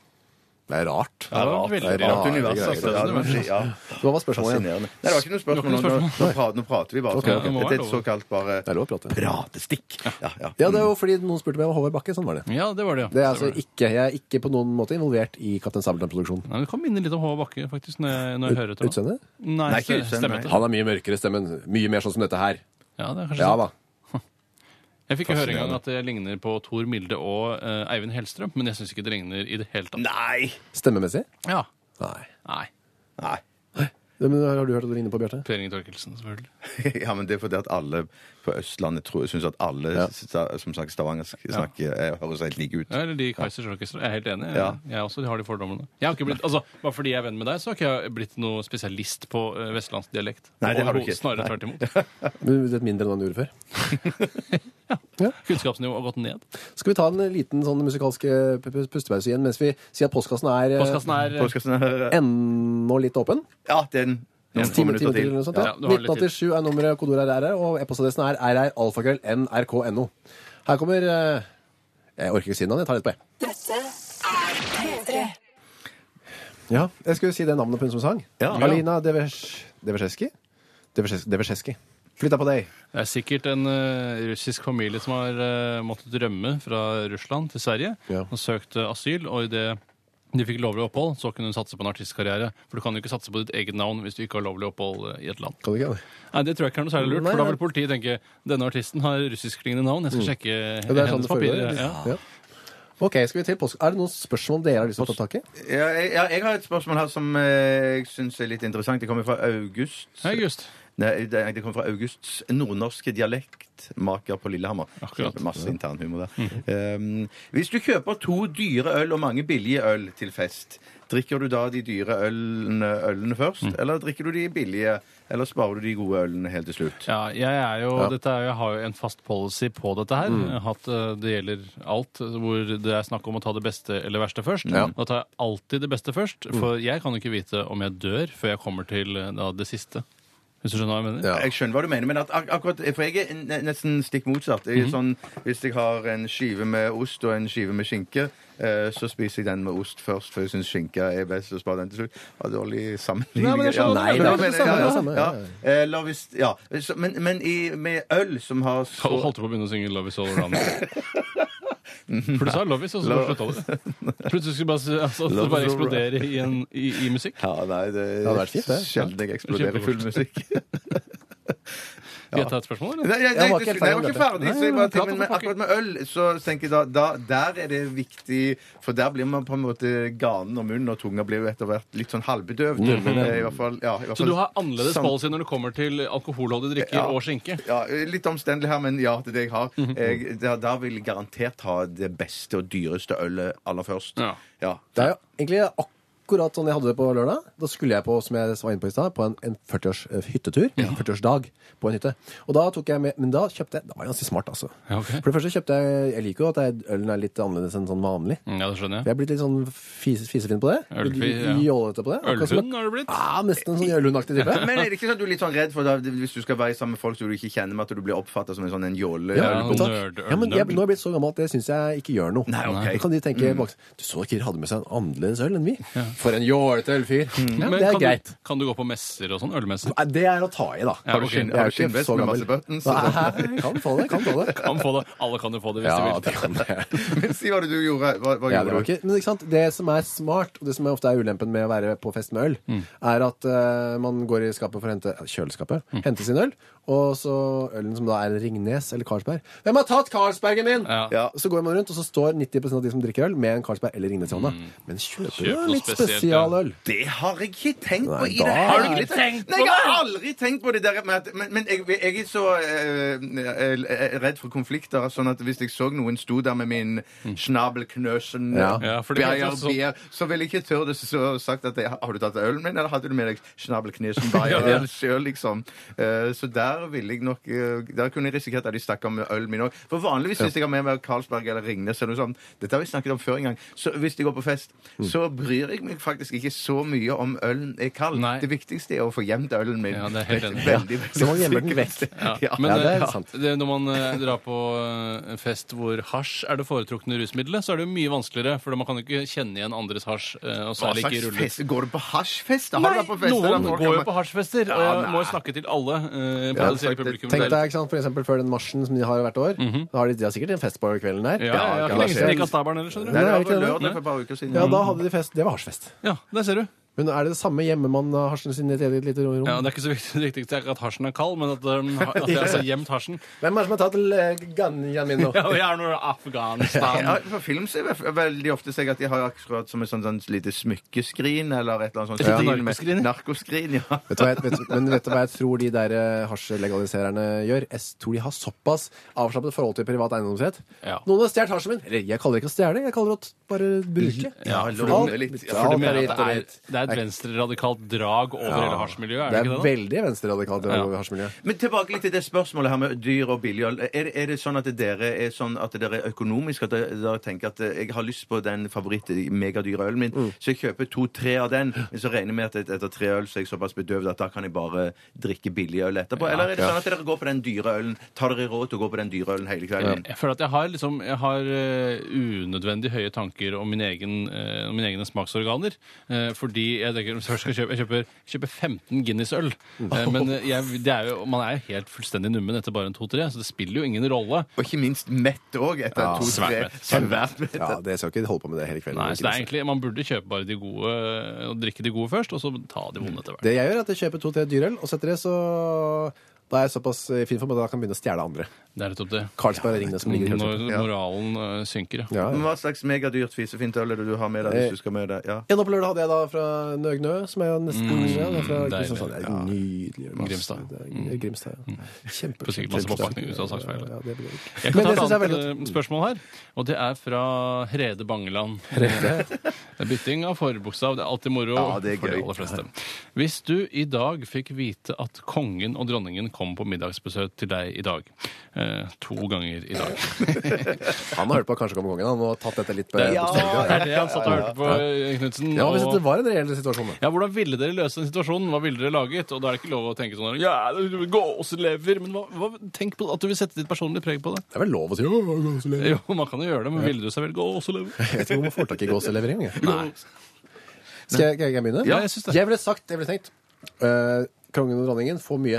A: Det er rart.
B: Ja, det var veldig
A: Det er
C: Rart univers,
A: greier.
C: altså. Ja, det må jeg si, ja.
A: Hva var spørsmålet igjen?
C: Fascinerende. Nei, det var ikke noe spørsmål. Nå, nå, nå, prater, nå prater vi bare.
B: Ok, det må
C: sånn.
B: være
C: Det er et
B: lov.
C: såkalt bare
A: Det er lov å prate.
C: pratestikk. Ja, ja.
A: Ja, det var fordi noen spurte meg om Håvard Bakke. Sånn var det.
B: Ja, det var det, ja.
A: Det er
B: Så
A: altså
B: det var det.
A: ikke, jeg er ikke på noen måte involvert i Kaptein Sabeltann-produksjonen.
B: Nei, men det kan minne litt om Håvard Bakke, faktisk, når jeg, når jeg hører etter. nå.
A: Utseende?
B: Nei,
C: Nei, ikke
B: ste-
C: utseende, nei.
B: stemmer etter.
A: Han er mye mørkere i stemmen. Mye mer sånn som dette her.
B: Ja, det er kanskje
A: Ja
B: sant.
A: da.
B: Jeg fikk jo høre en gang
A: Fascinerende.
B: at det ligner på Thor Milde og eh, Eivind Hellstrøm, men jeg syns ikke det ligner i det hele tatt.
C: Nei!
A: Stemmemessig?
B: Ja.
A: Nei.
B: Nei.
C: Nei.
A: Ja, Men har du hørt at du ligner på Bjarte?
B: Per Inge Torkelsen, selvfølgelig.
C: Ja, men det er fordi at alle på Østlandet tror, synes at alle sta- som snakker stavangersk, snakker, eh, høres helt like ut.
B: Ja, eller de Kaizers Orkestra. Jeg er helt enig. Jeg,
C: Ja.
B: jeg også har de fordommene. Jeg har ikke blitt, altså, bare fordi jeg er venn med deg, så har ikke jeg blitt noe spesialist på eh, vestlandsdialekt.
C: Nei, det har du
B: Overhodet,
C: ikke.
B: Snarere
C: Nei.
B: tvert imot.
A: Men Du vet mindre enn han gjorde før.
B: Kunnskapsnivået har gått ned.
A: Skal vi ta en liten sånn musikalsk eh, p- p- pustepause igjen mens vi sier at postkassen er eh,
B: Postkassen er eh,
C: Postkassen er-
A: ennå litt åpen?
C: Ja, den. Noen få
A: Time,
C: minutter
A: time Altså, til eller
C: til.
A: noe sånt,
B: Ja,
A: ja.
B: du har litt tid.
A: 1987 er nummeret, kodeord er RR, og e-postadressen er rralfakrøll.nrk.no. Her kommer eh, Jeg orker ikke si navnet, jeg tar litt på jeg. Ja, jeg skulle si det navnet på hun som sang.
C: Ja.
A: Alina Devers- Deverseski? Deverses- Deverseski. Flytta på deg.
B: Det er sikkert en eh, russisk familie som har eh, måttet rømme fra Russland til Sverige
A: Ja.
B: og søkt eh, asyl. Og idet de fikk lovlig opphold, så kunne hun satse på en artistkarriere. For du kan jo ikke satse på ditt eget navn hvis du ikke har lovlig opphold eh, i et land.
A: Kan du ikke? det?
B: Nei, Det tror jeg ikke er noe særlig lurt,
A: Nei,
B: for da
A: nei.
B: vil politiet tenke denne artisten har russiskklingende navn, jeg skal sjekke
A: Ja, det er sånn
B: hennes
A: det foregår.
B: papirer. Ja.
A: Ja. Ok, skal vi til post... Er det noen spørsmål dere har lyst til å ta tak i?
C: Ja, jeg, ja, jeg har et spørsmål her som eh, jeg syns er litt interessant. Det kommer fra August.
B: Hei, August.
C: Nei, det, det kommer fra Augusts nordnorske dialektmaker på Lillehammer.
B: Akkurat.
C: Masse internhumor der. Um, hvis du kjøper to dyre øl og mange billige øl til fest, drikker du da de dyre ølene, ølene først, eller drikker du de billige, eller sparer du de gode ølene helt til slutt?
B: Ja, jeg er jo, Dette er, jo- jeg har jo en fast policy på dette her.
A: Mm.
B: Jeg har Hatt, eh, det gjelder alt eh, hvor det er snakk om å ta det beste eller verste først. Da tar jeg alltid det beste først,
A: Mm.
B: for jeg kan jo ikke vite om jeg dør før jeg kommer til eh, da, det siste. Hvis du skjønner hva jeg mener?
A: Ja.
C: Jeg skjønner hva du mener, men at ak akkurat, for jeg er ne- nesten stikk motsatt. Jeg
A: Mhm.
C: er sånn, hvis jeg har en skive med ost og en skive med skinke, eh, så spiser jeg den med ost først, for jeg syns skinke er best, og sparer den til slutt. Det var dårlig sammenligning.
A: Nei, men jeg skjønner
C: Ja,
A: det. Nei,
C: men-
A: det er det samme,
C: ja, ja,
A: det er det samme, ja, ja.
C: ja. Eh, Eller hvis, ja. Så, men men i, med øl, som har så
B: Hold- Holdt du på å begynne å synge 'Love Is All Around Me'? For du sa 'Love Is', og så slutta du. Plutselig skulle du bare, si- altså, at
C: Love is
B: det
C: all
B: bare
C: around.
B: eksplodere i, en, i, i musikk.
C: Ja, nei, det
A: hadde vært fint, det.
C: sjelden jeg eksploderer i full musikk.
B: Skal jeg ta et spørsmål, eller?
C: Nei, nei,
A: Jeg var
C: nei,
A: ikke helt
C: nei, jeg var
A: ferdig med
C: ikke ferdig.
B: dette.
C: Så jeg bare,
B: Nei, nei,
C: tenker, men
B: prat om
C: akkurat med øl så tenker jeg da, da Der er det viktig For der blir man på en måte ganen og munnen og tunga blir jo etter hvert litt sånn halvbedøvd. Eh, I hvert fall, ja, i hvert
B: Mm. Så
C: fall,
B: du har annerledes
C: sam-
B: policy når det kommer til alkoholholdige drikker
C: Ja.
B: og skinke? Mhm.
C: Ja, litt omstendelig her, men ja, det er det jeg har. Jeg, da, da vil jeg garantert ha det beste og dyreste ølet aller først.
B: Ja.
C: Ja.
A: Det er jo egentlig akkurat sånn jeg hadde det på lørdag. Da skulle jeg på, som jeg var inne på i stad, på en, en 40-års eh, hyttetur. En 40-årsdag på en hytte. Og da tok jeg med Men da kjøpte jeg Det var ganske smart, altså.
B: Ja, ok.
A: For det første kjøpte jeg Jeg liker jo at jeg, ølen er litt annerledes enn sånn vanlig.
B: Mm, Ja, det skjønner
A: Jeg
B: jeg.
A: er blitt litt sånn fise, fisefin på det.
B: Ølfi, ja.
A: Jålete på det. Akkurat som
B: Ølhund
A: at-
B: har du blitt?
A: Ja, nesten en sånn ølhundaktig type.
C: Men er det ikke sånn at du er litt sånn redd for da, hvis du skal være sammen med folk som du ikke kjenner med, at du blir oppfatta som en sånn en jåle?
A: Ja,
B: Ja,
A: men takk.
B: nerd,
A: ja, men jeg,
B: nerd.
A: nå er jeg blitt så gammel at det syns jeg ikke gjør noe.
C: Nei, ok.
A: Da kan de
B: Mm.
A: tenke bak- Du så Kir hadde med seg en annerledes øl enn vi. For en jålete ølfyr. Ja,
B: Mm. Men
A: det er
B: kan
A: greit.
B: Du, kan du gå på messer og sånn? Ølmesser?
A: Nei, Det er å ta i, da.
B: Ja, ok.
C: skinn-
A: Jeg er jo
C: har du
A: ikke
C: skinnvest
A: så gammel.
C: med masse buttons?
A: Nei, kan få det. kan få det.
B: Kan få det. Alle kan jo få det hvis
A: Ja,
B: de
A: det
B: vil.
A: kan det.
C: Men si hva det du gjorde. Hva, hva
A: Ja, det, var
C: gjorde du?
A: ikke, men ikke sant? det som er smart, og det som er ofte er ulempen med å være på fest med øl,
B: Mm.
A: er at eh, man går i skapet for å hente kjøleskapet,
B: Mm.
A: hente sin øl, og så ølen som da er Ringnes eller Carlsberg. 'Hvem har tatt Carlsbergen min?'
B: Ja.
C: Ja.
A: Så går man rundt, og så står 90 av de som drikker øl, med en Carlsberg eller Ringnes i hånda. Men kjøper
B: Mm. Kjøp noe
A: du litt
B: spesielt, ja.
A: spesialøl?
C: Det har jeg ikke tenkt på
A: Nei,
C: i
A: da-
C: det
A: Har du
C: hele
B: ikke
C: tatt.
B: tenkt på
C: Nei, jeg
B: det?
C: har aldri tenkt på det der med at, Men, men jeg, jeg er så eh, eh, redd for konflikter, sånn at hvis jeg så noen sto der med min Schnabelknøsen
A: Mm. Ja.
C: eh,
B: Ja, for det er
C: Beyer
B: sånn-
C: Beer, så ville jeg ikke tørt å så sagt at jeg, Har du tatt ølen min, eller hadde du med deg Schnabelknøsen
B: Ja, ja.
C: Beyer sjøl, liksom? Eh, så der ville jeg nok eh, Der kunne jeg risikert at de stakk av med ølen min òg. For vanligvis hvis jeg har med meg Carlsberg eller Ringnes eller noe sånt, dette har vi snakket om før en gang, så hvis jeg går på fest,
B: Mm.
C: så bryr jeg meg faktisk ikke så mye om ølen er kald.
B: Nei.
C: Det viktigste er å få gjemt ølen min.
B: Ja, det er helt enig.
C: Veldig, veldig,
A: Så man gjemmer den vekk.
B: Ja.
C: Ja.
B: Men
A: Ja, det er
B: eh,
A: sant.
B: det, når man eh, drar på eh, en fest hvor hasj er det foretrukne rusmiddelet, så er det jo mye vanskeligere, for man kan jo ikke kjenne igjen andres hasj. eh, Og
C: Hva
B: særlig ikke i
C: slags
B: ruller.
C: fest? Går du på hasjfest? Har du
B: Nei,
C: vært på fester der
B: noen
C: folk
B: går jo
C: har-
B: på hasjfester, og
C: Ja,
B: jeg må jo
C: nei.
B: snakke til alle. eh,
C: Ja,
B: Både sier
C: faktisk.
B: publikum
A: Tenk
B: selv.
A: deg ikke sant, for eksempel før den marsjen som de har hvert år. Da har de, de har sikkert en fest på kvelden der.
B: Mhm. Ja, ja,
C: Ja,
B: ikke Mm.
C: ja,
B: lenge siden jeg gikk av stabelen heller, skjønner du.
C: Nei, det
A: Nei,
C: var
A: ikke
C: på
A: det.
C: lørdag for et par uker siden.
A: Ja, da hadde de fest. Det var hasjfest.
B: Ja, der ser du.
A: Men er det det samme hjemmemannen av hasjen sin i et eget lite rom?
B: Ja, det er ikke så viktig, det viktigste er ikke at hasjen er kald, men at, um, ha- at jeg har så gjemt hasjen.
A: Hvem er det som har tatt eh, ganjan min nå?
B: Ja, og jeg er nå i Afghanistan.
C: Ja, på film ser jeg ve- veldig ofte ser jeg at de har akkurat som et sånt, sånt lite smykkeskrin eller et eller annet sånt.
B: Et lite
C: skrin med-
B: narkoskrin, ja.
C: Narkoskrin, ja.
A: Vet du hva jeg, vet, men vet du hva jeg tror de der eh, hasjlegalisererne gjør? Jeg tror de har såpass avslappet forhold til privat eiendomsrett.
B: Ja.
A: Noen har stjålet hasjen min. Eller jeg kaller det ikke å stjele, jeg kaller det å bare bruke.
C: Ja,
A: Alt-
C: låne litt. Ja,
A: alt
B: Du mener
A: hit
B: at
A: og
B: det er,
A: dit.
B: det er et venstreradikalt drag over hele hasjmiljøet, er det
A: Det
B: ikke
A: er
B: det? da?
A: veldig venstreradikalt
B: Ja.
A: over hasjmiljøet.
C: Men tilbake litt til det spørsmålet her med dyr og billig øl. Er, det- er det sånn at dere er sånn at dere er økonomisk, at dere, dere tenker at eh, jeg har lyst på den favoritt-megadyre ølen min,
B: Mm.
C: så jeg kjøper to-tre av den, men så regner jeg med at et- etter tre øl så er jeg såpass bedøvd at da kan jeg bare drikke billig øl etterpå? Eller er det sånn at dere går på den dyre ølen, tar dere råd til å gå på den dyre ølen hele kvelden?
B: Jeg føler at jeg har, liksom, jeg har eh, unødvendig høye tanker om min egen, eh, om mine egne smaksorganer. eh, fordi jeg tenker hvis jeg først skal kjøpe, jeg kjøper, jeg kjøper 15 Guinness-øl. eh, men jeg, det er jo, man er jo helt fullstendig nummen etter bare en to-tre, så det spiller jo ingen rolle.
C: Og ikke minst mett òg, etter
A: Ja,
C: to-tre.
B: svært mett.
C: Svært mett.
A: Ja, det skal ikke holde på med det hele kvelden.
B: Nei, så det er egentlig, Man burde kjøpe bare de gode eh, og drikke de gode først, og så ta de vonde etter hvert.
A: Det jeg gjør, er at jeg kjøper to-tre dyrøl, og så etter det så Da er jeg såpass i fin form at jeg kan begynne å stjele andre.
B: Det er nettopp det.
A: Carlsberg og Ringnes som ligger rundt.
B: Når moralen eh, synker, ja.
A: Ja, Eh.
C: Men
A: ja.
C: Hva slags megadyrt fisefint øl er det du har med deg hvis du skal med deg? Ja.
A: En opplevelse hadde jeg da fra Nøgnø, som er jo nesten ja, det er fra
B: Mm, deilig.
A: Kristiansand. Det er nydelig. masse-
B: Grimstad. Mm.
A: det er- Grimstad, ja. Kjempe,
B: Får sikkert masse påpakning hvis du har sagt feil.
A: Ja, det blir det ikke.
B: Jeg
A: Men
B: kan
A: det
B: ta
A: synes jeg
B: et
A: er
B: annet
A: veldig godt.
B: eh, spørsmål her, og det er fra Hrede Bangeland. Det er Bytting av forbokstav. Det er alltid moro
C: Ja, det er
B: for de
C: gøy.
B: aller fleste. Hvis du i dag fikk vite at kongen og dronningen kom på middagsbesøk til deg i dag eh, To ganger i dag.
A: Han har hørt på Kanskje kommer kongen, han, og tatt dette litt
B: eh, Det
A: på
B: er
A: ja.
B: det er det han satt og hørte på, eh, Knudsen.
A: ja, hvis
B: og-
A: det var en reell situasjon, da.
B: ja, Hvordan ville dere løse den situasjonen? Hva ville dere laget? Og da er det ikke lov å tenke sånn Ja, gåselever Men hva, hva, tenk på at du vil sette ditt personlige preg på det.
A: Det er vel lov å si «Å, gåselever».
B: Jo, man kan jo gjøre det, men ville du seg vel gåselever?
A: Jeg vet ikke hvor man får tak i gåselever engang. jeg.
B: Nei.
A: Skal jeg, skal jeg begynne?
B: Ja, jeg synes det.
A: Jeg ville sagt, jeg ville tenkt eh, Kongen og dronningen får mye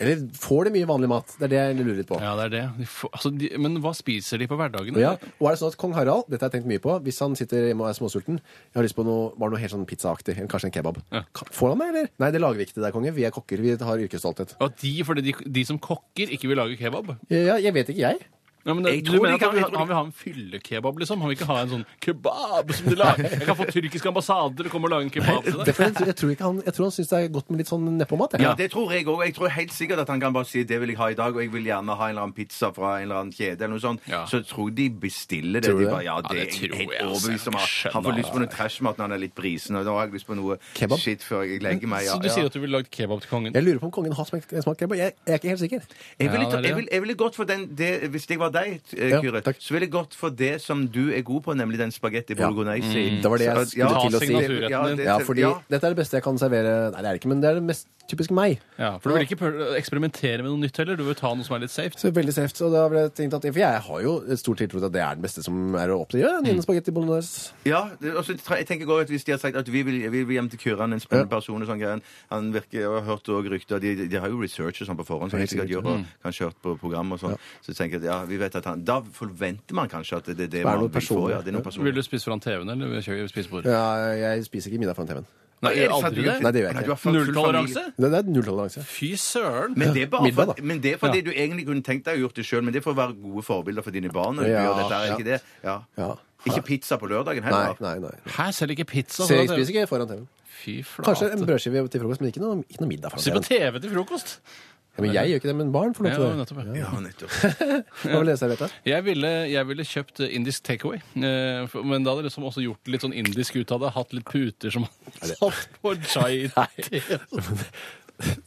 A: Eller får de mye vanlig mat? Det er det jeg lurer litt på.
B: Ja, det er det. De får, altså, de, men hva spiser de på hverdagene?
A: Ja, og er det sånn at Kong Harald dette har jeg tenkt mye på, hvis han sitter hjemme og er småsulten Jeg har lyst på noe, bare noe helt sånn pizzaaktig, eller kanskje en kebab.
B: Ja.
A: Ka- Får han det, eller? Nei, det lager vi ikke til deg, konge. Vi er kokker. Vi har yrkesstolthet.
B: Og at de, fordi de, de som kokker, ikke vil lage kebab?
A: Ja, jeg vet ikke, jeg.
B: Ja, men det,
C: Jeg
B: du
C: tror de
B: mener at
C: kan-
B: han,
C: jeg tror
B: vil,
C: de-
B: han vil ha en fyllekebab, liksom? Han vil ikke ha en sånn kebab som de lager? Jeg kan få tyrkisk ambassade til å komme og lage en kebab til deg?
A: Derfor, jeg, jeg tror ikke han Jeg tror han syns det er godt med litt sånn nedpåmat. jeg.
C: Ja, det tror jeg òg. Jeg tror helt sikkert at han kan bare si det vil jeg ha i dag, og jeg vil gjerne ha en eller annen pizza fra en eller annen kjede eller noe sånt.
B: Ja.
C: Så jeg tror de bestiller det.
A: Tror du
C: De
A: det?
C: bare, ja, det,
B: Ja, det
C: er
B: tror
C: jeg helt
B: jeg, altså.
C: overbevist om.
B: Jeg
C: Han får
B: skjønner
C: lyst på noe trashmat når han er litt brisen, og da har jeg lyst på noe
A: Kebab?
C: shit før jeg legger meg.
B: Mm, Så du sier at du ville lagd kebab til kongen?
A: Jeg lurer på om kongen har smakt, smakt kebab. Jeg, jeg er ikke helt sikker.
C: Jeg ville,
B: Ja, det er det.
C: jeg ville, jeg ville gått for den det, Hvis jeg var deg, eh,
A: Ja,
C: Kyrre,
A: takk.
C: så ville jeg gått for det som du er god på, nemlig den spagetti
A: Ja.
C: bolognese.
B: Mm.
A: Det var det jeg
C: Så- ja,
A: skulle til å si.
B: signaturretten
C: Ja,
B: din.
C: det-
A: Ja, fordi
C: ja.
A: dette er det beste jeg kan servere Nei, det er det ikke, men det er det mest typiske meg.
B: Ja, for du vil ikke prøve å eksperimentere med noe nytt heller? Du vil ta noe som er litt safe?
A: Så veldig safe. Så da ble jeg tenkt at For jeg har jo stor tiltro til at det er den beste som er å oppdrive. Ja, Nine spagetti bolognese.
C: Ja, det- og så tra- jeg tenker også at Hvis de har sagt at vi vil, vi vil hjem til Kyrre, han er en spennende person og sånn greier Han virker, Jeg har hørt også rykter de, de har jo research og sånn på forhånd, som de sikkert gjør,
A: Mm.
C: og kanskje hørt på program og sånn. Så tenker jeg at ja, vi vet at han Da forventer man kanskje at det er det
A: er
C: man
A: noe
C: vil få.
A: personlig.
C: Ja, det er noe personlig.
B: Vil du spise foran TV-en eller ved kjø- ved spisebordet?
A: Ja, jeg spiser ikke middag foran TV-en.
B: Nei,
C: Er det sant
B: aldri
C: du-
B: det?
A: Nei, det gjør jeg
C: Nei,
A: ikke.
C: du har full- full
B: Nulltoleranse?
C: familie.
A: Det det er nulltoleranse.
B: Fy søren!
C: Men det, er bare
A: Middag,
C: for,
A: da.
C: men det er fordi du egentlig kunne tenkt deg å gjort det sjøl, men det er for å være gode forbilder for dine barn. når du
A: Ja,
C: gjør dette, er
A: ja.
C: ikke det? Ja.
A: Ja.
C: Ikke pizza på lørdagen
A: Nei,
C: heller.
A: nei, nei.
B: Her selger ikke pizza.
A: Så jeg
B: foran
A: spiser
B: TV.
A: ikke foran TV-en.
B: Fy flate.
A: Kanskje en brødskive til frokost, men ikke noe, ikke noe middag
B: Se på
A: foran TV-en.
B: TV til frokost!
A: Ja, men jeg gjør ikke det, men barn får lov
B: Ja,
A: til det.
B: nettopp. ja.
C: Ja, nettopp.
A: Hva vil jeg si, vet jeg?
B: Jeg ville, jeg ville kjøpt eh, indisk takeaway, eh, for- men da hadde jeg liksom også gjort litt sånn indisk ut av det. Hatt litt puter som satt på chai.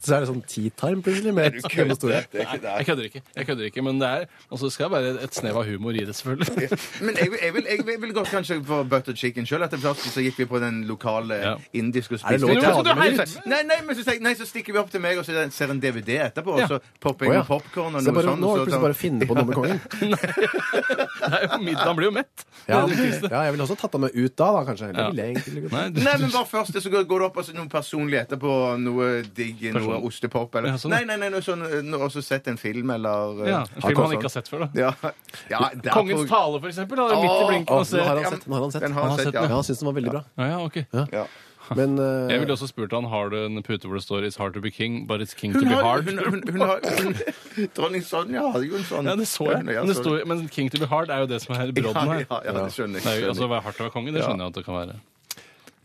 A: Så er det sånn tea time plutselig, med et kjempestorie.
C: Det er ikke-
B: Jeg kødder ikke, jeg kødder ikke, men det er, altså, det skal være et snev av humor i det, selvfølgelig.
C: Men jeg, vil- jeg, vil, jeg vil godt kanskje få butter chicken sjøl. Etter først så gikk vi på den lokale
B: Ja.
C: indiske og
A: Er det lov
C: litt.
A: til å
C: Ja,
A: ta
C: men-
B: det med?
C: Nei, nei, men så, tenk- nei, så stikker vi opp til meg og så ser en DVD etterpå, og
B: Ja.
C: så popper jeg
A: Å, ja.
C: med popkorn og
A: Så det er
C: noe
A: bare,
C: sånt.
A: nå
C: og
A: er
C: så
A: det plutselig
C: tar-
A: bare å finne på noe med kongen.
B: Det er jo middagen blir jo mett.
A: Ja, ja, jeg ville også tatt ham med ut da, da kanskje. Eller ville jeg egentlig
B: Nei, du,
C: Nei, men bare først, så går går det opp altså, noe personlig etterpå. Noe digg, noe
B: Personlig.
C: ostepop eller
B: Ja, sånn, ja.
C: Nei, nei, nei, noe sånn, noe- og så sett en film eller eh,
B: ja, en film han ikke har sett før, da.
C: Ja, ja der
B: Kongens
C: får-
B: tale, for eksempel. Da, midt i blinken
A: Å,
B: og se.
A: nå har
C: ja,
A: han sett. Nå har han sett.
C: den har han sett,
A: ja.
C: ja.
A: Han syns den var veldig bra.
B: Ja, ja, ok.
C: Ja.
A: Men eh,
B: Jeg ville også spurt han har du en pute hvor det står 'It's hard to be king, but it's king to
C: Hun
B: be
C: har,
B: hard'.
C: hun, hun, hun har hun, Dronning Sonja hadde jo en sånn.
B: Ja, det så jeg.
C: Ja,
B: Men, det står, men 'king to be hard' er jo det som er
C: ja,
B: brodden her.
C: ja, ja, det skjønner jeg.
B: Det er jo, altså, å
C: skjønner jeg.
B: være hardt å være konge, det skjønner jeg at det kan være.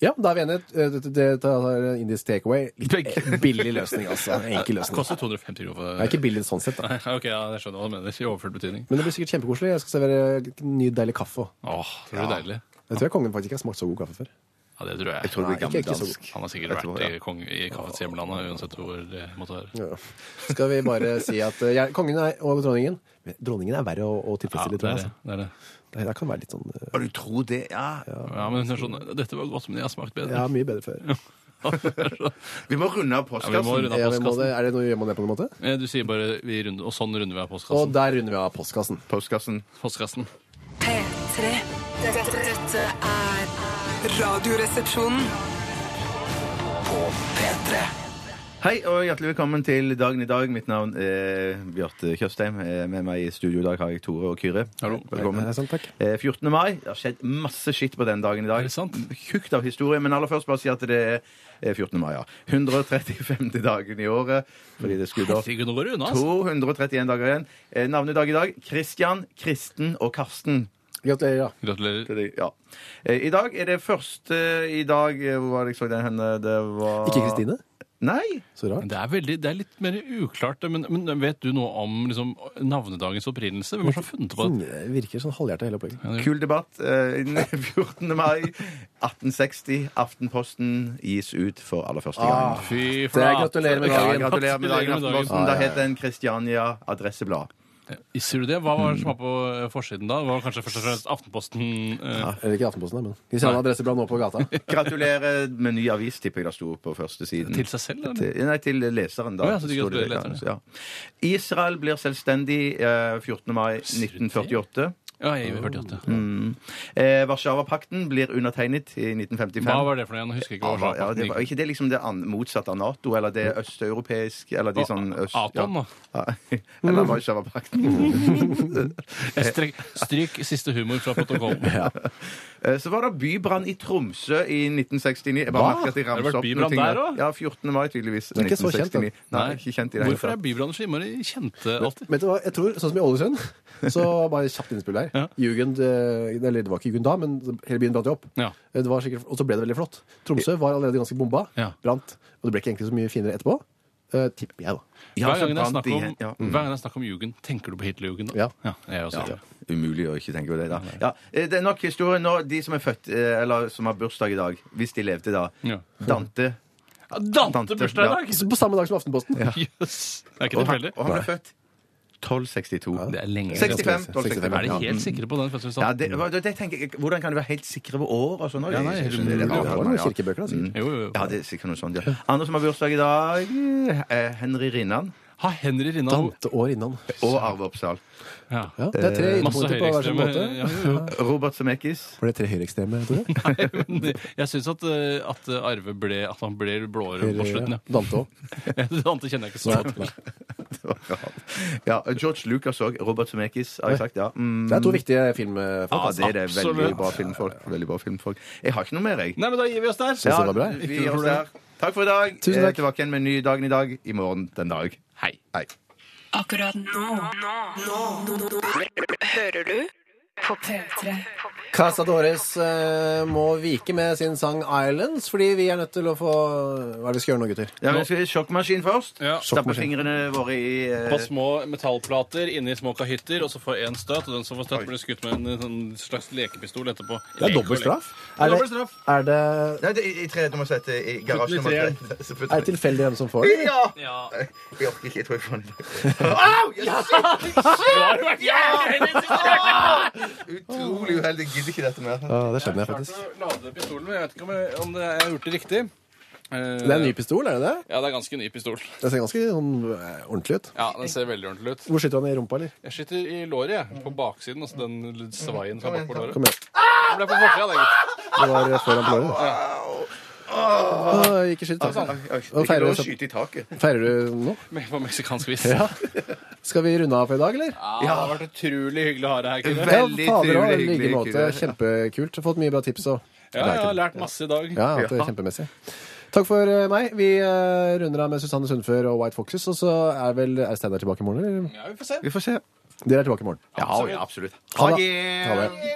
A: ja, da er vi enige. Eh, Det, det, det er indisk takeaway. Litt eh, billig løsning, altså. Enkel løsning.
B: Koster 250 kroner for
A: Det er ikke billig sånn sett, da.
B: Ok, ja, jeg skjønner hva du mener. I overført betydning.
A: Men det blir sikkert kjempekoselig. Jeg skal servere ny, deilig kaffe. også.
B: Åh, det blir deilig.
A: Jeg tror jeg kongen faktisk ikke har smakt så god kaffe før.
B: Ja, det tror jeg.
C: Jeg tror det blir
A: Nei, ikke- ikke så
C: gammeldansk.
B: Han har sikkert
C: Jeg tror,
B: vært
C: ja.
B: i, kong, i kaffets hjemland, uansett hvor eh, det måtte være.
A: Ja. Skal vi bare si at eh, jeg, kongen er, og dronningen Men Dronningen er verre å, å
B: Ja,
A: tilfredsstille,
B: det
A: tror jeg.
B: er det.
A: Altså.
B: det, er det.
A: Det, det kan være litt sånn eh,
C: Og du tror det, ja.
B: Ja, men hun er sånn, Dette var godt, men jeg har smakt bedre.
A: Ja, mye bedre før.
C: Vi må runde av
B: Ja, vi må
C: postkassen.
B: runde av
A: Ja, vi må,
B: postkassen.
A: det, er det noe vi gjør det på noen måte?
B: Eh, Du sier bare vi runder, og sånn runder vi av
A: Og
B: postkassen.
A: der runder vi av postkassen.
C: postkassen.
B: postkassen.
F: P3. Dette, dette er Radioresepsjonen.
C: Hei og hjertelig velkommen til Dagen i dag. Mitt navn er Bjarte Tjøstheim. Eh, Med meg i studio i dag har jeg Tore og Kyrre.
B: Hallo.
C: Velkommen.
A: Nei, sant, takk.
C: Eh, 14. mai. Det har skjedd masse skitt på den dagen i dag.
B: Er det sant?
C: Tjukt av historie, men aller først bare si at det er eh, 14. mai, ja. 135. dagen i året. Fordi det er skuddår.
B: Herregud, nå går det unna, altså.
C: 231 dager igjen. Eh, Navnedag i dag Christian, Kristen og Karsten.
A: Gratulerer, ja.
B: Gratulerer.
C: Det er de- Ja. Eh, I dag er det første i dag eh, Hvor var det jeg så den henne? Det var
A: Ikke Kristine?
C: Nei.
A: Så rart.
B: Det er, veldig, det er litt mer uklart, men, men vet du noe om liksom, navnedagens opprinnelse? Hvem har funnet på det?
A: Det virker sånn halvhjerta hele opplegget.
C: Kul debatt. Eh, den 14. mai 1860. Aftenposten gis ut for aller første gang.
B: Fy
A: Det er
B: flate.
A: gratulerer med
C: Ja,
A: dagen.
C: gratulerer med dagen,
B: Gratulerer med dagen.
C: Aftenposten. Da het den Kristiania Adresseblad.
B: Eh, Sier du det? Hva var det som var på eh, forsiden da? Det var kanskje først og fremst Aftenposten eh,
A: Eller ikke Aftenposten, da, men vi sender adresseblad nå på gata.
C: Gratulerer med ny avis, tipper jeg det sto på første siden.
B: til seg selv? Eller?
C: Til- Nei, til leseren, da.
B: Å ja, så de
C: sto det.
B: gratulerer leseren,
C: Ja. Israel blir selvstendig eh, 14. mai 1948.
B: Ja, i 48.
C: Eh, Warszawapakten blir undertegnet i 1955.
B: Hva var det for noe? Jeg husker ikke. hva
C: Ja, ja, det var
B: var
C: ikke det liksom det an, motsatte av Nato, eller det østeuropeiske eller de sånn øst...
B: Atom, da.
C: ja. Ja. Eller Warszawapakten.
B: Stryk, stryk siste humor fra protokollen.
C: Eh, Så var det bybrann i Tromsø i 1969. Jeg bare merker at jeg
B: Har
C: ramser
B: det vært
C: opp
B: bybrann
C: ting
B: der også?
C: Ja, 14. mai, tydeligvis.
A: er ikke så kjent, da.
C: 1969. Nei, ikke kjent i det hele
B: Hvorfor er
C: tatt.
B: bybranner så innmari kjente alltid?
A: Vet du hva, jeg tror, Sånn som i Ålesund, så bare kjapt innspill der.
B: Ja.
A: Jugend, eh, eller det var ikke Jugend da, men hele byen brant jo opp.
B: Ja.
A: Eh, Det var sikkert, og så ble det veldig flott. Tromsø var allerede ganske bomba,
B: Ja.
A: brant. Og det ble ikke egentlig så mye finere etterpå. Eh, tipper jeg, da.
C: Ja,
B: Hver
C: så
B: gang det er
C: brant
B: snakk
C: de-
B: om,
C: ja. Mm.
B: hver gang det er snakk om jugend, tenker du på Hitlerjugend? da?
A: Ja.
B: jeg også.
C: Ja. Umulig å ikke tenke på det, da. Ja, eh, det er nok historie nå. De som er født, eh, eller som har bursdag i dag, hvis de levde da.
B: Ja.
C: Dante.
B: Ja, Dante
C: Dante,
B: bursdag i
C: ja.
B: dag!
A: Så På samme dag som Aftenposten.
B: Jøss! Det er ikke
C: Og han,
B: tilfeldig.
C: og han ble født 1262.
B: Det er lenge siden.
C: 65. 1265.
B: Er de
C: Ja.
B: helt sikre på den
C: Ja,
B: fødselsdagen?
C: det, hva- det tenker jeg, Hvordan kan du være helt sikre ved år og sånn?
B: Ja, nei,
C: Jeg skjønner
B: helt
C: det.
B: umulig.
A: Det var noen
C: Ja,
A: kirkebøker, altså. da. sikkert.
B: Jo, jo, jo.
C: Ja, det er sikkert noe sånt, ja. Andre som har bursdag i dag, eh, Henry Rinnan
B: Ha Henry Rinna
A: Dante år innan.
C: og Arve Oppsal.
B: ja.
A: Ja, det er tre
B: Eh, Masse
A: ytterpunkter på hver sin
B: høyreekstreme
A: måte.
B: ja, jo, jo.
C: Robert Zemeckis.
A: Var det tre høyreekstreme? tror du?
B: Men Jeg syns at, eh, at Arve ble At han ble blåere på slutten, ja.
A: Dante òg.
B: Dante kjenner jeg ikke så godt.
A: Det
C: Ja, George Lucas òg. Robert Zemeckis, har jeg sagt. ja. Mm.
A: er to viktige filmfolk.
C: Ja,
A: altså.
C: det er det. Veldig
B: Absolutt.
C: bra filmfolk. Veldig bra filmfolk. Jeg har ikke noe mer, jeg.
B: Nei, men da gir vi oss der.
A: det var bra.
C: vi gir oss der. Takk for i dag.
A: Tusen takk.
C: Eh, Tilbake igjen med en ny Dagen i dag i morgen den dag.
B: Hei.
C: Hei.
F: Akkurat nå. Nå. Nå. Hører du på P3?
A: Casa Dores eh, må vike med sin sang 'Islands', fordi vi er nødt til å få Hva er det vi skal gjøre nå, gutter?
C: Ja, men skal vi sjokkmaskin først?
B: Ja.
C: Stappe fingrene våre i eh,
B: På små metallplater inni små kahytter, og så får én støt. Og den som får støt, blir skutt med en sånn slags lekepistol etterpå.
A: Det er dobbelt straff.
B: er
A: Er
B: dobbelt
A: det,
B: straff.
A: er det,
C: Nei, det er i tredje nummer sett. I
B: Putt den i
C: garasje nummer tre. Så
A: er
C: putt den
A: det
C: i-
A: tilfeldig hvem som får det?
C: Ja!
B: Ja.
C: Jeg orker ikke. Jeg tror jeg får den. Au! Ja, shit! Utrolig uheldig. Jeg gidder ikke dette mer.
A: Ja, det skjønner jeg faktisk.
B: Klarte å lade pistolen, men jeg vet ikke om jeg, om det, jeg har gjort det riktig. Eh,
A: Det er en ny pistol, er det det?
B: Ja, det er ganske ny pistol.
A: Den ser ganske sånn, eh, ordentlig ut.
B: Ja, Den ser veldig ordentlig ut.
A: Hvor sitter han i rumpa, eller?
B: Jeg sitter i låret, jeg. På baksiden. Altså den svaien som er bakpå låret.
A: Kom igjen.
B: Den ble på forsida, det, gitt.
A: Det var eh, før han ble det.
C: Å,
A: Åh, Ikke skyt i
G: Altså,
A: taket.
G: oi, oi,
A: Nå
G: ikke
A: feirer
G: lov å
A: vi-
G: skyte i taket.
A: Feirer du nå?
B: Med- På meksikansk vis.
A: Ja. Skal vi runde av for i dag, eller?
B: Ja, det har vært utrolig hyggelig å ha deg her, Kyrre.
C: Veldig
A: ja, fader, også,
C: trivelig,
A: i like
C: hyggelig,
A: måte.
C: Kyrre.
A: Kjempekult. Fått mye bra tips og
B: Ja, jeg har lært masse i dag.
A: Ja, at det er kjempemessig. Takk for eh, meg. Vi eh, runder av med Susanne Sundfør og White Foxes, og så er vel er Steinar tilbake i morgen, eller?
B: Ja, vi får se.
C: Vi får se.
A: Dere er tilbake i morgen.
C: Ja, ja absolutt.
A: Ha det.
C: det.
A: Ha det.